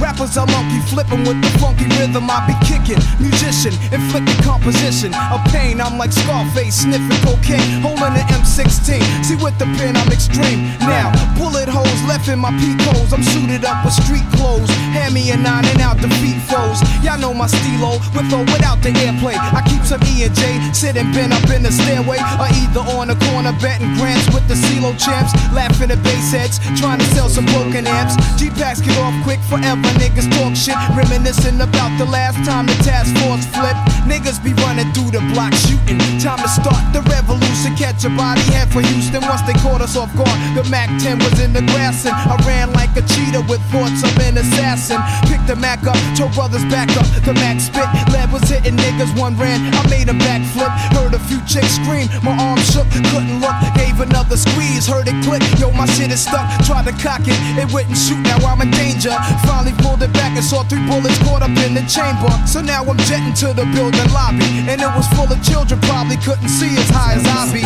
Rappers are monkey flipping with the funky rhythm. I be kicking, musician, inflicting composition of pain. I'm like Scarface sniffing cocaine, holding an M16. See with the pen, I'm extreme. Now bullet holes left in my peak holes. I'm suited up with street clothes. Hand me a nine and out defeat foes. Y'all know my stilo, with or without the airplay. I keep some E and J sitting bent up in the stairway, or either on the corner betting grants with the CeeLo champs, laughing at bass heads, trying to sell some broken amps. G packs get off quick forever, niggas talk shit, reminiscing about the last time the task force flipped. Niggas be running through the block shooting. Time to start the revolution, catch a body head for Houston. Once they caught us off guard, the MAC 10 was in the grass, and I ran like a cheetah with thoughts of an assassin. Picked the Mac up, told brothers back up, The max spit, lead was hitting niggas, one ran. I made a backflip, heard a few chicks scream. My arm shook, couldn't look, gave another squeeze, heard it click. Yo, my shit is stuck, tried to cock it, it wouldn't shoot, now I'm in danger. Finally pulled it back and saw three bullets caught up in the chamber. So now I'm jetting to the building lobby, and it was full of children, probably couldn't see as high as I be.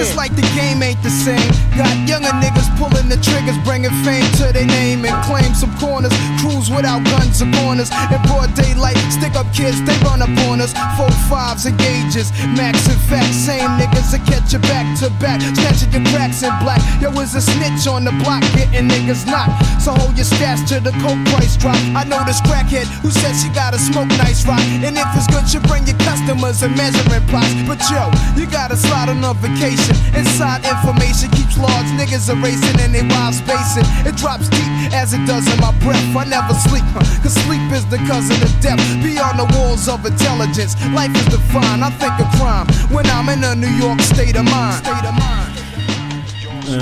It's like the game ain't the same. Got younger niggas pulling the triggers, bringing fame to their name and claim some corners. Crews without guns or corners. In broad daylight, stick up kids, they run up on us. Four fives and gauges, max and facts. Same niggas that catch you back to back, snatching your cracks in black. Yo, is a snitch on the block, getting niggas knocked. So hold your stash till the coke price drop. I know this crackhead who says she gotta smoke nice rock. And if it's good, you bring your customers and measuring plots. But yo, you gotta slide on a vacation. Inside information keeps large niggas erasing and they wives spacing. It drops deep as it does in my breath. I never sleep, huh, cause sleep is the cousin of death. Beyond the walls of intelligence, life is defined. I think of crime when I'm in a New York state of mind. State of mind.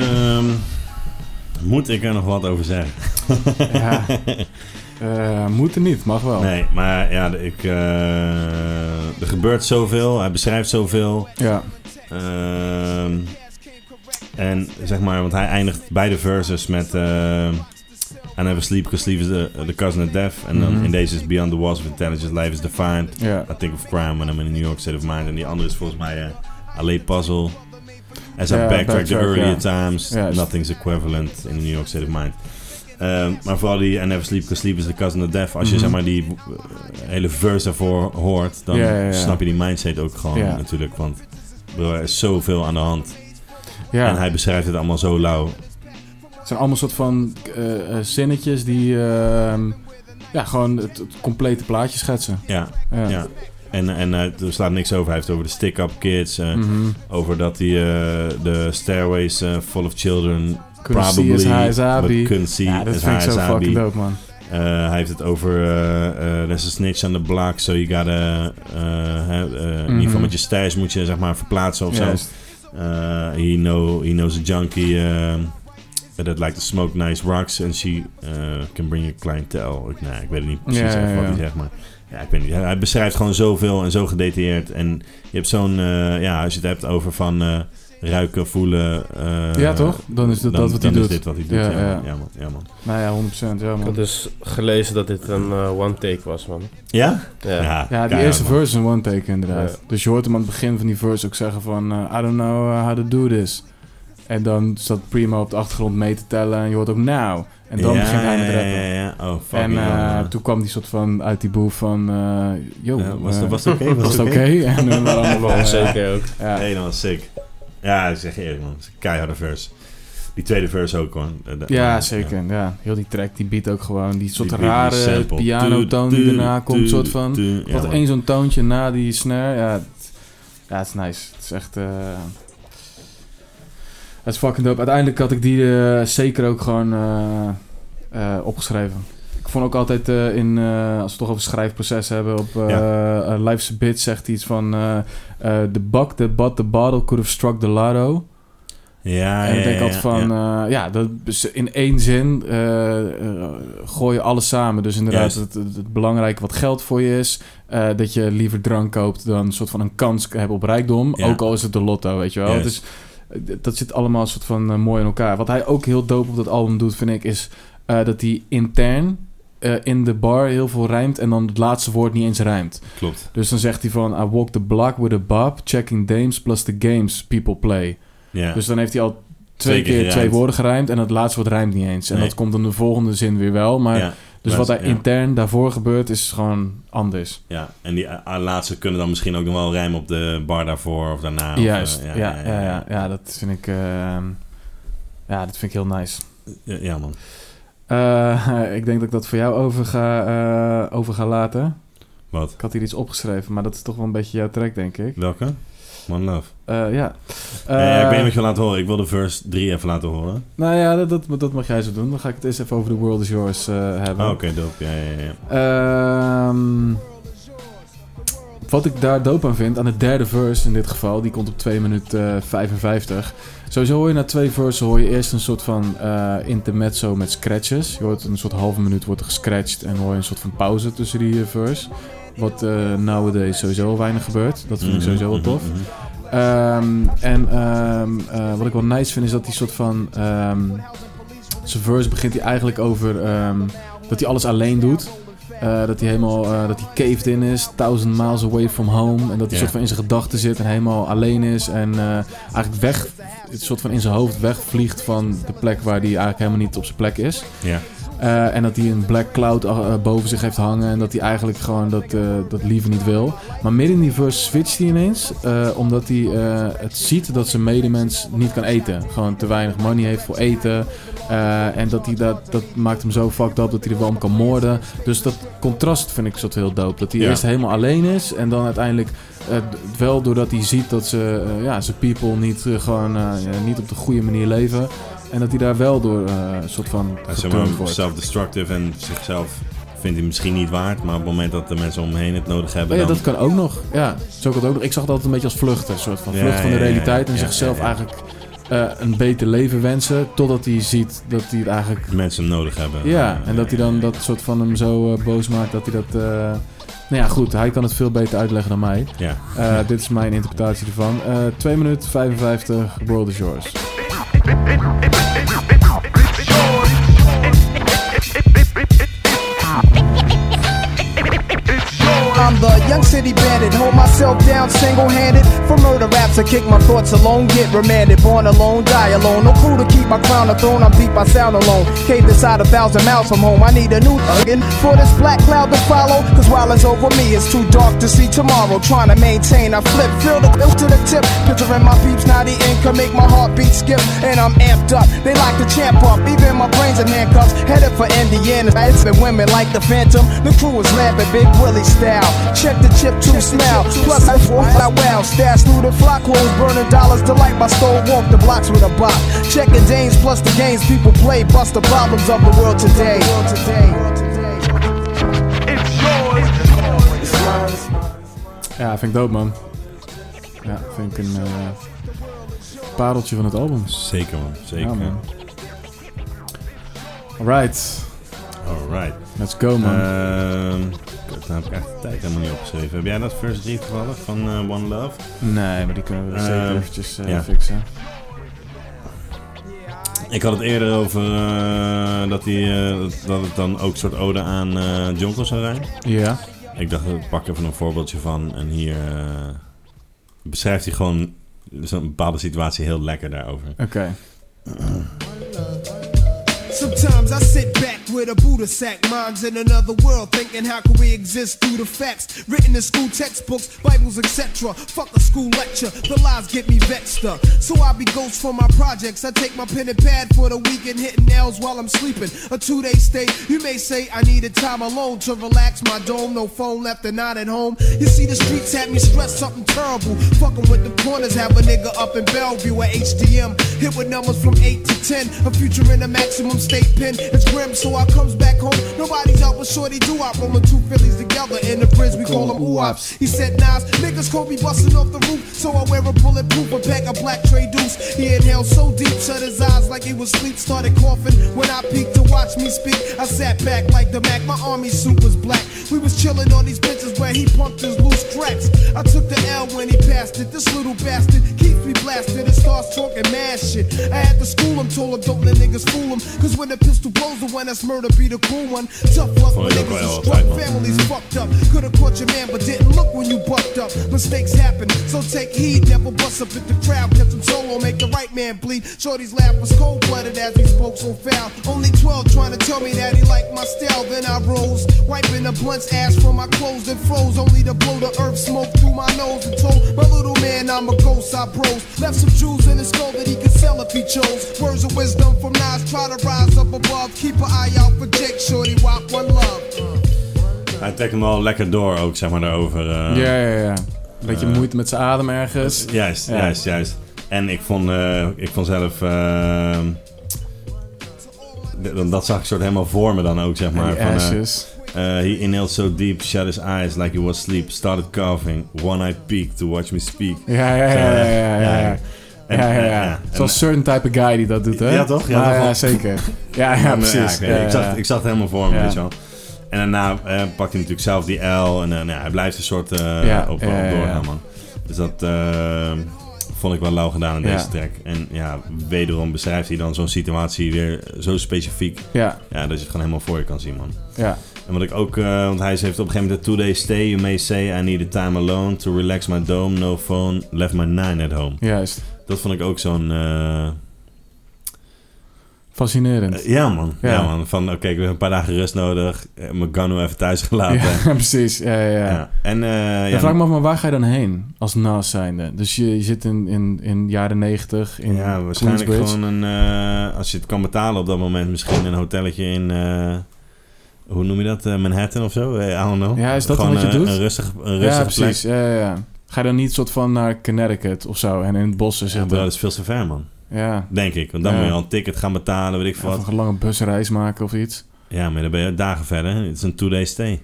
Ehm, moet ik er nog wat over zeggen?
Ja. Eh, moet er niet, mag wel.
Nee, maar ja, ik, eh, er gebeurt zoveel. Hij beschrijft zoveel.
Ja.
Ehm, en zeg maar, want hij eindigt beide verses met... ehm I never sleep because sleep is the, the cousin of death. En dan
Mhm.
in deze is beyond the walls of intelligence. Life is defined.
ja.
I think of crime when I'm in a New York state of mind. En die andere is volgens mij eh LA Puzzle. As I
Ja,
backtrack, the
backtrack,
earlier
ja.
times,
Ja, is-
nothing's equivalent in a New York state of mind. Ehm, maar vooral die I never sleep because sleep is the cousin of death. Als je
Mhm.
zeg maar die eh, hele verse ervoor hoort, dan
Ja, ja, ja.
snap je die mindset ook gewoon
Ja.
natuurlijk. Want ik bedoel, er is zoveel aan de hand.
ja.
En hij beschrijft het allemaal zo lauw.
Het zijn allemaal soort van eh, eh, zinnetjes die ehm, ja, gewoon het, het complete plaatje schetsen.
Ja,
Ja.
ja. En, en eh, er slaat niks over. Hij heeft het over de stick-up kids. eh,
Mhm.
Over dat hij eh, de stairways eh, full of children
Couldn't see
Probably,
as high as I
but
be.
couldn't see
Ja, dat
as
vind ik
high
zo
as I
fucking
be.
dope, man.
Eh, hij heeft het over eh, eh, there's a snitch on the block, so you gotta eh, hè, eh, in ieder
Mhm.
geval met je stijs moet je zeg maar verplaatsen of zo.
Juist.
Eh, he, know, he knows a junkie eh, that like to smoke nice rocks and she eh, can bring your clientele. Ik, nou, ik weet het niet precies
Ja, ja,
echt wat
ja.
hij zegt, maar ja, ik weet niet. Hij- Hij beschrijft gewoon zoveel en zo gedetailleerd. En je hebt zo'n, eh, ja, als je het hebt over van eh, ruiken, voelen. eh,
ja, toch? Dan is dat,
dan,
dat wat hij
dan
doet.
is dit wat hij doet.
Ja,
Ja,
ja.
man. Ja, man. Ja, man.
Nou ja, 100%. Ja,
Ik
man.
had dus gelezen dat dit een eh, one take was, man.
ja?
Ja.
Ja, die
keihard,
eerste
man.
verse is een one take inderdaad.
Ja.
Dus je hoort hem aan het begin van die verse ook zeggen van... eh, I don't know uh, how to do this. En dan zat Primo op de achtergrond mee te tellen en je hoort ook now. En dan
Ja,
begint hij met
ja,
rappen.
Ja, ja, Oh, fuck.
En eh, toen kwam die soort van uit die boel van... eh yo,
was,
eh,
het- was het oké?
was het oké? en dan waren allemaal wel...
Ja,
eh,
zeker ook.
ja.
Nee, dat was sick. Ja, ik zeg je eerlijk, man. Het is een keiharde verse. Die tweede verse ook, hoor. Eh, dat-
Ja, zeker. Ja. Heel die track, die beat ook gewoon. Die soort
Die beat, die
rare
sample.
pianotoon
Tu,
die
tu,
daarna komt.
tu,
soort van...
tu. Ja,
Wat
man.
één zo'n toontje na die snare. Ja, het, ja, het is nice. Het is echt... eh, het is fucking dope. Uiteindelijk had ik die eh, zeker ook gewoon eh, eh, opgeschreven. Ik vond ook altijd eh, in... eh, als we het toch over schrijfproces hebben. Op eh eh, Life's a Bitch zegt hij iets van... eh eh, the buck that bought the bottle could have struck the lotto.
Ja,
En
ja,
ik denk
ja,
altijd
ja,
van,
ja.
ja, ja dat is in één zin eh, eh, gooi je alles samen. Dus inderdaad,
Juist.
het, het, het belangrijke wat geld voor je is, eh, dat je liever drank koopt dan een soort van een kans hebben op rijkdom.
Ja.
Ook al is het de lotto, weet je wel. Het
Juist.
is, eh, d- dat zit allemaal een soort van eh, mooi in elkaar. Wat hij ook heel dope op dat album doet, vind ik, is eh, dat hij intern eh, in de bar heel veel rijmt en dan het laatste woord niet eens rijmt.
Klopt.
Dus dan zegt hij van, I walk the block with a bob, checking dames plus the games people play.
Ja.
Dus dan heeft hij al twee
Twee keer
keer twee
gerijmd.
woorden gerijmd en het laatste woord rijmt niet eens. En
Nee.
dat komt dan de volgende zin weer wel. Maar,
ja,
dus
maar-
wat daar
ja.
intern daarvoor gebeurt is gewoon anders.
ja, en die eh, laatste kunnen dan misschien ook nog wel rijmen op de bar daarvoor of daarna. of, eh,
Juist. ja, ja, ja, ja, dat vind ik... ehm, ja, dat vind ik heel nice.
Ja, ja, man.
Eh, ik denk dat ik dat voor jou over ga, eh, over ga laten.
Wat?
Ik had hier iets opgeschreven, maar dat is toch wel een beetje jouw track, denk ik.
Welke? One Love.
Eh, ja.
Eh, ik
Eh,
weet niet wat je wil laten horen. Ik wil de verse 3 even laten horen.
Nou ja, dat, dat, dat mag jij zo doen. Dan ga ik het eerst even over The World Is
Ah,
Yours eh, hebben.
Oh, oké, dope. Ja, ja, ja.
Ehm, Wat ik daar doop aan vind, aan de derde verse in dit geval, die komt op 2 minuten eh, 55. Sowieso hoor je na twee versen hoor je eerst een soort van eh intermezzo met scratches. Je hoort een soort halve minuut wordt er gescratcht en hoor je een soort van pauze tussen die eh, verse. Wat eh nowadays sowieso al weinig gebeurt. Dat vind ik sowieso wel tof.
Mhm.
Ehm, en ehm, eh, wat ik wel nice vind is dat die soort van. ehm zijn verse begint hij eigenlijk over ehm, dat hij alles alleen doet. Eh, dat hij helemaal eh, dat hij caved in is, thousand miles away from home. En dat
Ja.
hij soort van in zijn gedachten zit en helemaal alleen is. En eh, eigenlijk weg, het soort van in zijn hoofd wegvliegt van de plek waar hij eigenlijk helemaal niet op zijn plek is.
Ja.
Eh, en dat hij een black cloud eh, eh, boven zich heeft hangen. En dat hij eigenlijk gewoon dat, eh, dat liever niet wil. Maar midden in die verse switcht hij ineens. eh, omdat hij eh, het ziet dat zijn medemens niet kan eten. Gewoon te weinig money heeft voor eten. Eh, en dat, hij dat, dat maakt hem zo fucked up dat hij er wel om kan moorden. Dus dat contrast vind ik soort heel dope. Dat hij
Ja.
eerst helemaal alleen is. En dan uiteindelijk eh, d- wel doordat hij ziet dat ze, eh, ja, zijn people niet, eh, gewoon, eh, ja, niet op de goede manier leven. En dat hij daar wel door eh, een soort van
Hij is
geturnd
helemaal
wordt.
self-destructive en zichzelf vindt hij misschien niet waard, maar op het moment dat de mensen om hem heen het nodig hebben,
Oh Ja,
dan...
dat kan ook nog. Ja, zo kan het ook nog. Ik zag dat altijd een beetje als vluchten. Een soort van
Ja,
vlucht van de
ja, ja,
realiteit en
ja,
zichzelf
ja, ja.
eigenlijk eh, een beter leven wensen. Totdat hij ziet dat hij het eigenlijk.
mensen hem nodig hebben.
Ah, Ja,
Eh,
en dat hij dan dat soort van hem zo eh, boos maakt dat hij dat. eh, nou ja, goed, hij kan het veel beter uitleggen dan mij.
Ja.
Eh, Dit is mijn interpretatie ervan. Eh 2 minuten 55, World is yours.
I'm the young city bandit, hold myself down single-handed. For murder raps, I kick my thoughts alone, get remanded. Born alone, die alone. No clue to keep my crown a throne. I'm deep, I sound alone. Cave inside a thousand miles from home. I need a new thuggin' for this black cloud to follow. Cause while it's over me, it's too dark to see tomorrow. Trying to maintain, I flip, feel the clip to the tip. Picturing my peeps, not the income, make my heartbeat skip. And I'm amped up, they like to champ up. Even my brains in handcuffs, headed for Indiana. It's been women like the Phantom. The crew is laughing, Big Willie style. Check the chip to smell. Plus, I walk I wow. Stash through the flock, clothes burning dollars. Delight my stole walk the blocks with a bop. Checking Danes plus the games people play. Bust the problems of the world today.
Ja, vind ik dope, man. Ja, vind ik een eh, pareltje van het album.
Zeker man, zeker.
Ja, man. Alright,
Alright.
let's go, man.
Ehm, kut, nou heb ik echt de tijd helemaal niet opgeschreven. Heb jij dat first read toevallig van eh, One Love?
Nee, maar die kunnen we zeker
Ehm,
eventjes eh,
ja.
fixen.
Ik had het eerder over eh, dat, die, eh, dat het dan ook een soort ode aan eh Jonko zou zijn.
Ja.
Ik dacht, ik pak even een voorbeeldje van. En hier eh, beschrijft hij gewoon zo'n bepaalde situatie heel lekker daarover.
Oké.
Sometimes I sit back with a Buddha sack, minds in another world, thinking how can we exist through the facts written in school textbooks, Bibles, etc. Fuck a school lecture, the lies get me vexed up. So I be ghost for my projects. I take my pen and pad for the weekend, hitting L's while I'm sleeping. A two-day stay. You may say I needed time alone to relax my dome. No phone left and not at home. You see the streets had me stressed, something terrible. Fucking with the corners, have a nigga up in Bellevue at HDM. Hit with numbers from 8 to 10. A future in a maximum state pen. It's grim, so I comes back home. Nobody's out with shorty do I rolling two Phillies together in the bridge. We call them oops. He said Nas, niggas Kobe busting off the roof. So I wear a bulletproof, a pack of black tray deuce. He inhaled so deep, shut his eyes like he was asleep. Started coughing when I peeked to watch me speak. I sat back like the Mac, my army suit was black. We was chilling on these benches where he pumped his loose cracks. I took the L when he passed it. This little bastard keeps me blasted and starts talking mad shit. I had to school him, told him don't let niggas fool him. Cause when the pistol blows, the one that's murder be the cool one. Tough luck
Vond
when
ik ook wel
niggas
heel
is struck.
fijn, man.
Families fucked up. Could've caught your man, but didn't look when you bucked up. Mistakes happen, so take heed. Never bust up at the crowd. Kept him solo, make the right man bleed. Shorty's laugh was cold blooded as he spoke so foul. Only 12 trying to tell me that he liked my style. Then I rose, wiping the blunt's ass from my clothes and froze. Only to blow the earth smoke through my nose and told my little man I'm a ghost. I bros. Left some jewels in his skull that he could sell if he chose. Words of wisdom from Nas, try to rise up above. Keep an eye out for Jake, Shorty, rock one love.
Hij trekt hem wel lekker door ook, zeg maar, daarover. eh.
ja, ja, ja. Beetje moeite met zijn adem ergens.
Juist,
Ja.
juist, juist. En ik vond, eh, ik vond zelf... eh, d- dat zag ik soort helemaal voor me dan ook, zeg maar.
die
van, eh,
ashes.
Uh, he inhaled so deep, shut his eyes like he was asleep, started coughing, one eye peeked to watch me speak.
Ja, ja, ja, ja, ja, ja, ja.
En-
Ja, ja,
en-
ja.
en- eh,
Zoals certain type of guy die dat doet, hè?
Ja, toch? Ja,
Ja,
toch?
ja, zeker. Ja, ja,
Ja, maar eh, ja,
precies.
ik weet het.
Ja,
ik, zag,
ja.
ik zag het helemaal voor me,
Ja.
weet je wel. En daarna eh, pakt hij natuurlijk zelf die L. En eh, nou ja, hij blijft een soort eh,
Ja,
op, op
ja, ja,
doorgaan,
ja.
man. Dus dat eh, vond ik wel lauw gedaan in
Ja.
deze track. En ja, wederom beschrijft hij dan zo'n situatie weer zo specifiek.
Ja,
Ja, dat je het gewoon helemaal voor je kan zien, man.
ja.
En wat ik ook, eh, want hij heeft op een gegeven moment... Two day stay, you may say I need a time alone to relax my dome. No phone, left my nine at home.
Juist.
Dat vond ik ook zo'n... eh,
Fascinerend.
Eh, Ja, man. Ja.
Ja.
man. Van, oké, ik heb een paar dagen rust nodig. Eh, Mijn Gano even thuis gelaten. Ja.
Ja, precies. Ja, ja, ja.
En eh,
Dan
ja,
vraag ik me af, maar waar ga je dan heen als Nas zijnde? Dus je, je zit in, in, in jaren negentig in
ja, waarschijnlijk
Queensbridge.
gewoon een... eh, als je het kan betalen op dat moment misschien een hotelletje in... eh, hoe noem je dat? Eh, Manhattan of zo? Eh, I don't know.
Ja, is dat
gewoon
dan wat je
eh,
doet?
Een rustig, een
Ja,
rustige plek.
precies. Ja, ja, ja. Ga je dan niet soort van naar Connecticut of zo en in het bos
Ja, bro,
zitten?
dat is veel te ver, man.
Ja.
Denk ik. Want dan
Ja.
moet je al een ticket gaan betalen, weet ik veel
Of
wat.
een lange busreis maken of iets.
Ja, maar dan ben je dagen verder. Het is een two-day stay.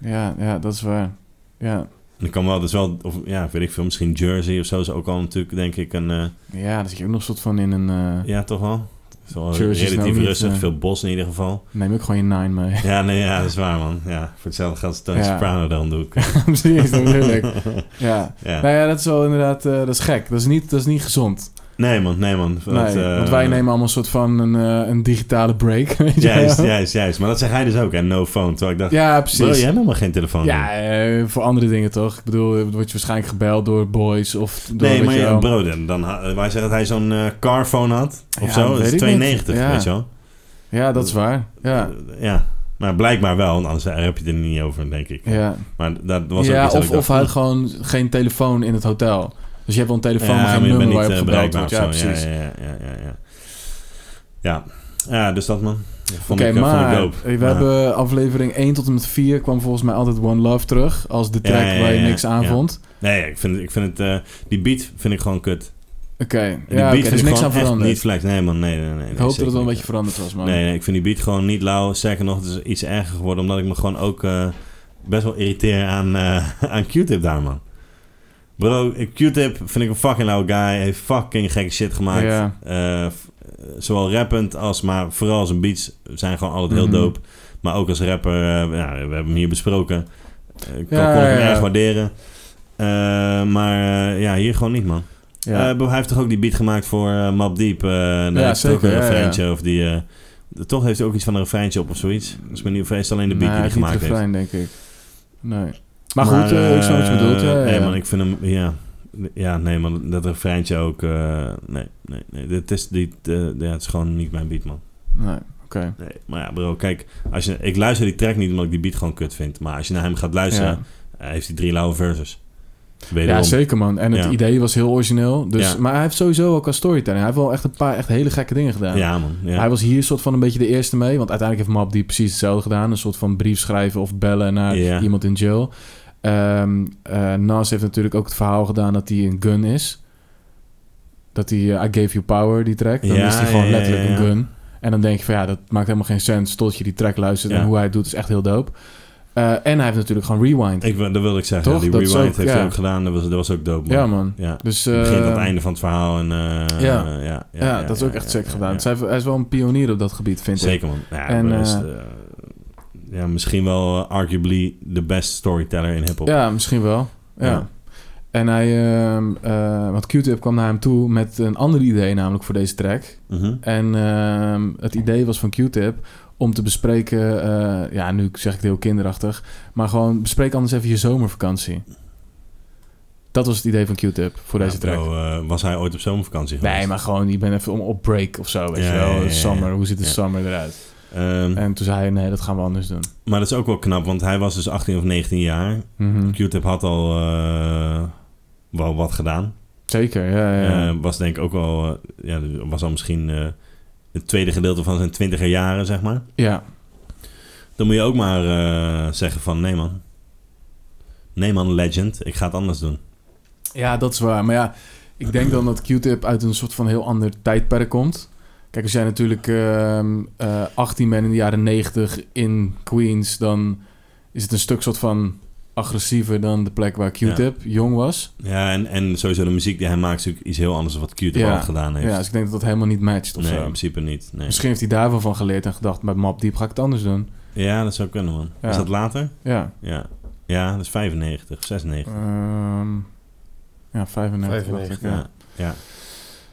Ja, ja, dat is waar. Ja,
Dan kan wel, dus wel... Of, ja, weet ik veel. Misschien Jersey of zo is ook al natuurlijk, denk ik, een... eh,
ja dan zit je ook nog soort van in een... eh,
Ja, toch wel? Het is wel
Jersey is
relatief
nou niet,
rustig,
eh,
veel bos in ieder geval.
Neem ook gewoon je nine mee.
Ja, nee, ja, dat is waar, man. Ja, voor hetzelfde geld is Tony
Ja.
Soprano dan doe ik.
Precies, natuurlijk. Ja.
Ja.
Nou ja, dat is wel inderdaad... eh, dat is gek. Dat is niet, dat is niet gezond.
Nee, man, nee, man. Dat,
nee,
eh,
want wij nemen allemaal een soort van een, eh, een digitale break. Weet je
Juist,
wel?
juist, juist. Maar dat zei hij dus ook, hè? No phone. Terwijl ik dacht,
Ja,
bro, jij
precies.
hebt helemaal geen telefoon.
Ja, eh, voor andere dingen toch? Ik bedoel, eh, word je waarschijnlijk gebeld door boys of door...
Nee,
weet
maar
je
ja,
wel.
bro, dan, dan, ha- wij zeggen dat hij zo'n eh, carphone had. Of
Ja,
zo.
weet
Dat
ik
is
niet.
92,
Ja.
weet je wel.
Ja, dat is waar. Ja,
Eh, ja. Maar blijkbaar wel, want anders heb je het er niet over, denk ik.
ja.
Maar dat was ook
ja
iets dat ik
of,
dacht,
of hij had gewoon geen telefoon in het hotel. Dus je hebt wel een telefoon, maar geen
maar je
nummer
bent
waar je
eh,
op gebeld wordt. Ja,
bereikbaar of zo.
precies.
Ja, ja, ja, ja, ja. Ja, ja dus dat man. Dat Vond
Oké,
ik, eh, vond ik
maar
dope.
we
Ja.
hebben aflevering 1 tot en met 4 kwam volgens mij altijd One Love terug. Als de
Ja,
track
ja, ja,
waar je
ja,
niks aan
ja.
vond.
Nee, ik vind, ik vind het... eh, die beat vind ik gewoon kut.
Oké,
Die beat
ja, oké, er
vind ik
is niks
gewoon
aan
echt
veranderd.
niet flex. Nee man, nee, nee, nee.
ik hoop dat het wel een beetje veranderd was, man.
Nee, nee, ik vind die beat gewoon niet lauw. Sterker nog, het is iets erger geworden. Omdat ik me gewoon ook eh, best wel irriteer aan, eh, aan Q-Tip daar man. Bro, eh, Q-Tip vind ik een fucking lauw guy. Heeft fucking gekke shit gemaakt.
Ja.
Eh, f- eh, zowel rappend als, maar vooral zijn beats zijn gewoon altijd heel
Mhm.
dope. Maar ook als rapper, eh, ja, we hebben hem hier besproken. Eh, Ik kon,
Ja,
kon ik hem
ja, ja.
erg waarderen. Eh, maar eh, ja, hier gewoon niet, man.
ja.
Eh, hij heeft toch ook die beat gemaakt voor eh, Map Deep. eh daar
Ja,
heeft hij ook een
zeker, ja,
refreintje of die... eh, toch heeft hij ook iets van een refreintje op of zoiets. Dus ik ben niet of hij is alleen de beat
nee,
die hij gemaakt heeft.
refrein, denk ik. Nee. Maar, goed, eh, ik snap wat je
eh,
bedoelt. Ja, ja,
nee,
ja.
man, ik vind hem... Ja, ja nee, man, dat refreintje ook... eh, nee, nee, nee. Dit is, die, eh, ja, het is gewoon niet mijn beat, man.
Nee, oké.
Nee, maar ja, bro, kijk, als je, ik luister die track niet omdat ik die beat gewoon kut vind. Maar als je naar hem gaat luisteren,
Ja.
eh, heeft hij drie lauwe verses. Wederom.
Ja, zeker man. En het
Ja.
idee was heel origineel. Dus,
Ja.
Maar hij heeft sowieso ook qua storytelling. Hij heeft wel echt een paar echt hele gekke dingen gedaan.
Ja, man. Ja.
Hij was hier soort van een beetje de eerste mee. Want uiteindelijk heeft Map die precies hetzelfde gedaan. Een soort van brief schrijven of bellen naar
Ja.
iemand in jail. Ehm, eh, Nas heeft natuurlijk ook het verhaal gedaan dat hij een gun is. Dat hij eh, I gave you power, die track. Dan
Ja,
is hij gewoon
ja, ja,
letterlijk
ja.
een gun. En dan denk je van ja, dat maakt helemaal geen sens tot je die track luistert.
Ja.
En hoe hij het doet is echt heel dope. Eh, en hij heeft natuurlijk gewoon Rewind.
Ik, wil- dat wilde ik zeggen.
Toch?
Die
Dat is
rewind
ook-
heeft hij
ja.
ook gedaan. Dat was, dat was ook dope, man.
ja man.
Ja.
Dus,
Het begin tot
eh,
het einde van het verhaal. En, eh,
ja.
eh, ja,
Ja, dat is ook echt
ja,
sick
ja,
gedaan.
ja.
Dus hij, hij is wel een pionier op dat gebied, vind ik.
Zeker, man. Ja,
En,
maar dat is,
eh,
eh, ja, misschien wel eh, arguably de best storyteller in hip-hop.
Ja, misschien wel. Ja.
Ja.
En hij, ehm, eh, want Q-Tip kwam naar hem toe met een ander idee, namelijk voor deze track.
Mhm.
En ehm, het idee was van Q-Tip om te bespreken, eh, ja, nu zeg ik het heel kinderachtig, maar gewoon bespreek anders even je zomervakantie. Dat was het idee van Q-Tip voor deze
Ja,
track.
bro, eh, was hij ooit op zomervakantie geweest?
Nee, maar gewoon, je bent even om op break of zo, weet
Ja,
je wel.
ja, ja, ja.
Summer, hoe ziet de
Ja.
summer eruit?
Ehm,
En toen zei hij, nee, dat gaan we anders doen.
maar dat is ook wel knap, want hij was dus 18 of 19 jaar.
Mhm.
Q-Tip had al eh, wel wat gedaan.
Zeker, ja, ja, ja.
Eh, was denk ik ook al... eh, ja, dus was al misschien eh, het tweede gedeelte van zijn twintiger jaren, zeg maar.
ja.
Dan moet je ook maar eh, zeggen van... Nee, man. Nee, man, legend. Ik ga het anders doen.
Ja, dat is waar. Maar ja, ik denk dan dat Q-Tip uit een soort van heel ander tijdperk komt. Kijk, als jij natuurlijk ehm, eh, 18 bent in de jaren 90 in Queens, dan is het een stuk soort van agressiever dan de plek waar Q-Tip jong was.
Ja, en, en sowieso de muziek die hij maakt is natuurlijk iets heel anders dan wat Q-Tip
Ja.
al gedaan heeft.
Ja, dus ik denk dat dat helemaal niet matcht of
nee,
zo.
in principe niet. Nee.
Misschien heeft hij daar wel van geleerd en gedacht, met Map Diep ga ik het anders doen.
Ja, dat zou kunnen, man.
Ja.
Is dat later?
Ja.
Ja. Ja, dat is 95, 96.
Ehm, ja, 95 dacht ik.
95,
Ja.
Ja. ja.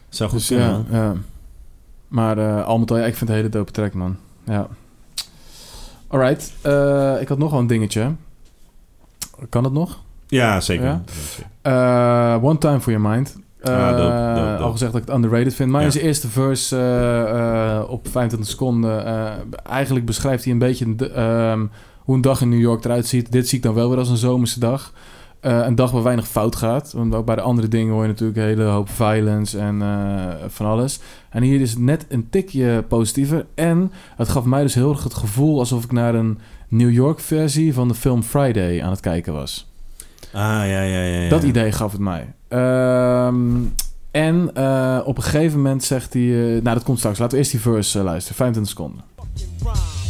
Zou goed
Dus
kunnen,
ja,
man.
ja. Maar eh, al met al, ja, ik vind het een hele dope track, man. Ja. Alright, eh, ik had nog wel een dingetje. Kan dat nog?
Ja, zeker.
Ja? Eh, One Time For Your Mind. Eh,
Ah, dope, dope, dope.
Al gezegd dat ik het underrated vind. Maar
Ja.
in zijn eerste verse eh, eh, op 25 seconden... eh, eigenlijk beschrijft hij een beetje de- ehm, hoe een dag in New York eruit ziet. Dit zie ik dan wel weer als een zomerse dag. Eh, een dag waar weinig fout gaat. Want ook bij de andere dingen hoor je natuurlijk een hele hoop violence en eh, van alles. En hier is het net een tikje positiever. En het gaf mij dus heel erg het gevoel alsof ik naar een New York versie van de film Friday aan het kijken was.
Ah, ja, ja, ja. ja.
Dat idee gaf het mij. Ehm, en eh, op een gegeven moment zegt hij... eh, nou, dat komt straks. Laten we eerst die verse eh, luisteren. 25 seconden.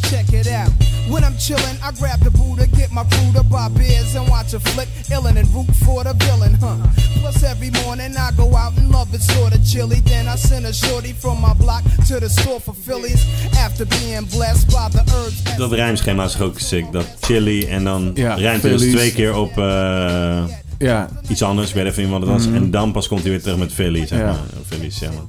Check it out. When I'm chillin', I grab the Buddha, get my crew to buy beers and watch a flick, illin' and root for the villain, huh? Plus every morning I go out and love it sorta chilly. Then I send a shorty from my block to the store for Phillies. After being blessed by the herbs.
Dat rijmschema is toch ook sick. Dat chili en dan
Ja,
rijmt hij dus
Phillies.
twee keer op eh,
Ja,
iets anders. Ik weet even niet wat het was. En dan pas komt hij weer terug met Philly, zeg
Mhm. Ja.
maar. Oh, Philly, zeg maar.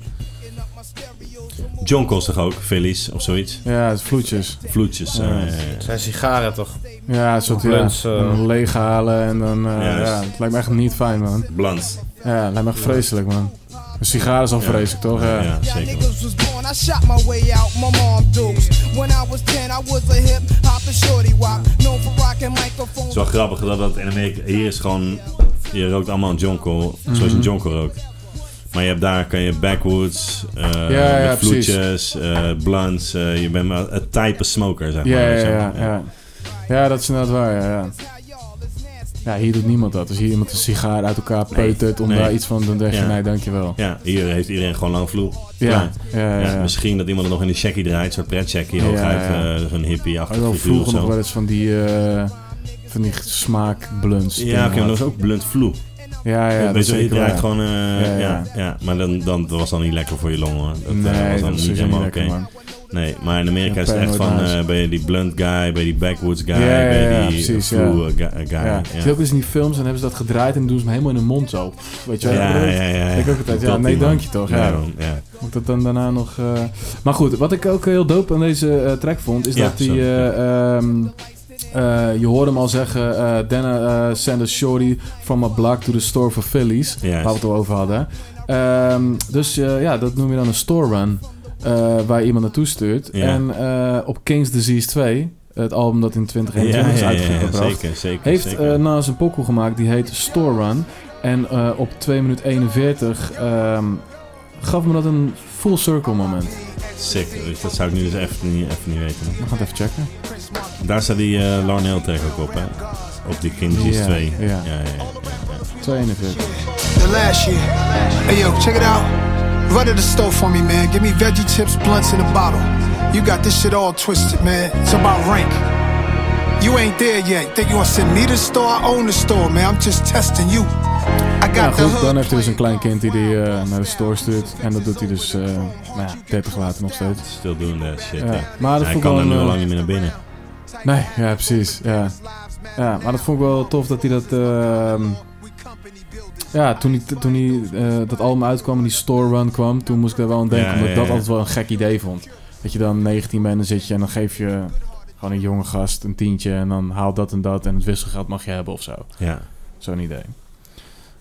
John kost toch ook Phillies of zoiets?
ja, het is vloedjes.
Vloedjes. eh, ja, ja, ja.
Zijn sigaren toch?
Ja, het soort ja,
Blends, eh.
dan leeghalen en dan... eh,
Juist.
ja, het lijkt me echt niet fijn, man.
Blunt.
Ja, het lijkt me echt vreselijk, man. Een sigaar is al vreselijk, toch? Ja.
Ja,
Y'all
zeker.
niggas was born, I shot my way out, my mom dukes. When I was 10, I was a hip hop and shorty wop. Known for rocking
Het
microphones.
is wel grappig dat dat in Amerika... Hier is gewoon... Je rookt allemaal een jonko, zoals
Mhm.
je een jonko rookt. Maar je hebt daar kan je backwoods, eh
ja,
met
precies.
vloedjes, eh, blunts. eh, je bent maar een type smoker, zeg maar.
Ja, ja,
weet je wel.
ja, ja. Ja, dat is inderdaad waar, ja, ja. Ja, hier doet niemand dat. Als hier iemand een sigaar uit elkaar peutert om
Nee.
daar iets van... Dan denk je,
Ja.
nee, dankjewel.
Ja, hier heeft iedereen gewoon lang vloer.
Ja, ja, ja.
Ja,
ja.
Misschien dat iemand er nog in een checkie draait, een soort pretcheckie
Ja,
hooguit,
ja.
eh, zo'n hippie-achtig
Had wel
figuur of
vroeger nog
zo.
wel eens van die, eh, van die smaakblunts.
Ja, oké, maar dat was ook blunt vloe.
Ja, ja, dat
Weet je,
zeker
je
wel,
draait
ja.
gewoon, eh, ja,
ja.
ja. maar dan, dan, dat was dan niet lekker voor je longen hoor. Dat eh,
Nee,
was dan
dat is
niet helemaal
helemaal niet
oké.
lekker, man.
Nee, maar in Amerika
Ja,
is het echt van,
paranoid
eh,
haast.
ben je die blunt guy, ben je die backwoods guy,
Ja, ja,
ben je
ja,
die eh,
precies,
vloer guy. guy,
Ja.
Ja,
Zie je ook eens in die films, dan hebben ze dat gedraaid en doen ze hem helemaal in hun mond zo. Weet je
ja,
wel?
ja. ja, ja.
Ik ook altijd, ja,
Dat
nee,
die man.
dank je toch, ja.
Daarom, ja.
Moet dat dan daarna nog... eh, Maar goed, wat ik ook heel dope aan deze eh, track vond, is
Ja,
dat die...
sorry,
eh, ehm, eh, je hoorde hem al zeggen, eh then eh, send a shorty from a block to the store for Phillies.
Juist.
Waar we het al over hadden. Ehm, dus eh, ja, dat noem je dan een store run. eh, waar je iemand naartoe stuurt.
Ja.
En eh, op King's Disease 2, het album dat in
Ja,
2021
ja,
is
ja, ja,
uitgebracht,
zeker, zeker,
heeft
zeker.
eh, naast een pokoe gemaakt die heet Store Run. En eh, op 2 minuut 41 ehm, gaf me dat een full circle moment.
Sick, dus dat zou ik nu dus even niet, even niet weten.
We gaan het even checken.
Daar staat die eh Larnell track ook op, hè? Op die Kinji's
Ja,
2.
ja.
ja, ja.
241.
The last year. Hey yo, check it out. Run to the store for me, man. Give me veggie chips, blunts in a bottle. You got this shit all twisted, man. It's about rank. You ain't there yet. Think you wanna send me to the store? I own the store, man. I'm just testing you. I
Ja,
got the
goed,
hood
dan heeft hij dus een klein
playing.
kind die hij eh, naar de store stuurt. En dat doet hij dus eh nou ja, 30 later nog steeds.
Still doing that shit.
Ja,
ja.
maar dat
Hij
vond ik
kan
wel
er nu
een,
al
eh,
lang niet meer naar binnen.
Nee, ja, precies. Ja. ja, maar dat vond ik wel tof dat hij dat. ehm, ja, toen, hij, toen hij, eh, dat album uitkwam en die store run kwam, toen moest ik daar wel aan denken.
Ja,
omdat ik
ja,
dat
ja.
altijd wel een gek idee vond. Dat je dan 19 bent en zit je en dan geef je gewoon een jonge gast een tientje en dan haal dat en dat en het wisselgeld mag je hebben of zo.
Ja.
Zo'n idee.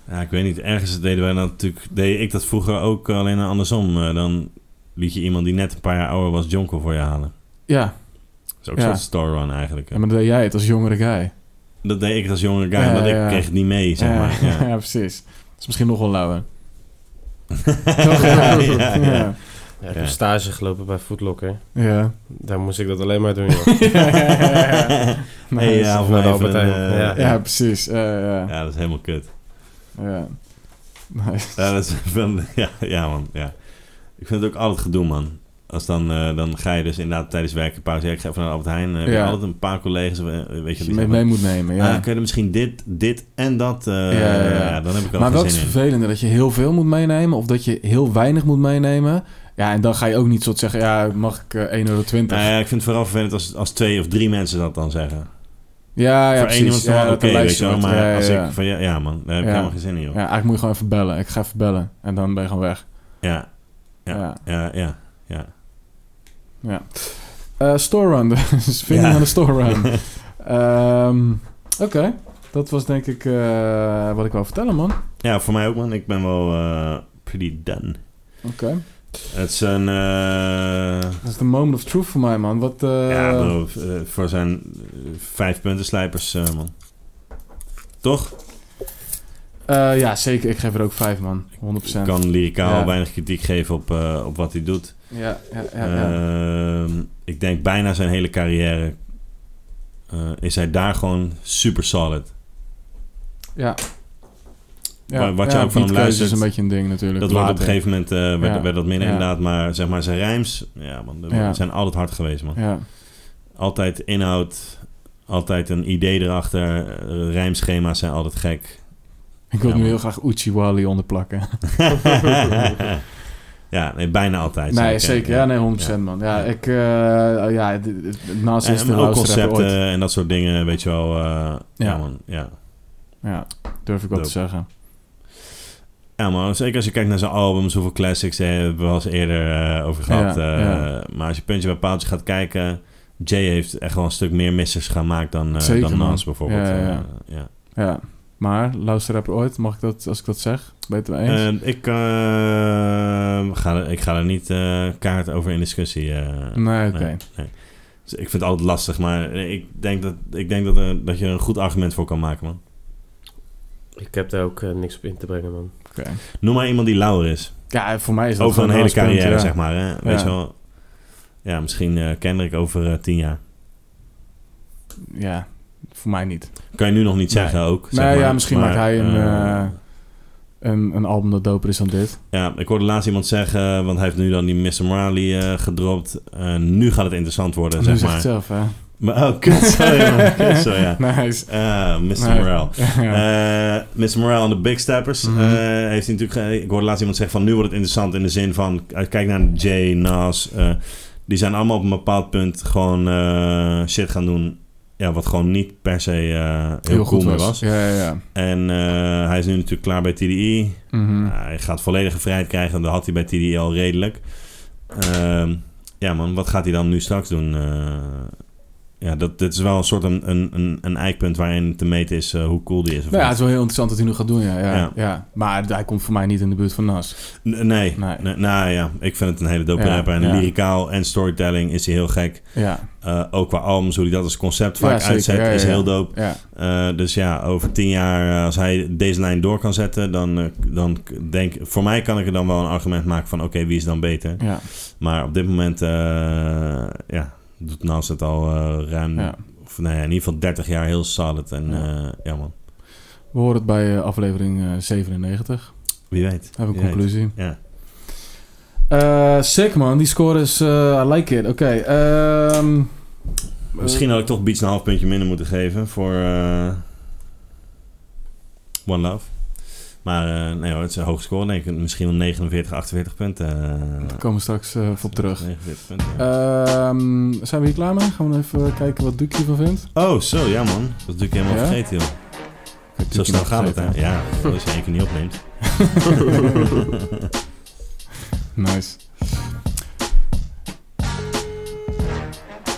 ja, ik weet niet. Ergens deden wij dat natuurlijk... Deed ik dat vroeger ook alleen andersom. eh, dan liet je iemand die net een paar jaar ouder was Jonko voor je halen.
Ja,
Dat is ook
Ja.
zo'n store run eigenlijk. hè.
ja, maar dan deed jij het als jongere guy.
Dat deed ik als jonge guy,
Ja,
omdat ik
ja.
kreeg het niet mee, zeg
ja,
maar. Ja.
ja, precies. Dat is misschien nog wel lauwer.
ja, ja, ja.
Ja, ik
Ja.
heb stage gelopen bij Footlocker.
Ja.
Daar moest ik dat alleen maar doen, joh.
ja, ja, ja, ja.
Hey, ja, of
Naar de
even
Albert
een,
Heijn.
eh,
Ja.
Ja, precies. Ja, ja.
Ja, dat is helemaal kut.
Ja. Nice.
Ja, dat is, van, ja, ja, man. Ja. Ik vind het ook altijd gedoe, man. Als dan, eh, dan ga je dus inderdaad tijdens werken pauze. Ja, ik ga even naar Albert Heijn. eh, heb je
Ja.
altijd een paar collega's. eh, Weet je, die
je mee,
zeggen,
mee moet nemen. Ja.
"Ah, kun je er misschien dit, dit en dat... eh,
Ja,
ja,
ja, ja.
dan heb ik er
maar
al
wel
geen
is
zin in.
vervelende dat je heel veel moet meenemen of dat je heel weinig moet meenemen. Ja, en dan ga je ook niet soort zeggen, ja, mag ik eh, 1,20 euro?
Nou ja, ik vind het vooral vervelend als, als twee of drie mensen dat dan zeggen.
Ja, ja,
Voor
precies.
één iemand
ja,
dan wel
dat
oké,
een
weet je
lijstje
wel.
wordt.
Maar
ja,
als
ja,
ik van... Ja, ja, man, daar heb ik
Ja.
helemaal geen zin in, joh. Ja,
ja. Ja, eigenlijk moet je gewoon even bellen. Ik ga even bellen. En dan ben je gewoon weg.
ja, Ja.
Ja.
ja. ja,
Eh, store run. Dus vinding
Ja.
aan de store run. Ehm, Oké. Dat was denk ik eh, wat ik wou vertellen, man. Oké.
voor mij ook, man. Ik ben wel eh, pretty done. Het is een... eh,
Dat is de moment of truth voor mij, man. Wat, eh,
ja, bro, eh, voor zijn eh, vijf punten slijpers, eh, man. Toch?
eh, ja, zeker. Ik geef er ook vijf, man. 100%.
Ik kan lyricaal
Ja.
weinig kritiek geven op, eh, op wat hij doet.
Ja, ja, ja. ja.
Ehm, ik denk bijna zijn hele carrière... eh, is hij daar gewoon super solid.
Ja.
Wa- wat je ook van
niet
hem
keuze
luistert,
is een beetje een ding natuurlijk.
Dat wordt op een
Later.
gegeven moment eh, werd,
Ja.
werd dat minder
Ja.
inderdaad. Maar zeg maar zijn rijms... Ja, man, dat
Ja.
zijn altijd hard geweest, man.
Ja,
Altijd inhoud... Altijd een idee erachter. eh, Rijmschema's zijn altijd gek.
ik wil
Ja,
nu
man.
heel graag Uchiwali onderplakken.
ja, nee, bijna altijd.
nee, zeker. Ja, nee, 100% man. Ja,
Ja.
ik... eh ja, d- d- naast
En,
is de
en ook
lauwste rapper
concepten
ooit.
en dat soort dingen, weet je wel. eh, ja.
Ja.
man. Ja.
Ja, durf ik wel te
Dope.
zeggen.
ja, man. Zeker als je kijkt naar zijn albums, hoeveel classics eh, hebben we wel eens eerder eh, over gehad.
Ja,
eh,
ja.
Maar als je puntje bij paaltje gaat kijken... Jay heeft echt wel een stuk meer missers gemaakt dan, eh,
Zeker,
dan
man.
Nas bijvoorbeeld.
Ja, ja,
Eh,
ja.
ja.
Ja. Maar, lauwste rapper ooit, mag ik dat, als ik dat zeg? Ben je het mee eens?
Eh, ik, eh, ga er, ik ga er niet eh, kaart over in discussie. eh,
nee, oké.
nee. Dus ik vind het altijd lastig, maar ik denk dat, ik denk dat, er- dat je er een goed argument voor kan maken, man.
Ik heb daar ook eh, niks op in te brengen, man.
oké.
Noem maar iemand die lauwer is.
Ja, voor mij is dat
Over een
gewoon
hele
laatste punt,
carrière,
ja.
zeg maar. Hè? Weet
Ja.
je wel. Ja, misschien eh Kendrick over eh, tien jaar.
Ja, voor mij niet.
Kan je nu nog niet
Nee.
zeggen ook.
Nee,
zeg maar.
ja, misschien
Maar,
maakt hij een,
eh,
eh, een, een album dat doper is dan dit.
ja, ik hoorde laatst iemand zeggen, want hij heeft nu dan die Mr. Marley eh, gedropt. Eh, nu gaat het interessant worden,
Nu
zeg
zeg
maar.
het eh, zelf, hè.
Maar, oh, kut, sorry man. Kut, sorry, ja.
Nice.
Ah, Mr.
Nee.
Morale.
Ja.
Eh, Mr. Morale en de Big Steppers. eh,
Mhm.
heeft hij natuurlijk, ge- ik hoorde laatst iemand zeggen van nu wordt het interessant in de zin van eh, kijk naar Jay, Nas. eh, die zijn allemaal op een bepaald punt gewoon eh, shit gaan doen. Ja, wat gewoon niet per se eh, heel, cool meer was.
Ja, ja, ja.
En eh, hij is nu natuurlijk klaar bij TDI.
Mhm.
Nou, hij gaat volledige vrijheid krijgen. Dat had hij bij TDI al redelijk. Ehm, ja man, wat gaat hij dan nu straks doen? Eh, ja, dat, dit is wel een soort een, een, een, een eikpunt waarin te meten is eh, hoe cool die is. Of
Nou ja, het
niet.
is wel heel interessant wat hij nu gaat doen, ja. ja,
Ja.
ja. Maar hij komt voor mij niet in de buurt van Nas.
N- nee.
Nee.
Nee, Nou ja, ik vind het een hele dope
Ja,
rapper. En
ja.
lyricaal en storytelling is hij heel gek.
Ja,
Eh, ook qua albums, hoe hij dat als concept
Ja,
vaak
zeker.
uitzet,
Ja, ja,
is
ja.
heel dope.
ja.
Eh, dus ja, over tien jaar, eh, als hij deze lijn door kan zetten, dan, eh, dan k- denk Voor mij kan ik er dan wel een argument maken van, oké, wie is dan beter?
ja,
Maar op dit moment, eh, ja, doet Nas het al eh, ruim,
ja.
of nou ja, in ieder geval 30 jaar heel solid. En
Ja.
ja, ja man,
We horen het bij eh, aflevering eh, 97.
wie weet. Wie
Heb ik een
weet.
conclusie.
Ja.
Eh, sick, man. Die score is... eh, I like it. Oké. ehm,
Misschien had ik toch Beats een half puntje minder moeten geven voor eh, One Love. Maar eh, nee hoor, het is een hoog score. denk ik. misschien wel 49, 48 punten.
Daar komen we straks eh, even op terug. Eh,
49 punten, ja.
Ehm, zijn we hier klaar mee? Gaan we even kijken wat Duke hiervan vindt?
Oh, zo, ja man. Dat is natuurlijk helemaal
Ja?
vergeten, joh. Zo
Duke
snel
nog
gaat het, hè?
vergeten.
Ja, als je één keer niet opneemt.
Nice.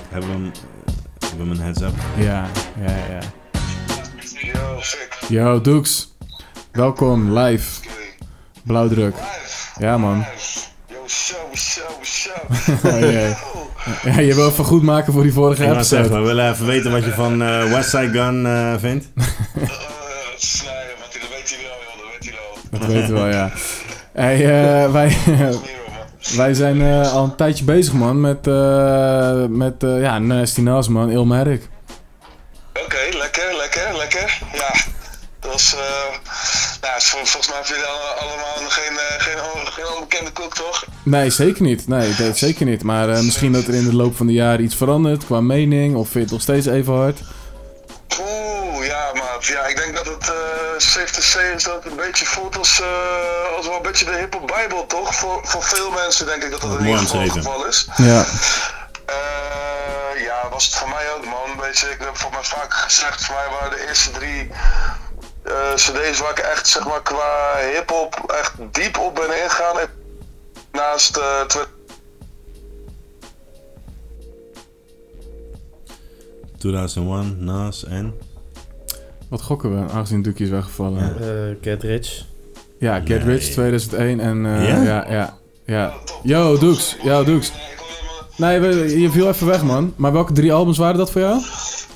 Hebben we hem, hebben we hem een heads-up?
Ja, ja, ja. Yo, Doeks. Welkom, live. Blauwdruk. Ja, man. Oh, jee. Ja, je wil even goed maken voor die vorige
Ik wou zeggen,
episode.
we willen even weten wat je van eh West Side Gun eh, vindt.
Eh,
Dat weten we wel, ja. Hey, eh, wij, wij zijn eh, al een tijdje bezig, man, met, eh met eh, ja, Nasty Nas, man. Ilmerik.
Oké, lekker, lekker, lekker. Ja, dat was. eh, Nou, vol- volgens mij hebben jullie alle- allemaal nog geen, eh, geen, on- geen onbekende koek, toch?
Nee, zeker niet. Nee, ik weet het zeker niet. Maar eh, misschien dat er in de loop van de jaren iets verandert qua mening. Of vind je het nog steeds even hard?
Oeh, ja, maat. Ja, ik denk dat het eh safe to say is dat het een beetje voelt als, eh, als wel een beetje de hippe bijbel, toch? Voor, voor veel mensen denk ik dat dat in
Mooi
ieder geval het
omschreven.
geval is.
Ja.
Eh, ja, was het voor mij ook, man. Weet je, ik heb voor mij vaak gezegd, voor mij waren de eerste drie eh, cd's waar ik echt, zeg maar, qua hip-hop echt diep op ben ingegaan. Ik- Naast eh Twi-
Hm. 2001, Nas en...
Wat gokken we, aangezien Duki is weggevallen. Ja,
Eh, Get Rich.
Get
Nee.
Rich 2001 en... eh,
Ja?
Ja, ja, ja. Yo, Doeks. Yo, Doeks. Nee, we- je viel even weg, man. Maar welke drie albums waren dat voor jou?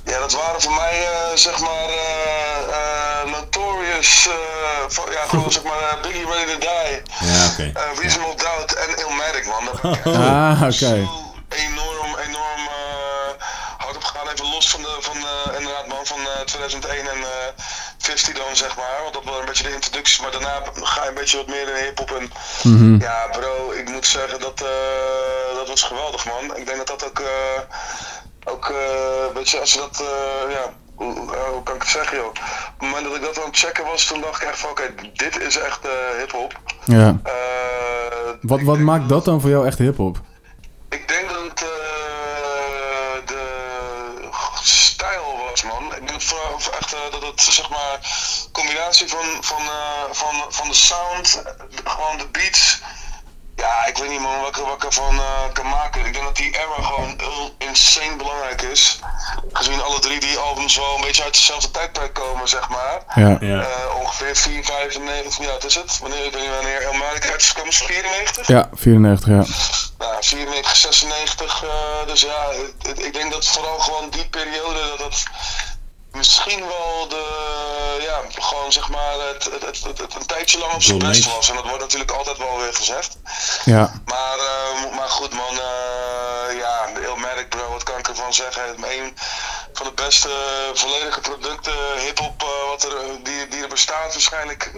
Ja, dat waren voor mij, eh, zeg maar, eh, eh, Notorious, eh, van- ja, gewoon zeg maar, eh, Biggie Ready to Die,
Ja, oké.
eh, Reasonable Doubt en Illmatic, man. Dat ben ik
Oh.
echt
Ah, oké.
zo enorm, enorm eh, hard op gegaan. Even los van, de, van eh, inderdaad, man, van eh, 2001 en eh 50 dan, zeg maar. Want dat was een beetje de introductie, maar daarna ga je een beetje wat meer in hip-hop. En
Mhm.
ja, bro, ik moet zeggen dat eh, dat was geweldig, man. Ik denk dat dat ook, eh, ook eh, weet je, als je dat, eh, ja, hoe, eh, hoe kan ik het zeggen, joh? Op het moment dat ik dat aan het checken was, toen dacht ik echt van, oké, dit is echt eh hip-hop.
Ja.
Eh,
Wat,
ik
wat
denk-
maakt dat dan voor jou echt hip-hop?
Ik denk dat het eh, de stijl was, man. Ik denk dat vooral of echt eh, dat het, zeg maar, combinatie van, van, eh, van, van de sound, eh, gewoon de beats. Ja, ik weet niet, man, wat ik, wat ik ervan eh, kan maken. Ik denk dat die era gewoon heel insane belangrijk is. Gezien alle drie die albums wel een beetje uit dezelfde tijdperk komen, zeg maar.
Ja.
Ja.
Eh, ongeveer 4, 95, ja, wat is het? Wanneer, ik weet niet wanneer Elmatic uit is gekomen, is het 94?
Ja, 94, ja.
Nou, 94, 96. eh, dus ja, het- het- ik denk dat vooral gewoon die periode dat het misschien wel de, ja, gewoon zeg maar het, het, het, het- het een tijdje lang op zijn
Dominate.
best was. En dat wordt natuurlijk altijd wel weer gezegd.
Ja.
Maar, eh, maar goed man, eh ja, heel merk bro, wat kan ik ervan zeggen? Een van de beste eh, volledige producten, hip-hop, eh, wat er, die, die er bestaat waarschijnlijk.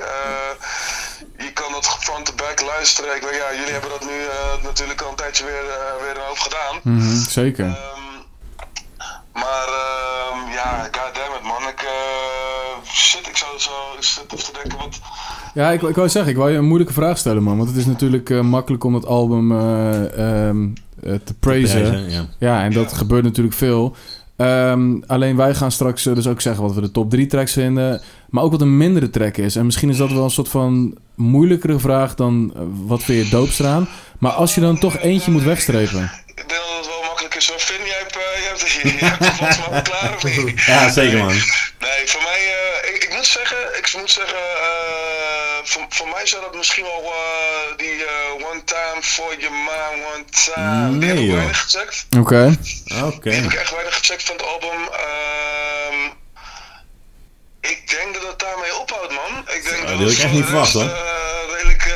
Eh, je kan dat front to back luisteren. Ik weet, ja, jullie hebben dat nu eh, natuurlijk al een tijdje weer, eh, weer een hoop gedaan.
Mhm, Zeker.
Ehm, maar ehm, ja, goddammit man, ik, eh, shit, ik zou zo, ik zit even te denken wat...
Ja, ik, ik wou zeggen, ik wou je een moeilijke vraag stellen, man. Want het is natuurlijk eh, makkelijk om dat album eh, ehm, eh, te praisen.
Prijzen, ja.
Ja, en dat gebeurt natuurlijk veel. Ehm, alleen wij gaan straks eh, dus ook zeggen wat we de top 3 tracks vinden. Maar ook wat een mindere track is. En misschien is dat wel een soort van moeilijkere vraag dan eh, wat vind je doopstraan. Maar als je dan toch eentje moet wegstrepen.
Ik denk dat het wel makkelijk is hoor. Finn, jij hebt, eh, jij hebt, jij hebt de volgens mij klaar of niet?
Ja, zeker man.
Nee, voor mij, eh, ik, ik moet zeggen, ik moet zeggen, eh, voor, voor mij zou dat misschien wel eh, die eh, One Time for Your Mind, One Time. die heb
Nee,
ik
joh.
weinig gecheckt.
Oké.
Oké.
Die heb ik echt weinig gecheckt van het album. Ehm, ik denk dat het daarmee ophoudt, man. Ik denk
Nou,
dat
dat had ik
het
echt
voor
niet
de rest,
verwacht, hoor.
eh, redelijk, eh,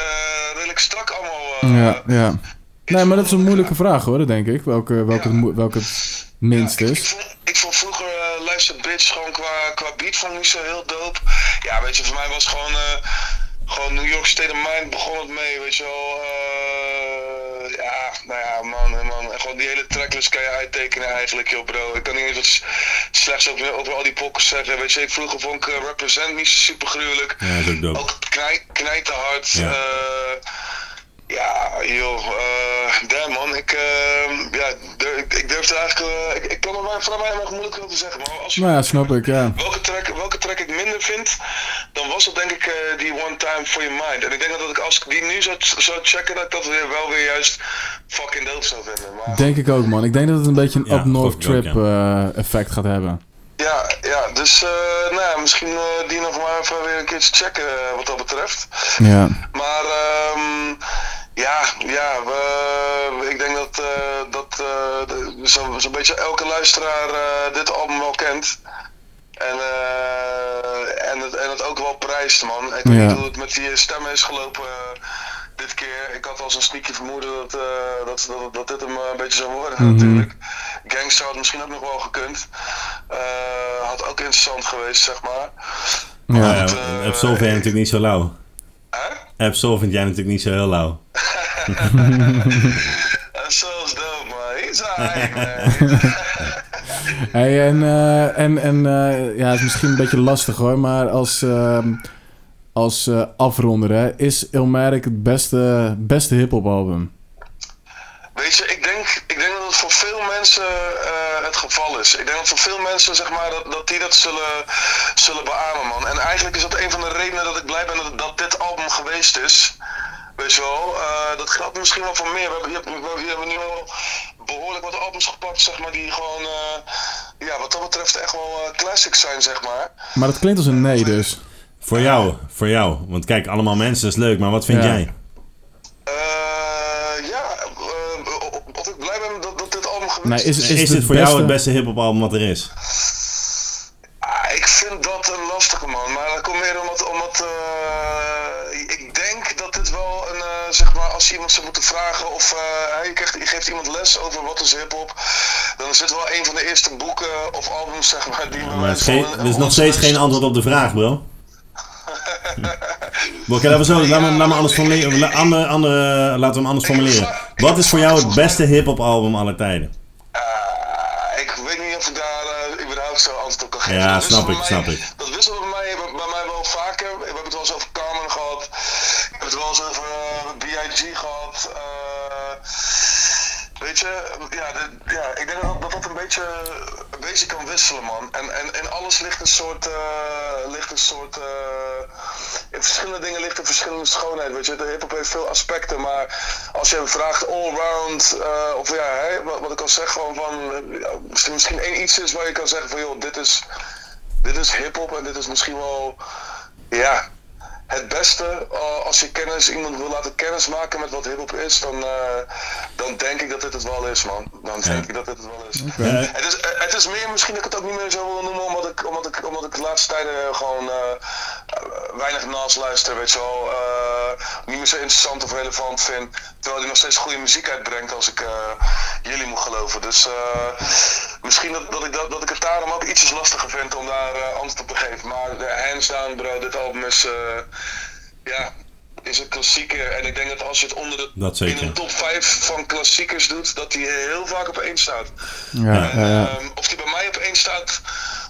redelijk strak allemaal. eh,
Ja, ja. Nee, maar dat is een moeilijke vraag hoor, dat denk ik. Welke, welke, het, moe- welke het minst
Ik, ik,
is.
vond, ik vond vroeger eh Life's a Bitch gewoon qua, qua beat vond ik niet zo heel dope. Ja, weet je, voor mij was gewoon, eh, gewoon New York State of Mind begon het mee, weet je wel. eh, ja, nou ja, man, eh, man. En gewoon die hele tracklist kan je uittekenen eigenlijk, joh bro. Ik kan niet eens wat s- slechts over, over al die pokkers zeggen. Weet je, ik vroeger vond ik eh, Represent niet super gruwelijk.
Ja, dat is ook dope.
Ook knij, knijterhard. eh,
Ja.
Ja. ja, joh. eh damn, man. Ik, eh, ja, durf, ik, ik durf er eigenlijk... eh, ik, ik kan er maar- voor mij nog moeilijk over te zeggen. Maar als je-
Nou ja, snap ik, ja.
welke, track, welke track ik minder vind, dan was dat denk ik eh, die One Time For Your Mind. En ik denk dat ik, als ik die nu zou, zou checken, dat ik dat weer, wel weer juist fucking dope zou vinden. Maar,
Denk ik ook, man. Ik denk dat het een beetje een
Ja,
Up North
geloof ik ook,
Trip eh, effect gaat hebben.
Ja, ja, dus eh, nou ja, misschien eh, die nog maar even weer een keertje checken eh, wat dat betreft.
Ja.
Maar ehm, ja, ja we- ik denk dat, eh, dat eh, de- zo- zo'n beetje elke luisteraar eh, dit album wel kent. En, eh, en, het, en het ook wel prijst, man. Ik weet
Ja.
niet hoe het met die stemmen is gelopen eh, dit keer. Ik had al zo'n sneaky vermoeden dat, eh, dat, dat, dat dit hem eh, een beetje zou worden,
Mhm.
natuurlijk. Gangster had misschien ook nog wel gekund. Eh, had ook interessant geweest, zeg maar.
Nou Ja,
Ja.
Absol vind jij natuurlijk niet zo lauw. Hè? Absol vind jij natuurlijk niet zo heel lauw.
So's dope, man. He's alright, man.
Hey, en eh, en, en eh, ja, het is misschien een beetje lastig hoor, maar als, ehm, als eh, afronder, hè, is Ilmatic het beste, beste hip-hop album?
Weet je, ik denk, ik denk dat het voor veel mensen eh, het geval is. Ik denk dat voor veel mensen, zeg maar, dat, dat die dat zullen, zullen beamen, man. En eigenlijk is dat een van de redenen dat ik blij ben dat, dat dit album geweest is. Weet je wel, Eh, dat geldt misschien wel voor meer. We hebben, je hebt- we, we hebben nu al behoorlijk wat albums gepakt, zeg maar, die gewoon, eh, ja, wat dat betreft echt wel eh, classics zijn, zeg maar.
Maar dat klinkt als een nee dus.
Voor jou, voor jou. Want kijk, allemaal mensen is leuk, maar wat vind
Ja.
jij?
Eh, ja, eh, of- of ik blij ben dat, dat dit album geweest
Nee, Nou, is, is,
Is,
het
dit voor jou het
beste-
beste hip-hop album wat er is?
Ah, Ik vind dat een lastige man, maar dat komt meer omdat, omdat eh, ik denk dat dit wel een, eh, zeg maar, als je iemand zou moeten vragen of eh, hij krijgt, je geeft iemand les over wat is hip-hop, dan is dit wel een van de eerste boeken of albums, zeg maar, die
Maar het is, geen-
van-
er is nog steeds geen antwoord op de vraag, bro. Oké, laten we zo, laten we, laten we anders formuleren. la- Andere, andere, laten we hem anders formuleren. Wat is voor jou het beste hip-hop album aller tijden?
Ah, ik weet niet of ik daar eh, überhaupt zo antwoord op kan geven.
Ja,
Dat
snap
wisselt
ik,
bij mij-
snap ik.
Dat wisselt bij mij, bij mij wel vaker. We hebben het wel eens over Carmen gehad. Ik heb het wel eens over eh, B.I.G. gehad. Eh, weet je, ja, dit- ja, ik denk dat dat, dat een, beetje, een beetje kan wisselen, man. En, en, en alles ligt een soort... eh, ligt een soort eh, in verschillende dingen ligt er verschillende schoonheid. Weet je, de hip-hop heeft veel aspecten, maar als je hem vraagt allround, eh of ja, hè, wat, wat ik al zeg, gewoon van eh, ja, misschien, misschien één iets is waar je kan zeggen van joh, dit is, dit is hip-hop en dit is misschien wel ja, het beste. eh, als je kennis, iemand wil laten kennismaken met wat hip-hop is, dan, eh, dan denk ik dat dit het wel is, man. Dan denk ik dat dit het wel is.
Eh,
Het is, het is meer, misschien dat ik het ook niet meer zo wil noemen, omdat ik, omdat ik, omdat ik de laatste tijden gewoon eh, eh, weinig naast luister, weet je wel. eh, niet meer zo interessant of relevant vind. Terwijl hij nog steeds goede muziek uitbrengt als ik eh, jullie moet geloven. Dus eh, misschien dat, dat, ik dat, dat ik het daarom ook ietsjes lastiger vind om daar eh, antwoord op te geven. Maar de hands down bro, dit album is, eh, ja, is een klassieker. En ik denk dat als je het onder de,
Dat zeker.
in de top 5 van klassiekers doet, dat die heel vaak op één staat.
Ja, ja, ja.
Ehm, of die bij mij op één staat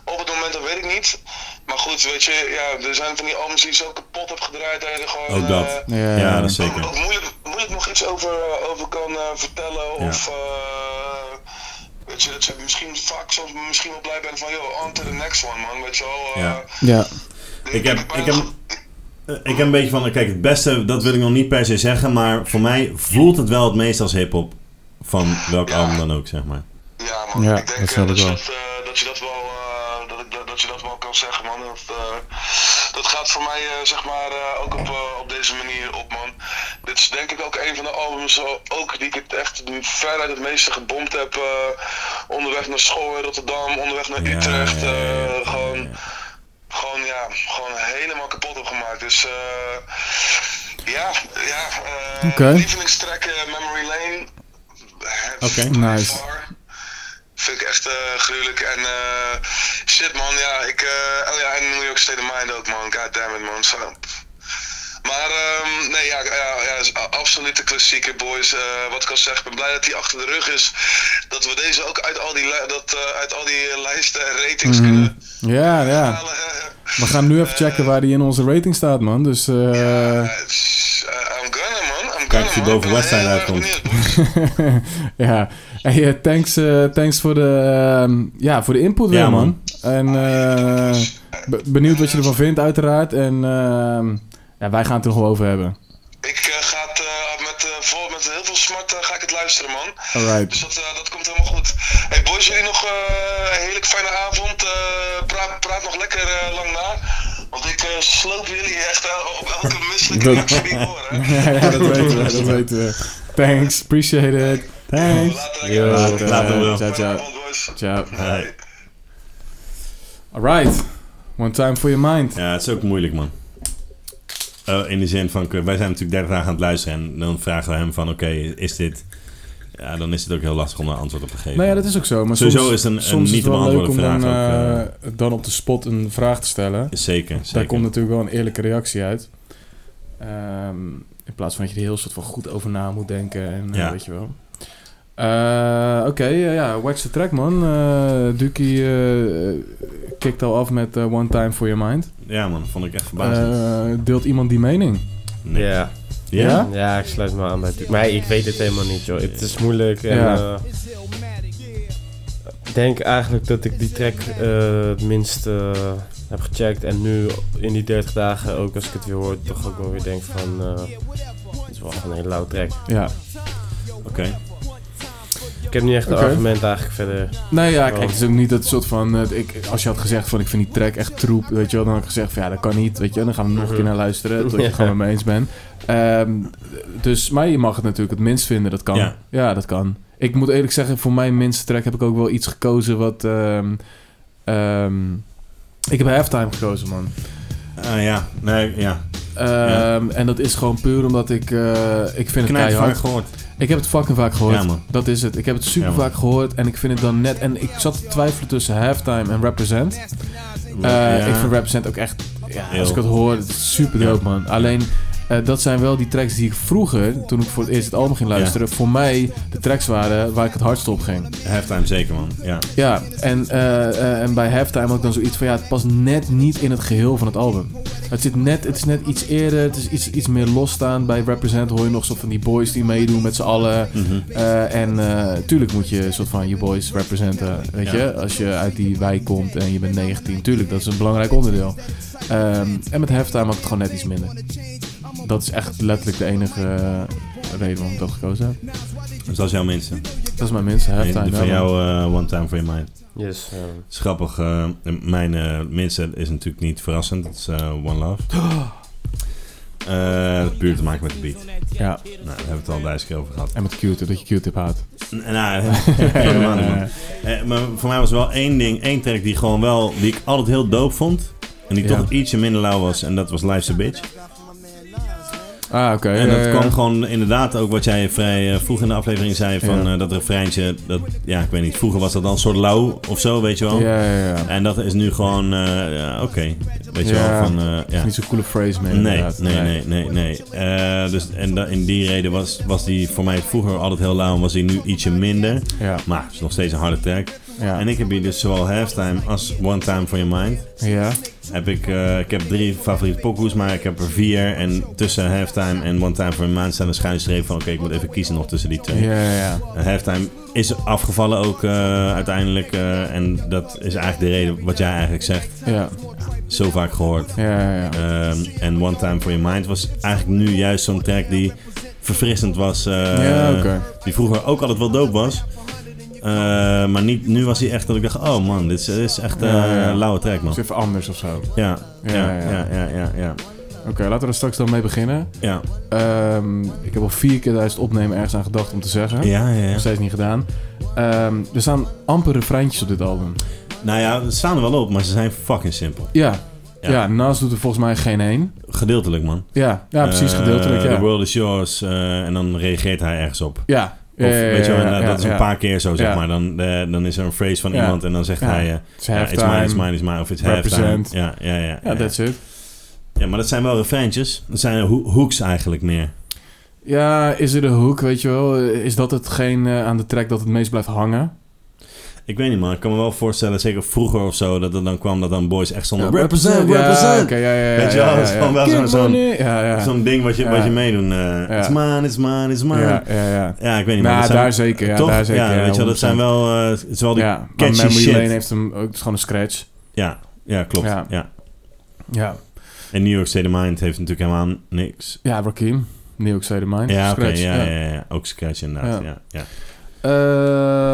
op het moment, dat weet ik niet. Maar goed, weet je, ja, er zijn van die albums die je zo kapot hebt gedraaid dat je er gewoon...
Ook dat.
eh,
Ja,
Ja, dat is zeker.
ook moeilijk, moeilijk nog iets over, over kan eh, vertellen.
Ja.
Of eh, weet je, dat je misschien vaak soms misschien wel blij bent van, joh, on to the next one, man. Weet je wel. eh,
Ja.
Ja.
Ik heb,
bijna
ik, heb, eh, ik heb een beetje van, kijk, het beste, dat wil ik nog niet per se zeggen, maar voor mij voelt het wel het meest als hip-hop van welk
Ja.
album dan ook, zeg maar.
Ja, man,
Ja,
ik denk
dat
eh,
snap
dat,
ik
je
wel.
dat, eh, dat je dat wel eh, dat, ik, dat, dat je dat wel kan zeggen, man. Dat, eh, dat gaat voor mij eh, zeg maar eh, ook op, eh, op deze manier op, man. Dit is denk ik ook een van de albums eh, ook die ik het echt veruit het meeste gebomd heb. eh, onderweg naar school in Rotterdam, onderweg naar
Ja,
Utrecht.
ja, ja, ja,
eh,
ja, ja.
gewoon, gewoon ja, gewoon helemaal kapot heb gemaakt. Dus eh, ja, ja. eh
Oké.
Lievelingstrek eh, Memory Lane. eh,
Oké.
by
Nice.
far. Vind ik echt eh, gruwelijk. En eh, shit man, ja, ik. eh, oh ja, en New York State of Mind ook man. God damn it man. Zo. Maar ehm, nee, ja, ja, ja is a- absoluut de klassieke boys. Eh, wat ik al zeg, ik ben blij dat die achter de rug is. Dat we deze ook uit al die, li- dat, eh, uit al die eh, lijsten en ratings
Mhm,
kunnen
Ja, ja.
halen. eh.
We gaan nu even checken waar die in onze rating staat, man. Dus eh,
Eh, s- eh, I'm gonna man, I'm gonna
Kijk of je
man.
boven
Ik ben
West Side
heel erg
uitkomt.
benieuwd, boys.
ja. Hey, eh, thanks, eh, thanks voor, de, ehm, ja, voor de input
Ja,
weer, man.
man.
En eh, be- benieuwd wat je ervan vindt, uiteraard. En ehm, ja, wij gaan het er nog wel over hebben.
Ik eh, ga het eh, met, eh, vol, met heel veel smart eh, ga ik het luisteren, man. Dus
Alright.
dat, eh, dat komt helemaal goed. Hey boys, jullie nog eh, een heerlijk fijne avond. Eh, praat, praat nog lekker eh, lang na. Want ik eh, sloop jullie echt eh, op elke misselijke reactie die ik hoor. Hè.
ja, ja, dat weten we, dat weten we. Thanks, appreciate it. Thanks.
Later, lekker. Fijne
Later, bro.
Ciao, ciao.
avond, boys.
Ciao.
Hey.
Alright. One time for your mind.
Ja, het is ook moeilijk, man. Oh, Eh, in de zin van, wij zijn natuurlijk 30 dagen aan het luisteren en dan vragen we hem van, oké, is dit Ja, dan is het ook heel lastig om daar antwoord op te geven.
Nou ja, dat is ook zo. Maar
Sowieso
soms,
is een- een
soms
niet
is
te
het wel leuk om
beantwoorden
dan,
vraag
eh, dan op de spot een vraag te stellen.
Is Zeker, zeker.
Daar komt natuurlijk wel een eerlijke reactie uit. Ehm, in plaats van dat je er heel soort van goed over na moet denken. En, eh,
Ja.
Weet je wel. Eh, Oké, eh, ja, wax the track man. Eh Duki eh, kikt al af met eh, One Time For Your Mind.
Ja man, vond ik echt verbazend.
Eh, deelt iemand die mening?
Nee.
Ja.
Ja?
Eh, Ja?
Ja, ik sluit me aan bij Duke. Maar hey, ik weet het helemaal niet, joh. Het is moeilijk. En,
Ja.
eh, ik denk eigenlijk dat ik die track eh, het minst eh, heb gecheckt. En nu in die 30 dagen, ook als ik het weer hoor, toch ook wel weer denk van... eh, het is wel echt een hele lauw track.
Ja.
Oké.
Ik heb niet echt een
Oké.
argument eigenlijk verder.
Nee,
Oh.
ja,
Want-
kijk, het is ook niet dat soort van... eh, ik, als je had gezegd van, ik vind die track echt troep, weet je wel. Dan had ik gezegd van, ja, dat kan niet, weet je wel. Dan gaan we nog
Mhm.
een keer naar luisteren, tot je het
Ja.
gewoon met me eens bent. Ehm, dus, maar je mag het natuurlijk het minst vinden, dat kan.
Ja.
Ja, dat kan. Ik moet eerlijk zeggen, voor mijn minste track heb ik ook wel iets gekozen wat... ehm, ehm, ik heb halftime gekozen, man.
Ah, ja, nee, ja.
Ehm, En dat is gewoon puur omdat ik... eh, ik vind het
Knijt vaak
keihard.
gehoord.
Ik heb het fucking vaak gehoord.
Ja, man.
dat is het. Ik heb het super
Ja, man.
vaak gehoord en ik vind het dan net... En ik zat te twijfelen tussen halftime en represent. Eh,
Ja.
Ik vind Represent ook echt, ja, als ik
Heel.
het hoor, het is super dope man. Alleen, eh, dat zijn wel die tracks die ik vroeger, toen ik voor het eerst het album ging luisteren, voor mij de tracks waren waar ik het hardst op ging.
Halftime zeker man, ja.
Ja, en, eh, eh, en bij Halftime ook dan zoiets van, ja, het past net niet in het geheel van het album. Het, zit net, het is net iets eerder, het is iets, iets meer losstaan. Bij Represent hoor je nog zo van die boys die meedoen met z'n allen.
Mhm.
Eh, en eh, tuurlijk moet je soort van je boys representen, weet
Ja.
je. Als je uit die wijk komt en je bent 19, tuurlijk, dat is een belangrijk onderdeel. Ehm, en met Halftime had ik het gewoon net iets minder. Dat is echt letterlijk de enige eh, reden waarom ik dat gekozen heb.
Dus dat is jouw mensen.
Dat is mijn minste Halftime.
En die van
ja, man.
jou, eh, One Time For Your Mind.
Yes. eh,
Het is grappig, eh, mijn eh minste is natuurlijk niet verrassend. Dat is eh, One Love. Eh, puur te maken met de beat.
ja.
Nou, daar hebben we het al duizend keer over gehad.
En met Q-tip, dat je Q-tip haat.
N- Nou, helemaal niet, man. Eh, maar voor mij was er wel één ding, één track die gewoon wel, die ik altijd heel dope vond. En die
Ja.
toch ietsje minder lauw was. En dat was Life's a Bitch.
Ah, oké.
En
ja,
dat
ja,
kwam
ja.
gewoon inderdaad ook wat jij vrij eh, vroeg in de aflevering zei. Van
Ja.
eh, dat refreintje, dat, ja ik weet niet, vroeger was dat dan een soort lauw of zo, weet je wel.
Ja, ja, ja.
En dat is nu gewoon, eh, ja, oké, weet je
Ja.
wel, van, eh, ja.
Niet zo'n coole phrase meer.
Nee,
inderdaad.
nee, nee, nee, nee. Eh, dus, en da- in die reden was, was die voor mij vroeger altijd heel lauw en was die nu ietsje minder.
Ja,
Maar het is nog steeds een harde track.
ja.
En ik heb hier dus zowel Halftime als One Time For Your Mind.
Ja,
Heb ik, eh, ik heb drie favoriete pokoes, maar ik heb er vier. En tussen Halftime en One Time For Your Mind staan een schuinstreep van... Oké, ik moet even kiezen nog tussen die twee.
ja, ja. ja.
En Halftime is afgevallen ook eh, uiteindelijk. eh, en dat is eigenlijk de reden wat jij eigenlijk zegt.
Ja,
Zo vaak gehoord.
ja, ja. ja.
Ehm, en One Time For Your Mind was eigenlijk nu juist zo'n track die verfrissend was. eh,
Ja, oké.
Die vroeger ook altijd wel dope was. Eh, maar niet, nu was hij echt dat ik dacht, oh man, dit is, dit is echt eh,
Ja, ja, ja.
een lauwe track man.
Is even anders of zo. Oké,
Ja,
Ja,
ja,
ja.
ja, ja, ja, ja.
laten we er straks dan mee beginnen.
Ja,
Ehm, ik heb al vier keer tijdens het opnemen ergens aan gedacht om te zeggen.
ja, ja, ja.
Nog steeds niet gedaan. Ehm, er staan amper refreintjes op dit album.
Nou ja, ze staan er wel op, maar ze zijn fucking simpel.
Ja.
Ja.
Ja, Nas doet er volgens mij geen één.
Gedeeltelijk man.
Ja, ja precies,
Eh,
gedeeltelijk,
The
ja.
world is yours eh, en dan reageert hij ergens op.
Ja.
Of,
Ja, ja,
weet je wel, eh,
ja,
dat-
ja,
dat is een
ja.
paar keer zo, zeg
Ja.
maar. Dan, eh, dan is er een phrase van
Ja.
iemand en dan zegt
Ja.
hij... eh,
Het is
Ja, it's
halftime.
mine, it's mine, it's mine. Of it's halftime.
Represent.
Ja, ja, ja,
Ja,
ja, ja.
that's it.
Ja, maar dat zijn wel refreintjes. Dat zijn ho- hooks eigenlijk meer.
Ja, is er een hoek, weet je wel? Is dat hetgeen eh, aan de track dat het meest blijft hangen?
Ik weet niet, maar ik kan me wel voorstellen, zeker vroeger of zo, dat het dan kwam dat dan boys echt stonden...
Ja,
represent,
ja,
represent!
oké, ja, ja, ja,
Weet je wel,
ja,
dat is
ja,
gewoon
ja.
wel zo'n-
Get
zo'n-
money! Ja, ja.
Zo'n ding wat je,
Ja.
wat je meedoen. eh It's mine, it's mine, it's mine.
ja,
Ja,
ja, ja.
ik weet niet,
Nou,
maar dat
daar
zijn-
zeker, ja,
toch?
daar zeker, ja,
weet je wel, dat zijn wel... eh, het is wel die...
Ja, maar
catchy
Memory
shit.
Lane heeft hem ook, het is gewoon een scratch.
Ja, ja klopt. Ja.
Ja. Ja,
En New York State of Mind heeft natuurlijk helemaal niks.
ja Rakim, New York State of Mind,
Ja, oké,
scratch.
ja, ja.
ja.
Ja, ja. ook Scratch inderdaad. Ja. Ja,
Eh,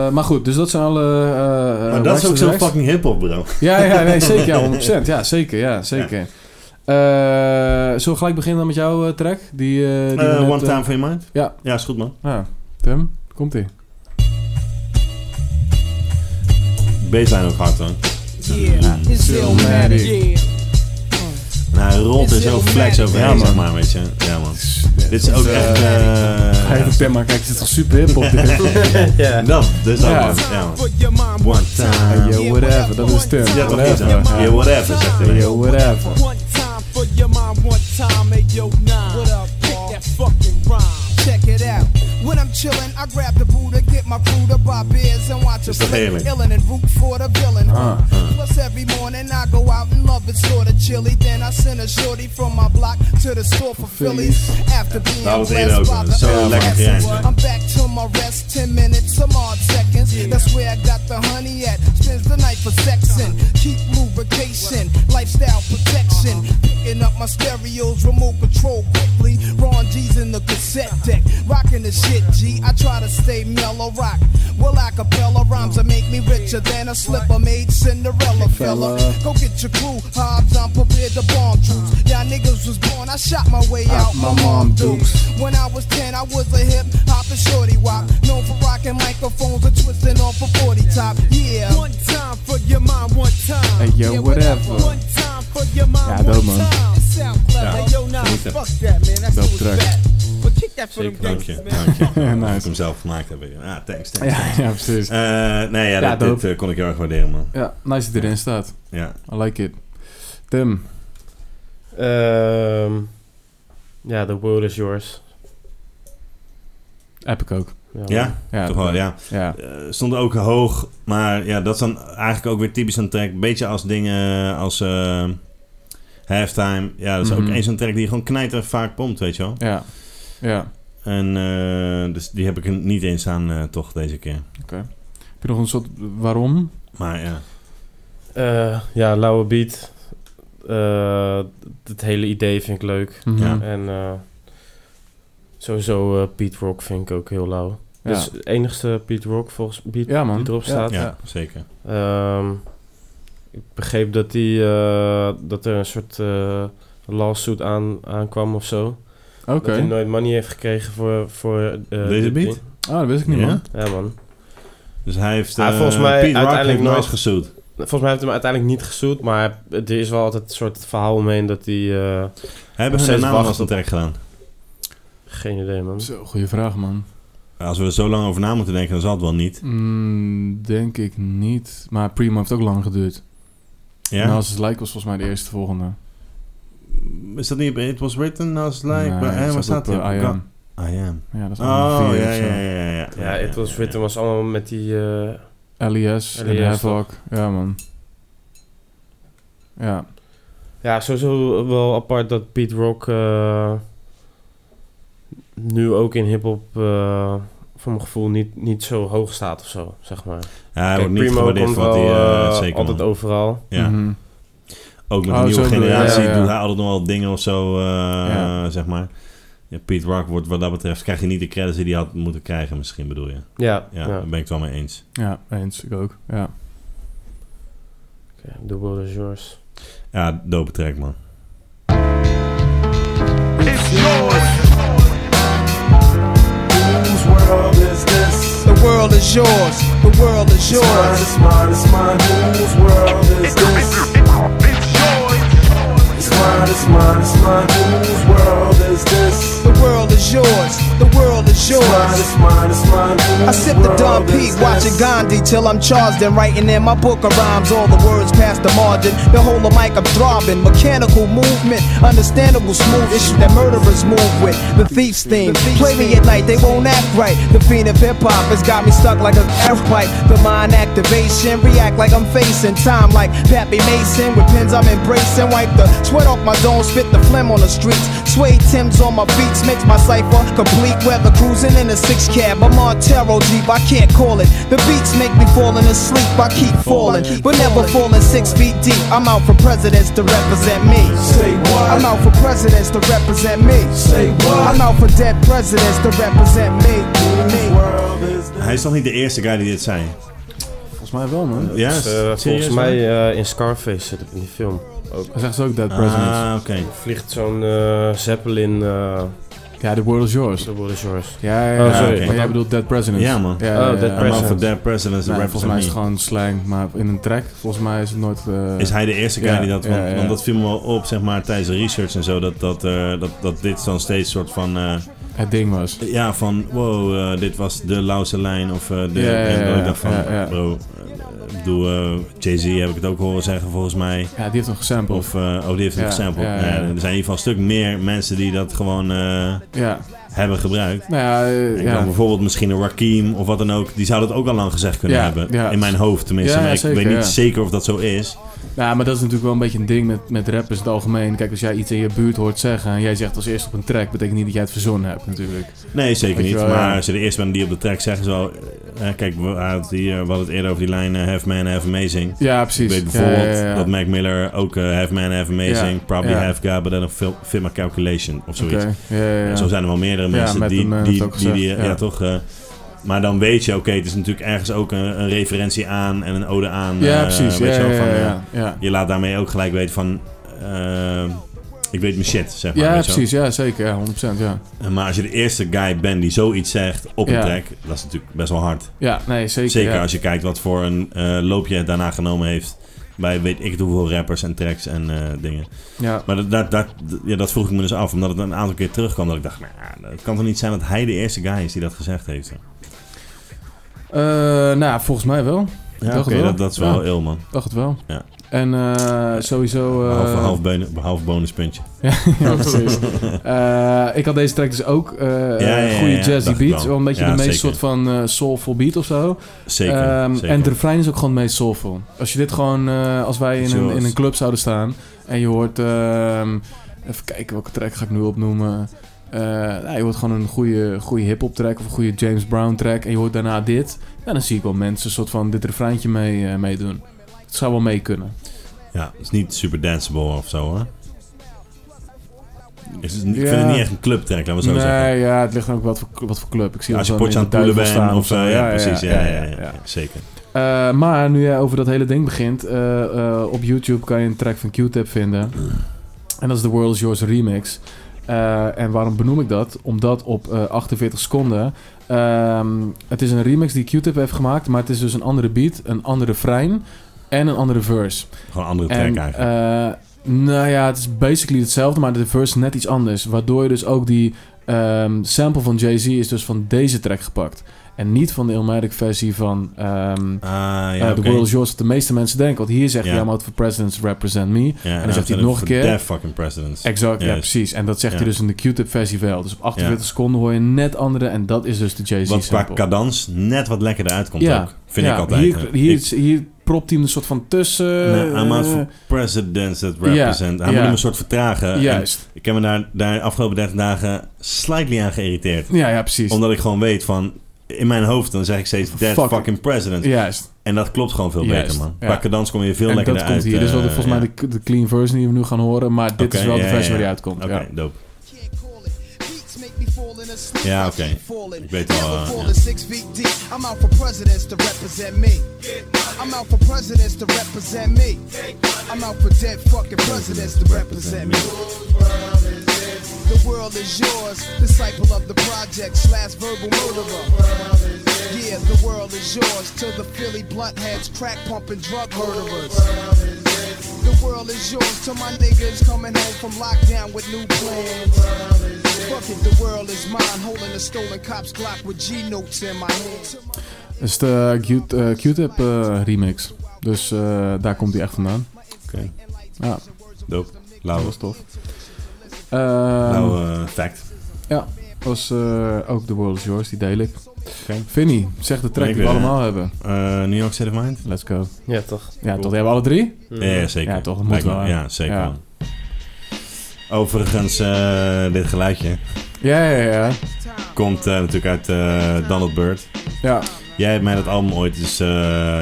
maar goed, dus dat zijn alle... eh, eh,
Maar dat is ook
wax
zo
tracks.
fucking hip-hop, bro.
Ja, ja, nee, zeker, ja, 100%. Ja, zeker, ja, zeker. Eh, zullen we gelijk beginnen dan met jouw eh, track? Die, eh, die we
Eh,
net,
one
eh,
Time For Your Mind?
ja.
Ja, is goed, man.
Nou, Tim, komt ie.
Baseline ook hard, hoor.
It's Illmatic.
Nou, hij rolt er zo flex overheen,
Ja, man.
zeg maar, weet je. Ja, man.
Het is, eh,
Dit is ook echt... eh,
Ga even per maar kijk, het is toch super hip op dit.
ja. Dat, dat is
Ja.
ook... Ja, man. One time.
Hey, yo, whatever, dat is term.
Ja, toch niet zo.
Ja.
Yeah, whatever, zegt hij.
Yo, whatever.
Check it out. When I'm chillin', I grab the Buddha, get my crew to buy beers and watch a
Is dat
flick.
heerlijk?
Illin' and root for the villain.
Ah,
ah.
Plus every morning I go out and love it sorta chilly. Then I send a shorty from my block to the store for Phillies. After being
Daar was
blessed
eerder ook
by
aan.
the
Zo
early
lekker
blessings.
gerijmd, hè?
I'm back to my rest, 10 minutes, some odd seconds. That's where I got the honey at. Spends the night for sexing. Keep lubrication, lifestyle protection. Picking up my stereos, remote control quickly. Ron G's in the cassette deck. Rocking the shit, G. I try to stay mellow rock. Well, acapella rhymes that make me richer than a slipper made Cinderella fella. Go get your crew, Hobbs. I'm prepared to bomb troops. Y'all niggas was born, I shot my way out. My mom dukes. When I was 10, I was a hip hop and shorty wop. Known for rocking microphones and twisting off a 40 top. Yeah. One time for your mom, one time.
Hey, yo, whatever.
One time for your mom,
Ja, dope, man.
Ja, yo, nah,
genieten.
fuck that, man. That's
Dope
what's
track.
bad. But kick that for them
Zeker.
Dank
gangsters,
je,
man.
dank je.
Ja,
Dat
nice.
ik hem zelf gemaakt heb weer. Ah, thanks, thanks.
Ja, ja, precies.
Eh, nee, ja,
Ja,
dit,
dope.
dit, eh, kon ik heel erg waarderen, man.
Ja, nice dat hij erin staat.
Ja.
I like it. Tim,
Ehm, ja, The World Is Yours.
heb ik ook.
Ja?
Ja,
Toch wel, ja.
Ja,
Eh, stond ook hoog, maar ja, dat is dan eigenlijk ook weer typisch een track. Beetje als dingen als eh, Halftime. Ja, dat is
Mhm.
ook eens een track die je gewoon knijter vaak pompt, weet je wel.
ja, ja.
En eh, dus die heb ik er niet eens aan, eh, toch, deze keer.
Heb je nog een soort waarom?
Maar ja,
Eh, ja, lauwe beat. Eh, het hele idee vind ik leuk.
Mhm.
Ja.
En eh, sowieso eh, Pete Rock vind ik ook heel lauw.
Ja.
Dat
Dus,
is het enigste Pete Rock volgens Pete
ja, man.
die erop staat.
ja,
Ja.
zeker.
Ehm, ik begreep dat, die, eh, dat er een soort eh lawsuit aan, aankwam of zo.
Oké.
Dat hij nooit money heeft gekregen voor... voor eh,
Deze
dit
beat?
ding.
Ah, dat wist ik niet,
Ja?
man.
Ja, man.
Dus hij heeft
Hij
eh,
volgens mij
Pete Rock
uiteindelijk
heeft nooit
nooit-
gesuit.
Volgens mij heeft hij hem uiteindelijk niet gezoet, maar er is wel altijd een soort verhaal omheen dat hij... eh,
Hebben ze
steeds
daarna nog
wachten
eens een
op-
track gedaan?
geen idee, man.
Zo, goede vraag, man.
Als we er zo lang over na moeten denken, dan zal het wel niet.
Mm, denk ik niet. Maar Primo heeft ook lang geduurd.
Ja?
En als het lijkt was volgens mij de eerste volgende.
Is dat niet op It Was Written As Like...
Nee,
eh,
het
waar staat
op,
die?
eh, I
Go-
am.
I am.
Ja, dat is allemaal
Oh,
vier
ja,
of zo.
ja, ja, ja.
Ja, It Was Written was allemaal met die... eh,
LES en
LES,
Havoc. Ja, man. Ja.
ja, sowieso wel apart dat Pete Rock eh, nu ook in hip-hop eh, voor mijn gevoel niet, niet zo hoog staat of zo, zeg maar.
Ja, hij
Kijk,
wordt niet gewaardeerd voor wat hij...
eh,
eh, zeker
altijd
man.
overal.
Ja.
Mhm.
Ook met
Oh,
de nieuwe
zo bedoel je,
generatie
ja, ja.
doet hij altijd nog wel dingen of zo, eh,
Ja.
zeg maar. Ja, Pete Rock wordt wat dat betreft... krijg je niet de credits die hij had moeten krijgen misschien, bedoel je.
Ja,
Ja,
ja.
daar ben ik het wel mee eens.
Ja, eens. Ik ook. Ja.
Oké, The World Is Yours.
Ja, dope track, man.
It's yours. Whose world is this?
The world is yours. The world is
It's mine,
yours.
it's mine, it's mine. Whose world is this? It's mine, it's mine, it's mine. Whose world is this?
The world is yours. The world is
It's mine,
yours.
it's mine, it's mine.
I
Whose
sip the Don
world
P,
is
watching
this?
Gandhi till I'm charged and writing in my book of rhymes. All the words past the margin. The whole of mic I'm throbbing. Mechanical movement, understandable smooth issue that murderers move with. The thief's theme. Play me at night, they won't act right. The fiend of hip hop has got me stuck like a gas pipe. The mind activation, react like I'm facing time like Pappy Mason. With pins I'm embracing, wipe the sweat off my dome, spit the phlegm on the streets. Sway Tim's on my beats, makes my cipher complete. Weather cruising in a six cab. I'm on tarot deep, I can't call it. The beats make me falling asleep, I keep falling, but never falling six feet deep. I'm out for presidents to represent me.
Say what?
I'm out for presidents to represent me.
Say what?
I'm out for dead presidents to represent me. me.
Whose world is this?
Hij is toch niet de eerste guy die dit zei?
Volgens mij wel, man.
Ja,
Dus, eh, volgens
serieus,
mij
man?
eh, in Scarface zit het in die film.
Hij zegt ze ook Dead Presidents.
Ah, oké.
Vliegt zo'n eh, Zeppelin eh,
Ja, The World is Yours.
The World is Yours.
Ja, ja, ja.
Oh, sorry.
Maar jij bedoelt Dead President.
Ja, man.
Oh, Dead
A man
President.
for dead presidents
Nee,
a rap
volgens
for
mij is het
me.
gewoon slang, maar in een track. Volgens mij is het nooit... eh,
Is hij de eerste guy
Ja,
die dat... Want,
ja, ja.
want dat viel me wel op, zeg maar, tijdens de research en zo. Dat, dat, eh, dat, dat dit dan steeds soort van... eh,
het ding was.
ja, van wow, eh, dit was de lauwste lijn. Of eh, de...
Ja, ja,
en
ja,
dat ik
ja,
dacht van,
ja, ja.
bro... eh, Ik bedoel, eh, Jay-Z heb ik het ook horen zeggen, volgens mij.
Ja, die heeft hem gesampled.
Of, eh, oh, die heeft het
Ja,
gesampled.
ja, ja,
Ja,
ja.
er zijn in ieder geval een stuk meer mensen die dat gewoon eh,
ja.
hebben gebruikt.
Nou ja, eh,
Ik
ja.
dan bijvoorbeeld misschien een Rakim of wat dan ook. Die zou dat ook al lang gezegd kunnen
Ja,
hebben.
ja.
In mijn hoofd tenminste.
Ja,
maar ik
zeker,
weet niet
ja.
zeker of dat zo is.
Ja, Nou, maar dat is natuurlijk wel een beetje een ding met, met rappers in het algemeen. Kijk, als jij iets in je buurt hoort zeggen en jij zegt als eerste op een track, betekent niet dat jij het verzonnen hebt natuurlijk.
Nee, zeker
Weet je
niet.
wel,
maar
ja.
als je de eerste bent die op de track zegt, is wel... eh, kijk, we hadden, het hier, we hadden het eerder over die lijn eh, Have Man, Have Amazing.
Ja, precies.
Ik weet bijvoorbeeld
Ja, ja, ja.
dat Mac Miller ook eh, Have Man, Have Amazing.
Ja,
Probably
ja.
Have God, but then a fil- fit my calculation of zoiets.
Oké, ja, ja, ja.
Zo zijn er wel meerdere
Ja,
mensen
met
die,
hem, eh,
die,
heeft ook
die, die-
gezegd,
ja.
ja.
toch... eh, maar dan weet je, oké, het is natuurlijk ergens ook een, een referentie aan en een ode aan.
Ja,
eh,
precies.
weet
Ja,
je wel,
ja,
van,
ja,
eh,
ja, ja.
je laat daarmee ook gelijk weten van... eh, ik weet mijn shit, zeg maar.
Ja,
weet je wel.
precies. Ja, zeker. Ja, 100%. Ja,
En Maar als je de eerste guy bent die zoiets zegt op een
Ja.
track... Dat is natuurlijk best wel hard.
ja nee, zeker.
Zeker
ja.
als je kijkt wat voor een eh, loopje het daarna genomen heeft... Bij weet ik het hoeveel rappers en tracks en eh, dingen.
Ja.
Maar dat, dat, dat- ja, dat vroeg ik me dus af. Omdat het een aantal keer terugkwam. Dat ik dacht, nou, het kan toch niet zijn dat hij de eerste guy is die dat gezegd heeft.
Eh, nou, volgens mij wel.
Ja,
dacht
oké,
het wel.
dat, dat is wel
Ja.
heel man.
Dacht het wel.
Ja.
En eh, sowieso... eh,
Behalve half, bene- behalve bonuspuntje.
ja, precies. Eh, ik had deze track dus ook. eh,
ja, ja,
goede
ja, dacht
jazzy
ik
beat.
wel.
Wel een beetje
Ja,
de meest
zeker.
soort van eh, soulful beat of zo.
Zeker,
Ehm,
zeker.
En de refrein is ook gewoon het meest soulful. Als je dit gewoon, eh, als wij in een,
Zoals.
in een club zouden staan en je hoort, ehm, even kijken welke track ga ik nu opnoemen. Eh, nou, je hoort gewoon een goede, goede hip-hop track of een goede James Brown track en je hoort daarna dit. Ja, dan zie ik wel mensen een soort van dit refreintje mee, eh, meedoen. Het zou wel mee kunnen.
Ja, het is niet super danceable of zo, hè? Is het- ik
Ja.
vind het niet echt een clubtrack, laten we zo
nee,
zeggen.
ja, het ligt dan ook wat voor, wat voor club. Ik zie
Ja, als je
dat wel
potje aan het
in de
poelen
duivel
bent
staan
of zo. Ja, precies. Ja, ja, ja,
ja.
zeker.
Eh, maar nu jij over dat hele ding begint, eh, eh, op YouTube kan je een track van Q-Tip vinden. En dat is The World Is Yours remix. Eh, en waarom benoem ik dat? Omdat op eh, 48 seconden. ehm, het is een remix die Q-Tip heeft gemaakt, maar het is dus een andere beat, een andere refrein en een andere verse.
Gewoon een andere track
En,
eigenlijk.
eh, nou ja, het is basically hetzelfde, maar de verse net iets anders. Waardoor je dus ook die ehm, sample van Jay-Z is dus van deze track gepakt. En niet van de Illmatic versie van ehm,
ah,
eh,
ja,
The
oké.
World is Yours, wat de meeste mensen denken. Want hier zegt
Ja.
hij, I'm out for presidents, represent me.
Ja,
en dan zegt hij het nog een keer.
Deaf fucking presidents.
Exact, ja
Juist.
precies. En dat zegt
Ja.
hij dus in de Q-tip versie wel. Dus op 48 seconden hoor je net andere en dat is dus de Jay-Z
Wat qua
sample.
cadans net wat lekkerder uitkomt ook. Vind
ja,
ik altijd.
Hier,
Ik-
hier, hier propt hij hem een soort van tussen.
Nee, I'm out
eh,
for presidents that represent. Hij
ja.
moet hem een soort vertragen. En
Juist.
Ik heb me daar, daar de afgelopen 30 dagen slightly aan geïrriteerd.
Ja, ja, precies.
Omdat ik gewoon weet van... In mijn hoofd dan zeg ik steeds... That
Fuck.
fucking president.
Juist.
En dat klopt gewoon veel
Juist,
beter, man.
ja.
Qua cadans kom je veel
En dat
lekkerder
komt
uit.
hier. Dit is wel de,
eh,
volgens mij de, de clean version die we nu gaan horen. Maar dit
Oké,
is wel
ja,
de
ja,
versie
ja.
waar die uitkomt.
Oké,
ja.
dope.
Ja, oké. Ik weet wel. eh, ja. I'm out for presidents to represent me. I'm out for presidents to represent me. I'm out for dead fucking presidents to represent me. The world is yours, disciple of the project, slash verbal murderer. Yeah, the world is yours, till the Philly blunt heads, crack pumping drug murderers. The world is yours, till my niggas coming home from lockdown with new plans. Fuck it, the world is mine, holding a stolen cop's Glock with G notes in my hand.
Dat is de Q- eh, Q-tip eh, remix. Dus eh, daar komt hij echt vandaan.
Oké.
Ja,
Dope. Lauwe.
Ehm,
Lauwe eh, fact.
Ja, was eh, ook The World is Yours, die deel ik.
Oké.
Vinnie, zeg de track
Ik
die we
weer,
allemaal hebben.
Eh, New York State of Mind?
Let's go.
Ja, toch?
Ja, tot hebben we alle drie?
Ja, ja, zeker.
Ja, toch, dat moet
Lijkt me-
wel, hè?
Ja, zeker.
Ja.
wel. Overigens, eh, dit geluidje
Ja, ja, ja.
komt eh, natuurlijk uit eh, Donald Byrd.
Ja,
Jij hebt mij dat album ooit dus eh,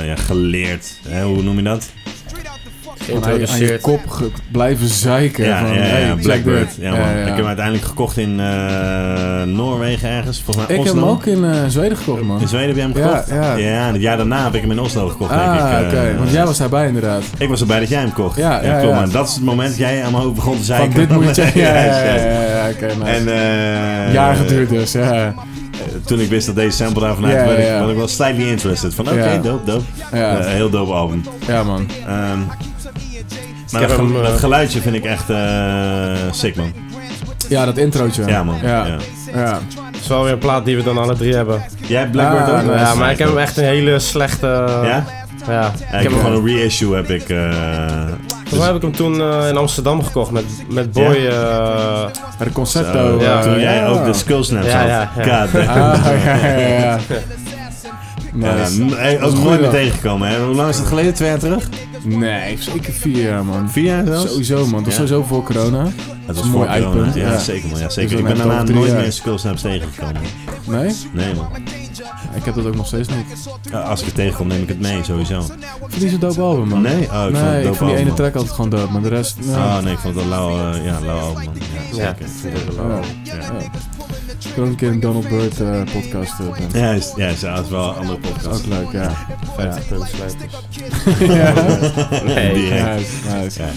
ja, geleerd. Hè, hoe noem je dat?
aan je
geïntroduceerd.
kop ge- blijven zeiken.
Ja,
van,
ja, ja,
hey,
Blackbird. Ja, man.
Ja, ja.
Ik heb hem uiteindelijk gekocht in eh, Noorwegen ergens. Volgens mij
Ik heb
Oslo.
hem ook in eh, Zweden gekocht, man.
In Zweden heb je hem
Ja,
gekocht?
ja.
en het jaar daarna heb ik hem in Oslo gekocht, denk ik.
Ah,
Eh,
oké. Want jij was daarbij inderdaad.
Ik was erbij dat jij hem kocht.
Ja, ja,
klopt,
ja.
Maar dat is het moment dat jij aan mijn hoofd begon te
Van
zeiken.
dit moet je checken. Ja, ja,
Juist,
ja.
juist.
ja, ja, Oké, nice.
En eh,
Jaar geduurd dus, ja.
toen ik wist dat deze sample daarvan
Ja,
uit, werd
ja,
ik-
ja.
was ik wel slightly interested. Van oké,
Ja.
dope, dope.
Ja.
Eh, heel dope album.
Ja, man.
Ehm, maar
heb
dat,
hem,
gel-
eh,
dat geluidje vind ik echt eh sick, man.
Ja, dat introotje.
Ja, man.
Ja.
Ja.
Ja.
Het is wel weer een plaat die we dan alle drie hebben.
Jij hebt Blackbird
Ah,
ook?
nee.
Ja, maar ik heb hem echt eh, een hele slechte...
Ja?
Ja.
Ja, ik heb gewoon een reissue heb ik. eh,
Volgens mij heb ik hem toen eh, in Amsterdam gekocht met, met Boy. eh,
Maar de concerto.
zo,
ja.
eh,
toen jij ook de skullsnaps
Ja,
had.
ja, ja.
God damn.
Ah, ja, ja, ja.
Ja,
Nice.
m- hey,
Dat
eh, ook
is een
nooit meer
goeie.
tegengekomen. Hè? Hoe lang is het geleden? Twee jaar terug?
Nee, zeker vier jaar, man.
Vier jaar zelfs?
Sowieso, man. Dat was
Ja.
sowieso voor corona.
Het was
Een
mooi
mooi
uitpunt.
eindpunt,
Ja,
ja.
zeker man. Ja,
Dus
zeker.
dan
ik ben
hebben we
daarna
toch drie
nooit
jaar.
meer skullsnaps tegengekomen.
Nee?
Nee man.
Ik heb dat ook nog steeds niet.
Ja, als ik het tegenkom neem ik het mee sowieso.
Ik vind die zo'n dope album, man.
Nee? Oh, ik vond het
nee,
dope
ik vind die
album,
ene
man.
track altijd gewoon dope, maar de rest... nee.
Oh nee, ik vond het een lauwe, eh, ja, lauwe album man. Ja,
ja.
zeker.
Ja. Ja. Oh. Ik wil een keer een Donald Byrd eh, podcast eh, doen.
Ja, juist. Ja, juist. Ja, dat is wel een andere podcast.
Ook leuk, ja. Ja.
Ja.
Ja,
Direct.
nice, nice.
Ja.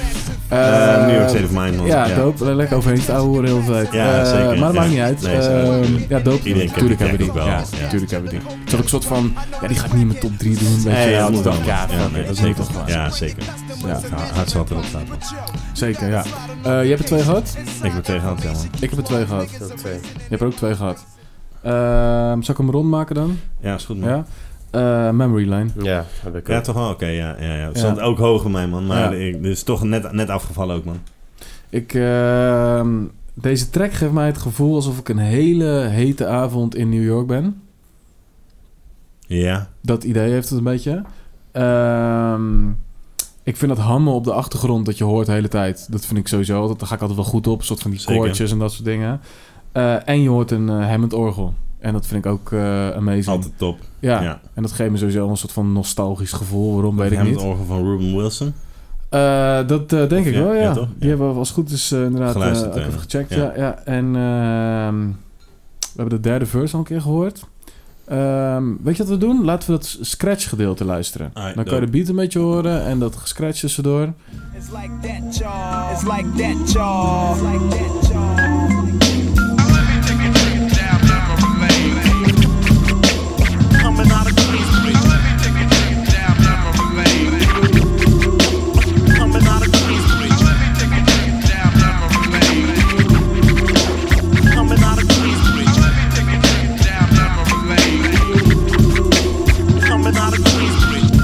Eh,
Eh, New York State of Mind man.
Ja, dope. Le- Lekker overheen te ouwehoeren heel veel tijd.
Ja,
Eh,
zeker,
Maar dat
ja.
maakt niet uit.
Nee,
Ehm,
zo,
ja, dope.
iedereen kent
Tuurlijk
die
hebben we die.
track ook wel.
Ja,
Ja.
tuort hebben we die. Het is ook een soort van... Ja, die ga ik niet in mijn top 3 doen. Weet
Nee,
je
ja,
wel.
dat moet
Dan-
dan.
Ja,
Ja,
fuck
nee, dat
it, dat moet
zeker.
toch wel.
Ja, zeker. Ja, hartstikke wat erop staat. man.
Zeker, ja. Eh, je hebt er twee gehad?
Ik ben tegen hand, ja man.
Ik heb er twee gehad. Je
Twee.
hebt er ook twee gehad. Ehm, zal ik hem rondmaken dan?
Ja, is goed man.
Ja. Eh, memory Line.
Ja, heb ik
Ja,
ook.
toch wel? Oké, ja, ja, ja. Het
Ja.
stond ook hoog bij mij, man. Maar
Ja.
ik, dit is toch net, net afgevallen ook, man.
Ik, ehm, deze track geeft mij het gevoel alsof ik een hele hete avond in New York ben.
Ja.
Dat idee heeft het een beetje. Ehm, ik vind dat hammen op de achtergrond dat je hoort de hele tijd. Dat vind ik sowieso. altijd- Daar ga ik altijd wel goed op. Een soort van die
Zeker.
koortjes en dat soort dingen. Eh, en je hoort een eh, Hammond orgel. En dat vind ik ook eh amazing.
Altijd top.
Ja.
Ja.
En dat geeft me sowieso een soort van nostalgisch gevoel. Waarom weet ik
Hem
niet.
het orgel van Ruben Wilson.
Eh, dat eh, denk
Of
ik
ja,
wel, ja.
ja, toch? Ja.
Die hebben we als goed is eh, inderdaad eh,
Geluisterd,
ook even
eh,
gecheckt.
ja.
Ja. Ja, En ehm, we hebben de derde verse al een keer gehoord. Ehm, weet je wat we doen? Laten we dat scratch gedeelte luisteren.
Alright,
Dan kan je de
dope.
beat een beetje horen en dat scratch tussendoor.
It's like that, y'all. It's like that, y'all. It's like that, y'all.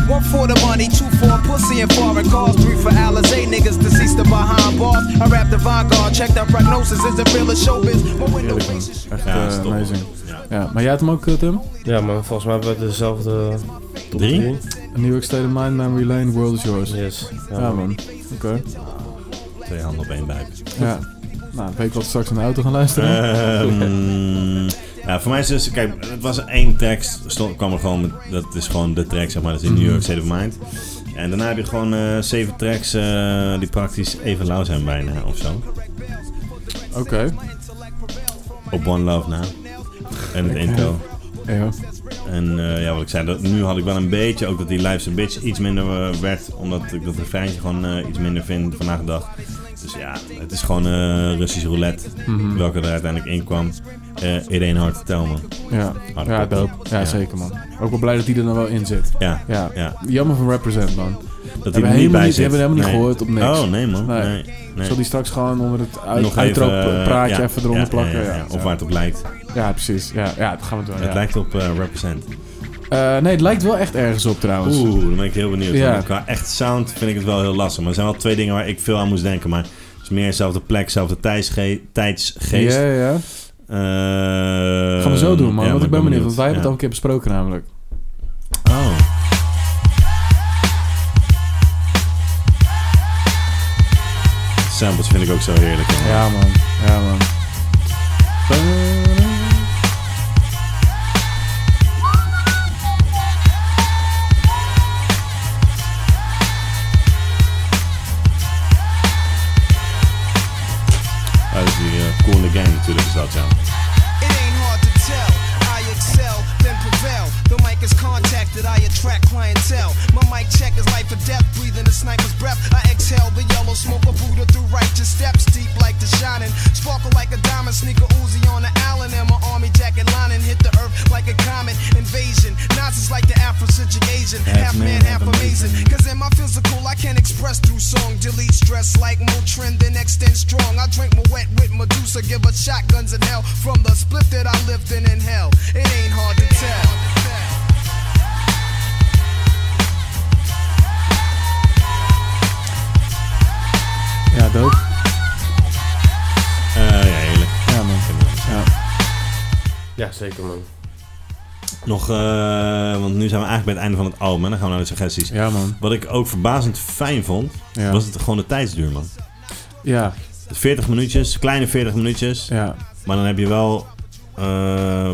One for the money, two for a pussy and foreign cars, three for Alizé, niggas deceased or behind bars. I rap the Vanguard, check that prognosis, is the real as showbiz. But when the patience-
Echt
Ja,
eh,
is top.
amazing.
Ja.
Ja, maar jij had hem ook, eh, Tim?
Ja, man, volgens mij hebben we dezelfde top
Drie?
drie.
New York State of Mind, Memory Lane, World is Yours. Ja,
Yes. Ja,
man. Oké.
Twee handen op één buik.
Ja. Nou, weet ik wat we straks in de auto gaan luisteren.
Eh. Ehm, ja, voor mij is dus, kijk, het was één tekst, stond, kwam er gewoon, met, dat is gewoon de track, zeg maar, dat is in New York State of Mind. En daarna heb je gewoon eh, zeven tracks eh, die praktisch even lauw zijn bijna, of zo.
Oké.
Op One Love na. En het intro.
Ja.
En eh, ja, wat ik zei, dat, nu had ik wel een beetje, ook dat die Life's a Bitch iets minder eh, werd, omdat ik dat refreintje gewoon eh, iets minder vind vandaag de dag. Dus ja, het is gewoon eh Russisch roulette, welke er uiteindelijk in kwam. Eh Irene Hard te tellen.
Ja,
Harde
ja
pop.
dope. Ja,
Ah, Ja.
zeker man. Ook wel blij dat die er nou wel in zit.
Ja,
Ja.
ja.
Jammer van Represent man.
Dat hij
Hebben we
er niet
helemaal
bij
niet-
zit.
hebben we helemaal niet
Nee.
gehoord op niks.
Oh, nee man. Nee.
Nee.
nee.
Zal die straks gewoon onder het uit,
even,
uitroep
eh,
praatje
ja,
even eronder
ja,
plakken?
Ja,
Ja,
ja, ja. Of waar het op lijkt.
Ja, precies. Ja, ja, dat gaan we doen.
Het
ja.
lijkt op eh, Represent.
Eh, nee, het lijkt wel echt ergens op trouwens.
Oeh, dan ben ik heel benieuwd.
Ja.
Want Qua echt sound vind ik het wel heel lastig. Maar er zijn wel twee dingen waar ik veel aan moest denken. Maar het is meer dezelfde plek, dezelfde tijdsge- tijdsgeest.
Ja, ja.
Eh,
Gaan we zo doen man,
Ehm, ja,
want ik ben benieuwd. Want wij hebben het al
Ja.
een keer besproken namelijk.
Oh. Samples vind ik ook zo heerlijk. man.
Ja man, ja man.
Uit die eh, Cool in the Gang natuurlijk is dat, ja.
It ain't hard to tell. I excel, then prevail. The mic is contacted, I attract clientele. My mic check is life or death, breathing a sniper's breath. I exhale the yellow smoke of Buddha through righteous steps, deep like the shining. Sparkle like a diamond, sneaker Uzi on the island, and my army jacket lining hit the earth like a comet invasion. Nazis like the Afrocentric Asian, half man, half amazing. Cause in my physical, I can express through song. Delete stress like Motrin, then extend strong. I drink my wet with Medusa, give her shotguns in hell from the split that I lived in in hell. It ain't hard to tell.
Ja, dood.
Eh, ja, heerlijk.
Ja, man. Ja.
Ja, zeker man.
Nog, eh, want nu zijn we eigenlijk bij het einde van het album en dan gaan we naar de suggesties.
Ja, man.
Wat ik ook verbazend fijn vond,
Ja.
was het gewoon de tijdsduur, man.
Ja,
40 minuutjes, kleine 40 minuutjes.
ja.
Maar dan heb je wel eh,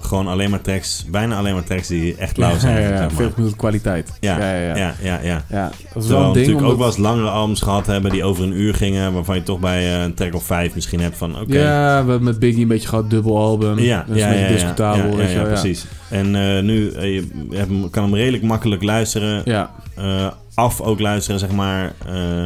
gewoon alleen maar tracks, bijna alleen maar tracks die echt lauw zijn.
Ja, ja, ja.
zeg maar.
40 minuten kwaliteit.
ja,
ja, ja.
ja, ja, ja.
Ja, dat is
Terwijl
wel een
we
ding.
natuurlijk ook
omdat-
wel eens langere albums gehad hebben die over een uur gingen, waarvan je toch bij eh, een track of vijf misschien hebt van oké.
Ja, we hebben met Biggie een beetje gehad, dubbel album.
Ja,
dat is
ja,
een beetje
ja, ja,
discutabel.
ja, ja,
weet je
ja,
wel, ja.
precies. En eh, nu eh, je hebt hem- kan hem redelijk makkelijk luisteren,
Ja,
eh, af ook luisteren, zeg maar. eh,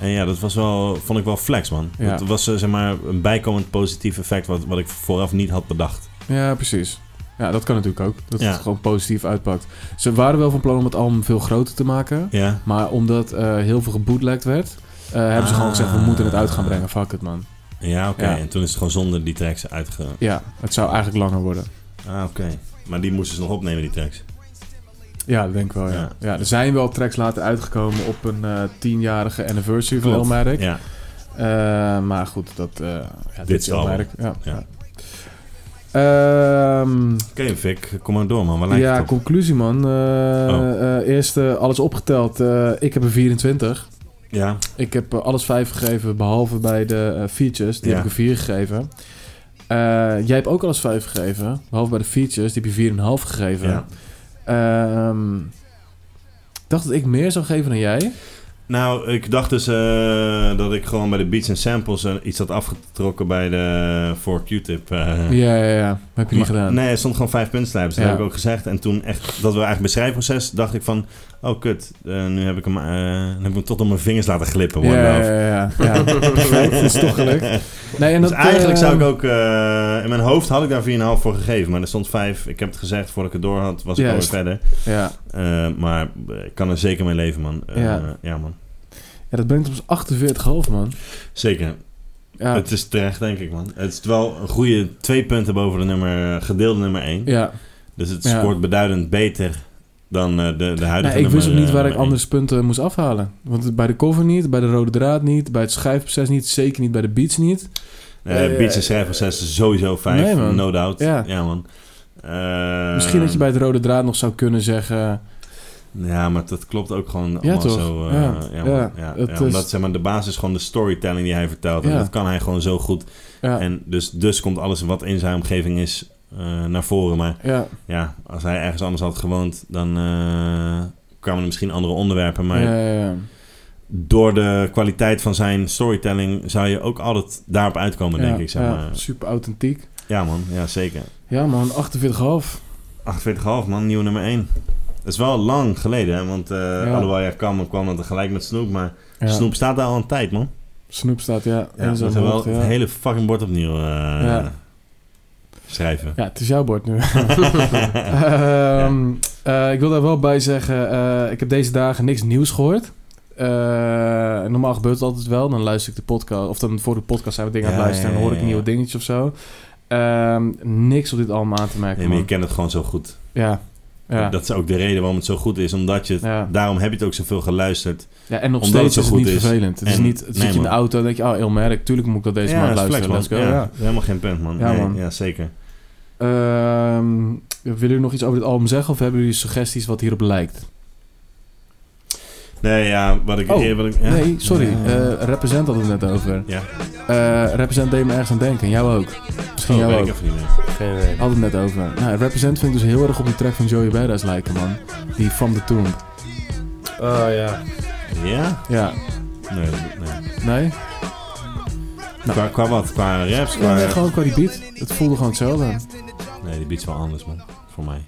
en ja, dat was wel, vond ik wel flex, man.
Ja.
Dat was eh, zeg maar een bijkomend positief effect wat, wat ik vooraf niet had bedacht.
ja, precies. Ja, dat kan natuurlijk ook. Dat
Ja.
het gewoon positief uitpakt. Ze waren wel van plan om het album veel groter te maken.
Ja,
Maar omdat eh, heel veel gebootlegd werd, eh, hebben ze gewoon
Ah.
gezegd, we moeten het uit gaan brengen. Fuck it, man.
ja oké.
Ja.
En toen is het gewoon zonder die tracks uitge...
Ja, het zou eigenlijk langer worden.
Ah, oké. Maar die moesten ze nog opnemen, die tracks.
Ja, dat denk ik wel, ja.
Ja.
ja. er zijn wel tracks later uitgekomen op een eh, tienjarige anniversary van
Klopt.
Elmerk.
Ja,
Eh, maar goed, dat... eh, ja,
Dit is
Elmerk, Ja.
Ja.
Ehm,
oké Vic, kom maar door man, waar lijkt
ja,
het op?
conclusie man. Eh
Oh.
eh, eerst eh, alles opgeteld. Eh, ik heb een 24.
Ja,
Ik heb eh, alles 5 gegeven, behalve bij de eh, features. Die
Ja.
heb ik een 4 gegeven. Eh, jij hebt ook alles 5 gegeven, behalve bij de features. Die heb je 4,5 gegeven.
ja.
Ehm, ik dacht dat ik meer zou geven dan jij.
Nou, ik dacht dus eh, dat ik gewoon bij de beats en samples eh, iets had afgetrokken bij de voor Q-tip. eh.
Ja, ja, ja. Heb je niet
Maar-
gedaan.
Nee, er stond gewoon vijf puntslijpers. Dat
Ja.
heb ik ook gezegd. En toen echt, dat we eigenlijk beschrijfproces, dacht ik van, oh kut, eh, nu heb ik hem, eh, nu heb ik hem tot op mijn vingers laten glippen.
Ja,
worden
ja, ja, ja. ja. Perfect, dat is toch gelukt. Nee, en
Dus
dat,
eigenlijk zou ik
ehm,
ook... eh, in mijn hoofd had ik daar 4,5 voor gegeven. Maar er stond 5. Ik heb het gezegd voordat ik het door had. Was ik alweer
Juist.
verder.
Ja.
Eh, maar ik kan er zeker mee leven, man. Eh, ja.
Ja.
man.
ja, dat brengt ons 48,5 man.
Zeker.
Ja,
Het is terecht, denk ik, man. Het is wel een goede twee punten boven de nummer, gedeelde nummer 1.
ja.
Dus het
Ja.
scoort beduidend beter dan eh, de, de huidige
Nee, ik wist ook
nummer,
niet
eh,
waar ik
nummer
anders punten moest afhalen. Want bij de cover niet, bij de rode draad niet, bij het schijfproces niet, zeker niet bij de beats niet.
één. Eh,
eh,
Beats en Schrijfproces is sowieso 5.
Nee, man.
No doubt. Ja,
Ja.
man. Eh,
Misschien dat je bij de rode draad nog zou kunnen zeggen...
Ja, maar dat klopt ook gewoon allemaal
toch?
zo. eh,
Ja.
ja,
Ja.
man. ja,
Het
ja,
is-
omdat zeg maar, de basis is gewoon de storytelling die hij vertelt. En
Ja.
dat kan hij gewoon zo goed.
Ja,
En dus, dus komt alles wat in zijn omgeving is eh, naar voren. Maar
ja,
ja, als hij ergens anders had gewoond, dan eh, kwamen er misschien andere onderwerpen. Maar
ja, ja, ja.
door de kwaliteit van zijn storytelling zou je ook altijd daarop uitkomen, denk
Ja,
ik. Zeg
ja,
maar.
Super authentiek.
ja, man. Ja, zeker.
Ja man, 48,5.
48,5 man, nieuwe nummer 1. Dat is wel lang geleden, hè? want eh ja. Alouaya kwam, kwam dan tegelijk met Snoep, maar
Ja.
Snoep staat daar al een tijd, man.
Snoep staat, ja.
Ja, we
Ja, zo
moeten wel
hoogte, ja.
het hele fucking bord opnieuw eh,
Ja.
schrijven.
ja, het is jouw bord nu. Ehm, eh, ik wil daar wel bij zeggen, eh, ik heb deze dagen niks nieuws gehoord. Eh, normaal gebeurt het altijd wel. Dan luister ik de podcast, of dan voor de podcast zijn we dingen aan
Ja,
het luisteren... en
ja,
dan hoor ik
ja,
nieuwe
ja.
dingetjes of zo. Ehm, niks op dit allemaal aan te merken,
Nee, maar je
man.
kent het gewoon zo goed.
Ja. Ja.
Dat is ook de reden waarom het zo goed is, omdat je het-
Ja.
daarom heb je het ook zoveel geluisterd.
ja, en nog
Omdat het zo
steeds is het
goed
niet
is.
vervelend. Het is
En-
niet, het
nee,
zit je in de
man.
auto en denk je... Oh, Elmerk, tuurlijk moet ik dat deze
ja,
maand
dat is
luisteren.
flex,
Let's go.
man.
Ja.
Ja, Helemaal geen punt, man.
Ja,
Nee,
man.
ja zeker.
Ehm, willen jullie nog iets over dit album zeggen? Of hebben jullie suggesties wat hierop lijkt?
Nee, ja, wat ik...
Oh,
eh, wat ik ja.
Nee, sorry.
Ja.
Eh, represent had het net over.
Ja.
Eh, represent deed me ergens aan denken. Jou ook. Misschien
Oh,
jou
weet
ook.
ik even niet meer.
Geen idee.
Had het net over. Nou, represent vind ik dus heel erg op die track van Joey Badass lijken, man. Die From the Tomb.
Oh ja.
Ja?
Ja. Nou.
Nee, nee.
Nee?
Qua, qua wat? Qua raps?
Ja,
Qua...
nee, gewoon qua die beat. Het voelde gewoon hetzelfde. Oké.
Nee, die beat is wel anders, man. Voor mij.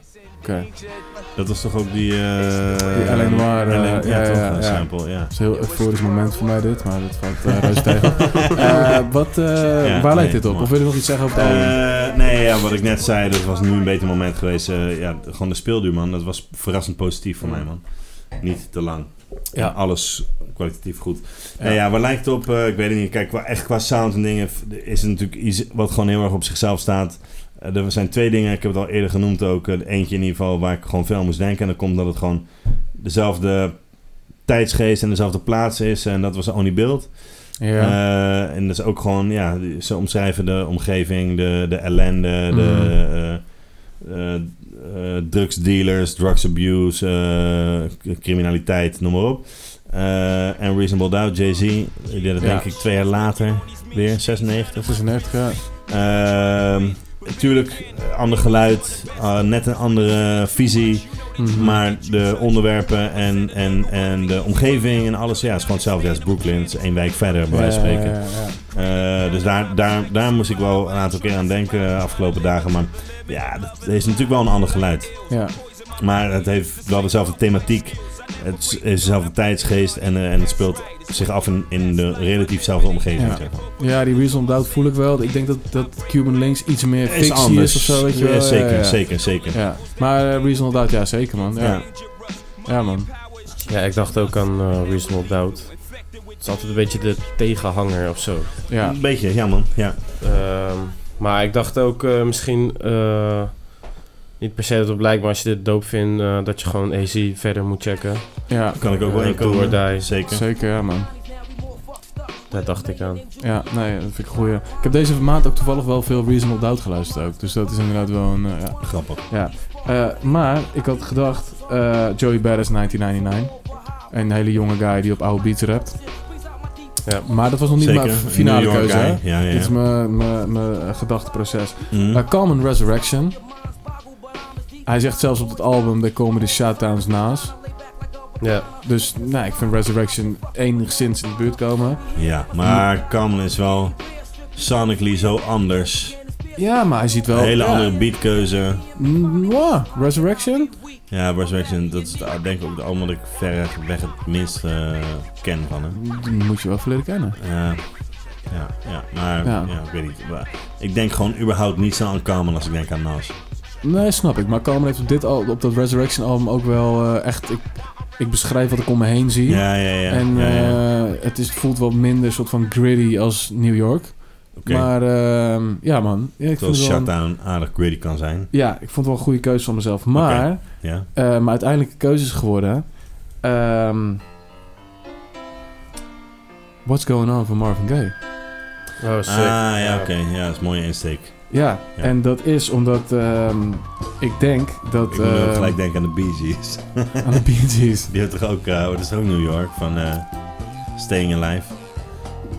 Dat was toch ook die... eh
Die alleen maar, eh,
alleen- ja,
ja,
toch,
ja,
een
ja.
sample, ja.
Het is een heel euforisch moment voor mij dit, maar dat valt eh reuze tegen. Eh, wat, eh,
Ja,
waar
nee,
leidt dit op?
mooi.
Of wil je nog iets zeggen over het album?
Eh, nee, ja, wat ik net zei, dat was nu een beter moment geweest. Eh, ja, gewoon de speelduur, man. Dat was verrassend positief voor mij, man. Niet te lang.
Ja.
Alles kwalitatief goed.
Ja.
Ja, ja waar lijkt het op? Eh, ik weet het niet. Kijk, qua, echt qua sound en dingen f- is het natuurlijk iets wat gewoon heel erg op zichzelf staat. Eh, er zijn twee dingen, ik heb het al eerder genoemd ook. Eh, Eentje in ieder geval waar ik gewoon veel aan moest denken. En dat komt dat het gewoon dezelfde tijdsgeest en dezelfde plaats is. En dat was Only Build.
Ja.
Eh, en dat is ook gewoon, ja, ze omschrijven de omgeving, de, de ellende, de
Mhm.
eh, eh, eh, drugsdealers, drugs abuse, eh, k- criminaliteit, noem maar op. Eh, en Reasonable Doubt, Jay-Z, die deed dat
Ja.
denk ik twee jaar later weer, 96.
96, ja.
Ehm tuurlijk, eh, ander geluid, eh, net een andere visie,
Mhm.
maar de onderwerpen en, en, en de omgeving en alles, ja, is gewoon hetzelfde als Brooklyn, het is één wijk verder, bij wijze van
mhm. Ja,
spreken.
ja, ja, ja.
Eh, dus daar, daar, daar moest ik wel een aantal keer aan denken de afgelopen dagen. Maar ja, dat is natuurlijk wel een ander geluid.
Ja.
Maar het heeft wel dezelfde thematiek. Het is- is dezelfde tijdsgeest en, eh, en het speelt zich af in, in de relatiefzelfde omgeving.
Ja.
Zeg maar.
Ja, die Reason Doubt voel ik wel. Ik denk dat, dat Cuban Links iets meer
Is
fictie is of zo, weet je wel.
Ja,
Ja,
zeker,
ja, ja.
zeker, zeker.
Ja. Maar eh, Reason Doubt, ja, zeker man. Ja,
Ja.
ja. man.
Ja, ik dacht ook aan eh, Reasonable Doubt. Het is altijd een beetje de tegenhanger of zo.
Ja.
Een beetje, ja man. Ja.
Ehm, maar ik dacht ook eh, misschien... eh, niet per se dat het blijkt, maar als je dit doop vindt... eh, dat je gewoon AC verder moet checken.
ja,
Kan ik ook wel
Eh, do
inkomen.
or die.
Zeker.
zeker, ja man.
Daar dacht ik aan.
Ja, nee, dat vind ik een goeie. Ik heb deze maand ook toevallig wel veel Reasonable Doubt geluisterd ook. Dus dat is inderdaad wel een... eh, ja.
Grappig.
Eh, maar ik had gedacht, eh, Joey Badass 1999. Een hele jonge guy die op oude beats rapt.
Ja.
Maar dat was nog niet
zeker.
mijn finale
New York
keuze. hè?
guy. Ja, ja.
Dit is
ja.
mijn- mijn mijn gedachteproces.
Mhm.
Uh, Common Resurrection. Hij zegt zelfs op het album, er komen de shutdowns naast.
Ja,
Dus nou, ik vind Resurrection enigszins in de buurt komen.
ja, maar Kamel is wel sonically zo anders.
Ja, maar hij ziet wel...
Een hele
Oh. ja.
andere beatkeuze.
Mm, mwah. Resurrection?
Ja, Resurrection, dat is de- denk ik ook de album dat ik ver weg het minst eh, ken van hem.
Die moet je wel volledig kennen.
Eh, ja, ja, maar ja.
Ja.
ik weet niet. Maar ik denk gewoon überhaupt niet zo aan Carmen als ik denk aan Nas.
Nee, snap ik. Maar Common heeft op, dit al, op dat Resurrection album ook wel eh, echt... Ik, ik beschrijf wat ik om me heen zie.
Ja, ja, ja.
en
ja, ja.
eh, het is, voelt wel minder soort van gritty als New York.
Oké,
Maar ehm, ja, man. Ja, ik
Terwijl
vond het wel een-
Shutdown aardig gritty kan zijn.
ja, ik vond het wel een goede keuze van mezelf. Maar...
Ja.
Eh, maar uiteindelijk de keuze is geworden. ehm, What's Going On van Marvin Gaye.
oh, sick.
Ah, ja, oké. Ja, dat is een mooie insteek.
Ja,
Ja.
en dat is omdat ehm, ik denk dat...
Ik moet ook
ehm,
gelijk denken aan de Bee Gees.
aan de Bee Gees.
Die heeft toch ook, eh, dat is ook New York, van eh, Staying Alive.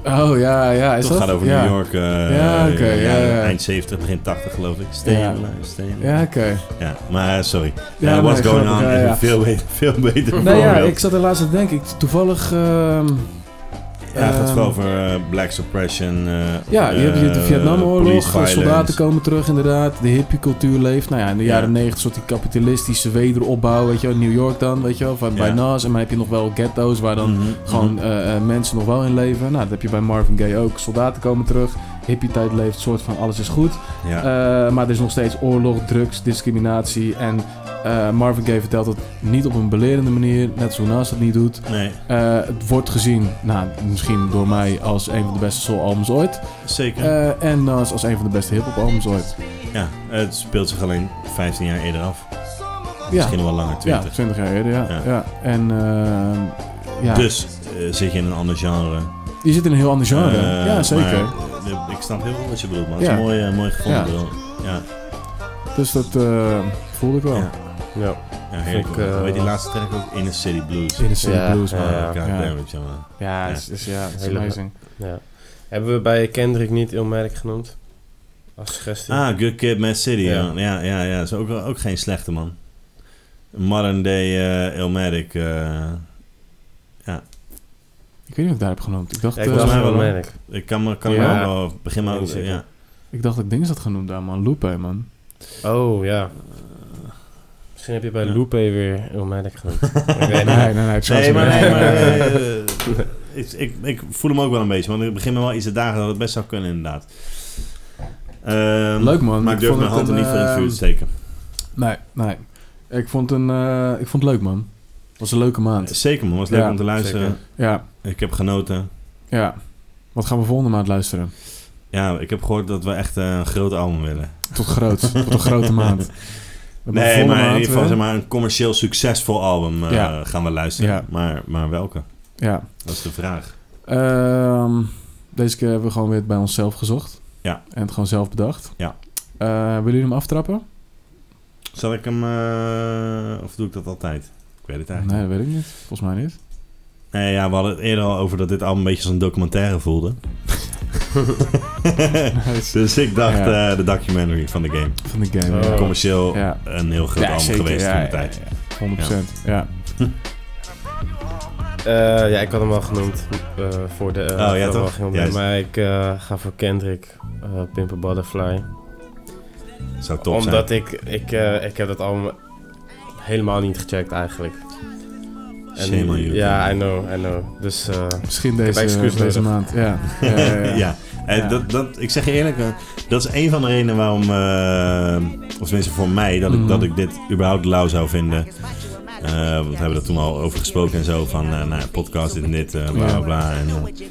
Oh ja, ja, is
Toch
dat?
gaat over
ja.
New York. eh,
Ja, oké, ja, ja.
Eind 70, begin 80 geloof ik. Staying
Ja.
Alive, Staying Alive.
Ja, oké.
Ja, maar eh, sorry.
Ja,
Ja, what's
nee,
going
grappig,
on
ja,
is
ja.
een veel beter, veel beter
Nou ja,
voorbeeld.
ik zat er laatst aan te denken. Ik, toevallig... ehm,
Ja, het gaat
ehm,
veel over eh, black suppression. eh,
Ja, je hebt hier de
eh,
Vietnamoorlog,
police
soldaten
violence.
komen terug inderdaad, de hippiecultuur leeft. Nou ja, in de
Ja.
jaren negentig soort die kapitalistische wederopbouw, weet je wel, New York dan, weet je wel, van, bij
Ja.
Nas. En dan heb je nog wel ghetto's waar dan
Mhm,
gewoon
mhm.
eh, eh, mensen nog wel in leven. Nou, dat heb je bij Marvin Gaye ook. Soldaten komen terug, hippie-tijd leeft, soort van alles is goed.
ja.
Eh, maar er is nog steeds oorlog, drugs, discriminatie en... eh, Marvin Gaye vertelt dat niet op een belerende manier, net zoals Nas dat niet doet.
nee,
Eh, het wordt gezien, nou, misschien door mij, als een van de beste soul-albums ooit.
zeker.
Eh, en Nas als een van de beste hip-hop albums ooit.
ja, het speelt zich alleen 15 jaar eerder af.
Ja,
Misschien wel langer,
ja
20.
20 jaar eerder, ja.
Ja.
ja. En ehm, ja.
Dus eh, zit je in een ander genre.
je zit in een heel ander genre.
Eh,
ja, zeker.
maar, eh, ik snap heel goed wat je bedoelt, man. Het is
Ja.
een mooi, eh, mooi gevonden.
Ja.
bedoel. Ja,
Dus dat eh, voelde ik wel.
Ja.
ja.
ja heerlijk.
Ik, eh,
Hoe heet die laatste track ook? Inner City Blues.
In de City
Ja,
Blues,
ja,
man.
ja,
ja.
goddamn it, ja, man.
Ja,
Ja.
is, is, ja, is
Hele-
amazing.
Ja. Hebben we bij Kendrick niet Ilmatic genoemd? Als suggestie.
Ah, Good Kid, Mad City.
Ja.
Ja, ja, ja. ja. Is ook, ook geen slechte man. Modern day eh Illmatic. eh, ja.
Ik weet niet of ik daar heb genoemd. Ik dacht,
Ja, ik
eh,
was
Volgens mij
wel
wel.
een merk.
Ik kan me, kan
Ja.
me wel eh, begin maar
Weet ik
over.
zeker.
Ja.
ik dacht dat ik ding had genoemd daar, man. Lupe, man.
Oh, ja. Misschien heb je bij
Ja.
Lupe weer een merk genoemd. Ik weet
Nee,
niet.
nee, nee. Ik zou
Nee,
het
maar,
niet
nee, maar
weten.
eh, ik, ik, ik voel hem ook wel een beetje. Want ik begin me wel iets te dagen dat het best zou kunnen, inderdaad. Ehm,
Leuk, man.
Maar
Ik
ik durf
vond
mijn hand
het
er
een,
niet voor in het vuur te
ehm,
steken.
Nee, nee. Ik vond, een, eh, ik vond het leuk, man. Het was een leuke maand.
Zeker, man. was leuk
Ja,
om te luisteren.
zeker.
Ja,
Ik heb genoten.
ja. Wat gaan we volgende maand luisteren?
Ja, ik heb gehoord dat we echt eh, een groot album willen.
Tot groot. Tot een grote maand. We hebben
Nee,
volgende
maar in
maand
ieder geval zeg
weer-
maar, een commercieel succesvol album eh,
Ja.
gaan we luisteren.
Ja.
Maar, maar welke?
Ja.
Dat is de vraag.
Ehm, deze keer hebben we gewoon weer het bij onszelf gezocht.
Ja.
En het gewoon zelf bedacht.
Ja.
Eh, willen jullie hem aftrappen?
Zal ik hem... eh, of doe ik dat altijd? Ik weet het eigenlijk
Nee, dat weet ik niet. Volgens mij niet.
Nee, ja, we hadden het eerder al over dat dit album een beetje als een documentaire voelde.
Nice.
dus ik dacht
Ja.
eh, de documentary van de game.
Van de game.
Oh.
ja.
Commercieel
Ja.
een heel groot album
zeker.
geweest
Ja,
in de
ja,
tijd.
ja, ja. 100%. Ja.
Eh, ja, ik had hem al genoemd eh, voor de... eh,
Oh, ja,
voor de
toch?
algemene,
Juist.
Maar ik eh, ga voor Kendrick, eh Pimp a Butterfly.
Zou top
Omdat ik... Ik, eh, ik heb dat allemaal helemaal niet gecheckt eigenlijk.
zijn.
En-
Shame on you.
Ja, I know, I know. Dus eh,
Misschien
heb excuus
deze, deze
nodig.
maand. Ja. Ja,
ja,
ja, ja.
Eh,
Ja.
Dat, dat, ik zeg je eerlijk, eh, dat is een van de redenen waarom, eh, of tenminste voor mij, dat ik,
Mhm.
dat ik dit überhaupt lauw zou vinden. Eh, want we hebben er toen al over gesproken en zo, van eh, nou, ja, podcast dit en dit, eh, bla
Ja.
bla bla. En, eh,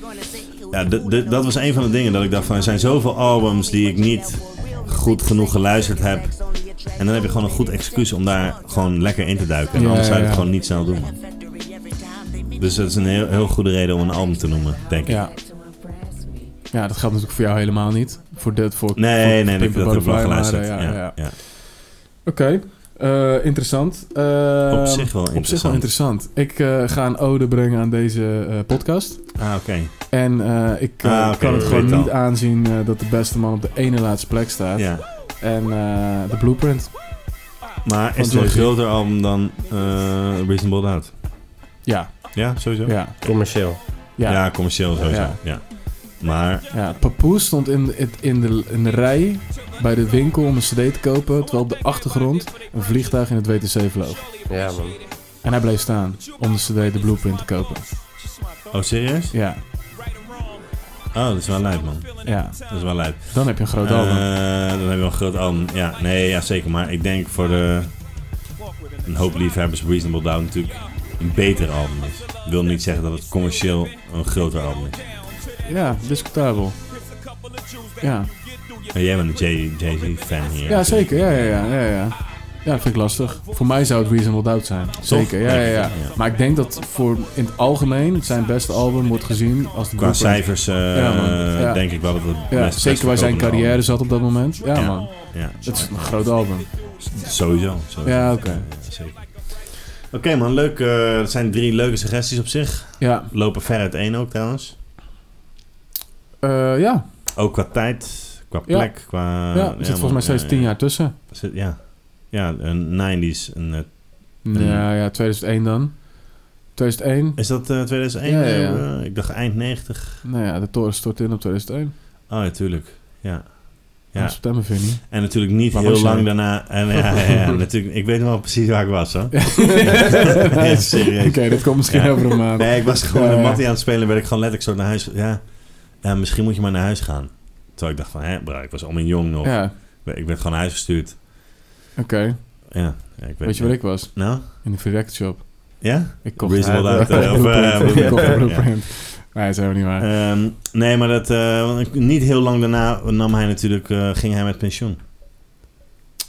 ja, d- d- dat was een van de dingen dat ik dacht van, er zijn zoveel albums die ik niet goed genoeg geluisterd heb. En dan heb je gewoon een goed excuus om daar gewoon lekker in te duiken. En
Ja,
anders zou je
ja,
het
ja.
gewoon niet snel doen. Dus dat is een heel, heel goede reden om een album te noemen, denk ik.
Ja. Ja, dat geldt natuurlijk voor jou helemaal niet. Voor dit, voor voor-
Nee, nee,
voor
dat
Pimp
heb
a
ik wel
Butterfly, maar,
geluisterd.
eh,
Ja,
ja, ja.
ja.
Oké, eh, interessant. Eh,
Op zich wel
Op zich wel
interessant.
interessant. Ik eh, ga een ode brengen aan deze eh, podcast.
Ah, oké.
En eh, ik eh,
Ah, oké,
kan het
ik
gewoon
weet het
niet
al.
aanzien eh, dat de beste man op de ene laatste plek staat.
Ja.
En eh, de blueprint.
Maar
Van
is het een
Joyce.
groter album dan eh, Reasonable Doubt?
Ja,
Ja, sowieso?
ja,
commercieel.
ja.
Ja, commercieel sowieso. Ja.
Ja.
Maar,
ja. Papoes stond in, de- in, de, in de rij bij de winkel om een cd te kopen, terwijl op de achtergrond een vliegtuig in het WTC vloog.
Ja, man.
En hij bleef staan om de cd de blueprint te kopen.
oh serieus?
Ja,
Oh, dat is wel lijp man.
ja.
Dat is wel lijp.
Dan heb je een groot
Eh,
album.
dan hebben we wel een groot album. Ja, nee, ja, zeker. Maar ik denk voor de, een hoop liefhebbers Reasonable Doubt natuurlijk een beter album is. wil niet zeggen dat het commercieel een groter album is.
Ja, discutabel. Ja,
En jij bent een Jay- Jay-Z-fan hier.
ja zeker. Ja, ja, ja, ja, ja. Ja, dat vind ik lastig. Voor mij zou het Reasonable Doubt zijn. Zeker, ja, ja, ja.
Ja.
Maar ik denk dat voor in het algemeen zijn beste album wordt gezien als de
Qua
Blueprint.
cijfers eh,
Ja, man. Ja.
denk ik wel dat het best-
Ja,
best
zeker waar zijn
verkopende
carrière zat op dat moment. Ja,
Ja.
man.
album. Ja,
Het is een groot album.
sowieso. sowieso.
Ja, oké.
zeker. Oké man, leuk. eh, dat zijn drie leuke suggesties op zich.
Ja,
Lopen ver uit één ook trouwens.
eh, ja.
Ook qua tijd, qua
Ja.
plek, qua...
ja. er zit volgens mij
man, Eh,
steeds
ja,
tien
ja.
jaar tussen.
Zit- ja. Ja, een 90s. Een, eh,
Ja, ja, 2001 dan. 2001.
is dat eh, 2001?
Ja, ja, ja.
eh, ik dacht eind 90.
Nou ja, de toren stort in op 2001.
Oh ja, tuurlijk. Ja.
Ja.
Ja.
september vind je niet.
En natuurlijk niet
Waar
heel
was jij?
lang daarna. En, ja, ja, ja, natuurlijk, ik weet wel precies waar ik was hoor.
Nee.
serieus.
Oké, dat komt misschien
Ja.
over een maand.
Nee, ik was gewoon
Ja,
een
ja.
mattie aan het spelen en werd ik gewoon letterlijk zo naar huis. ge- Ja, ja misschien moet je maar naar huis gaan. Terwijl ik dacht van, hè, bro, ik was allemaal jong nog.
Ja,
Ik werd gewoon naar huis gestuurd.
oké.
Ja, ja, ik weet,
Weet je
niet.
wat ik was?
Nou,
In de free record shop.
ja?
Ik kocht
Reasonable
Ja,
Doubt, eh, of,
Blueprint.
eh,
Ik kocht een
Blueprint, ja.
Blueprint. Nee, dat is helemaal niet waar.
Ehm, nee, maar dat, eh, want niet heel lang daarna nam hij natuurlijk, eh, ging hij met pensioen.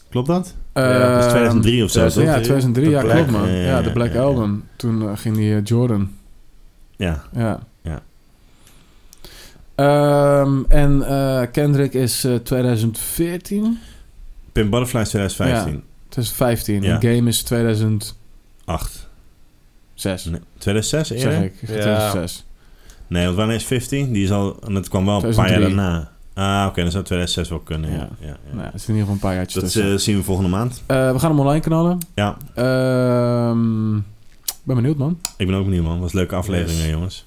Klopt dat?
Ja,
dat is
Ehm,
2003 of zo, toch?
Ja, 2003.
The
Ja,
Black,
klopt man.
eh,
Ja, de Black
ja, ja.
Album. Toen eh, ging die eh, Jordan.
Ja.
Ja.
Ja.
Ehm, en eh, Kendrick is eh, 2014?
Pimp Butterfly is 2015.
2015.
Ja.
En Game is 2006.
8. 2006 eerder?
Zeg ik. Ik zeg 2006.
Nee, want wanneer is 15? Die is al, en dat kwam wel een paar jaar
2003.
daarna. Ah, oké, dan zou 2006 wel kunnen. Ja.
Ja.
Ja, ja.
Nou, er zit in ieder geval een paar jaartjes
Dat
tussen.
eh, zien we volgende maand.
Eh, we gaan hem online knallen.
Ja.
Ehm, ben benieuwd man.
Ik ben ook benieuwd, man. Was een leuke aflevering,
Yes.
hè, jongens.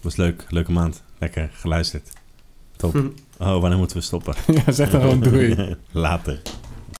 Was leuk. Leuke maand. Lekker Hm. geluisterd. Top. Oh, wanneer moeten we stoppen?
Ja, zeg dan gewoon doei.
Later.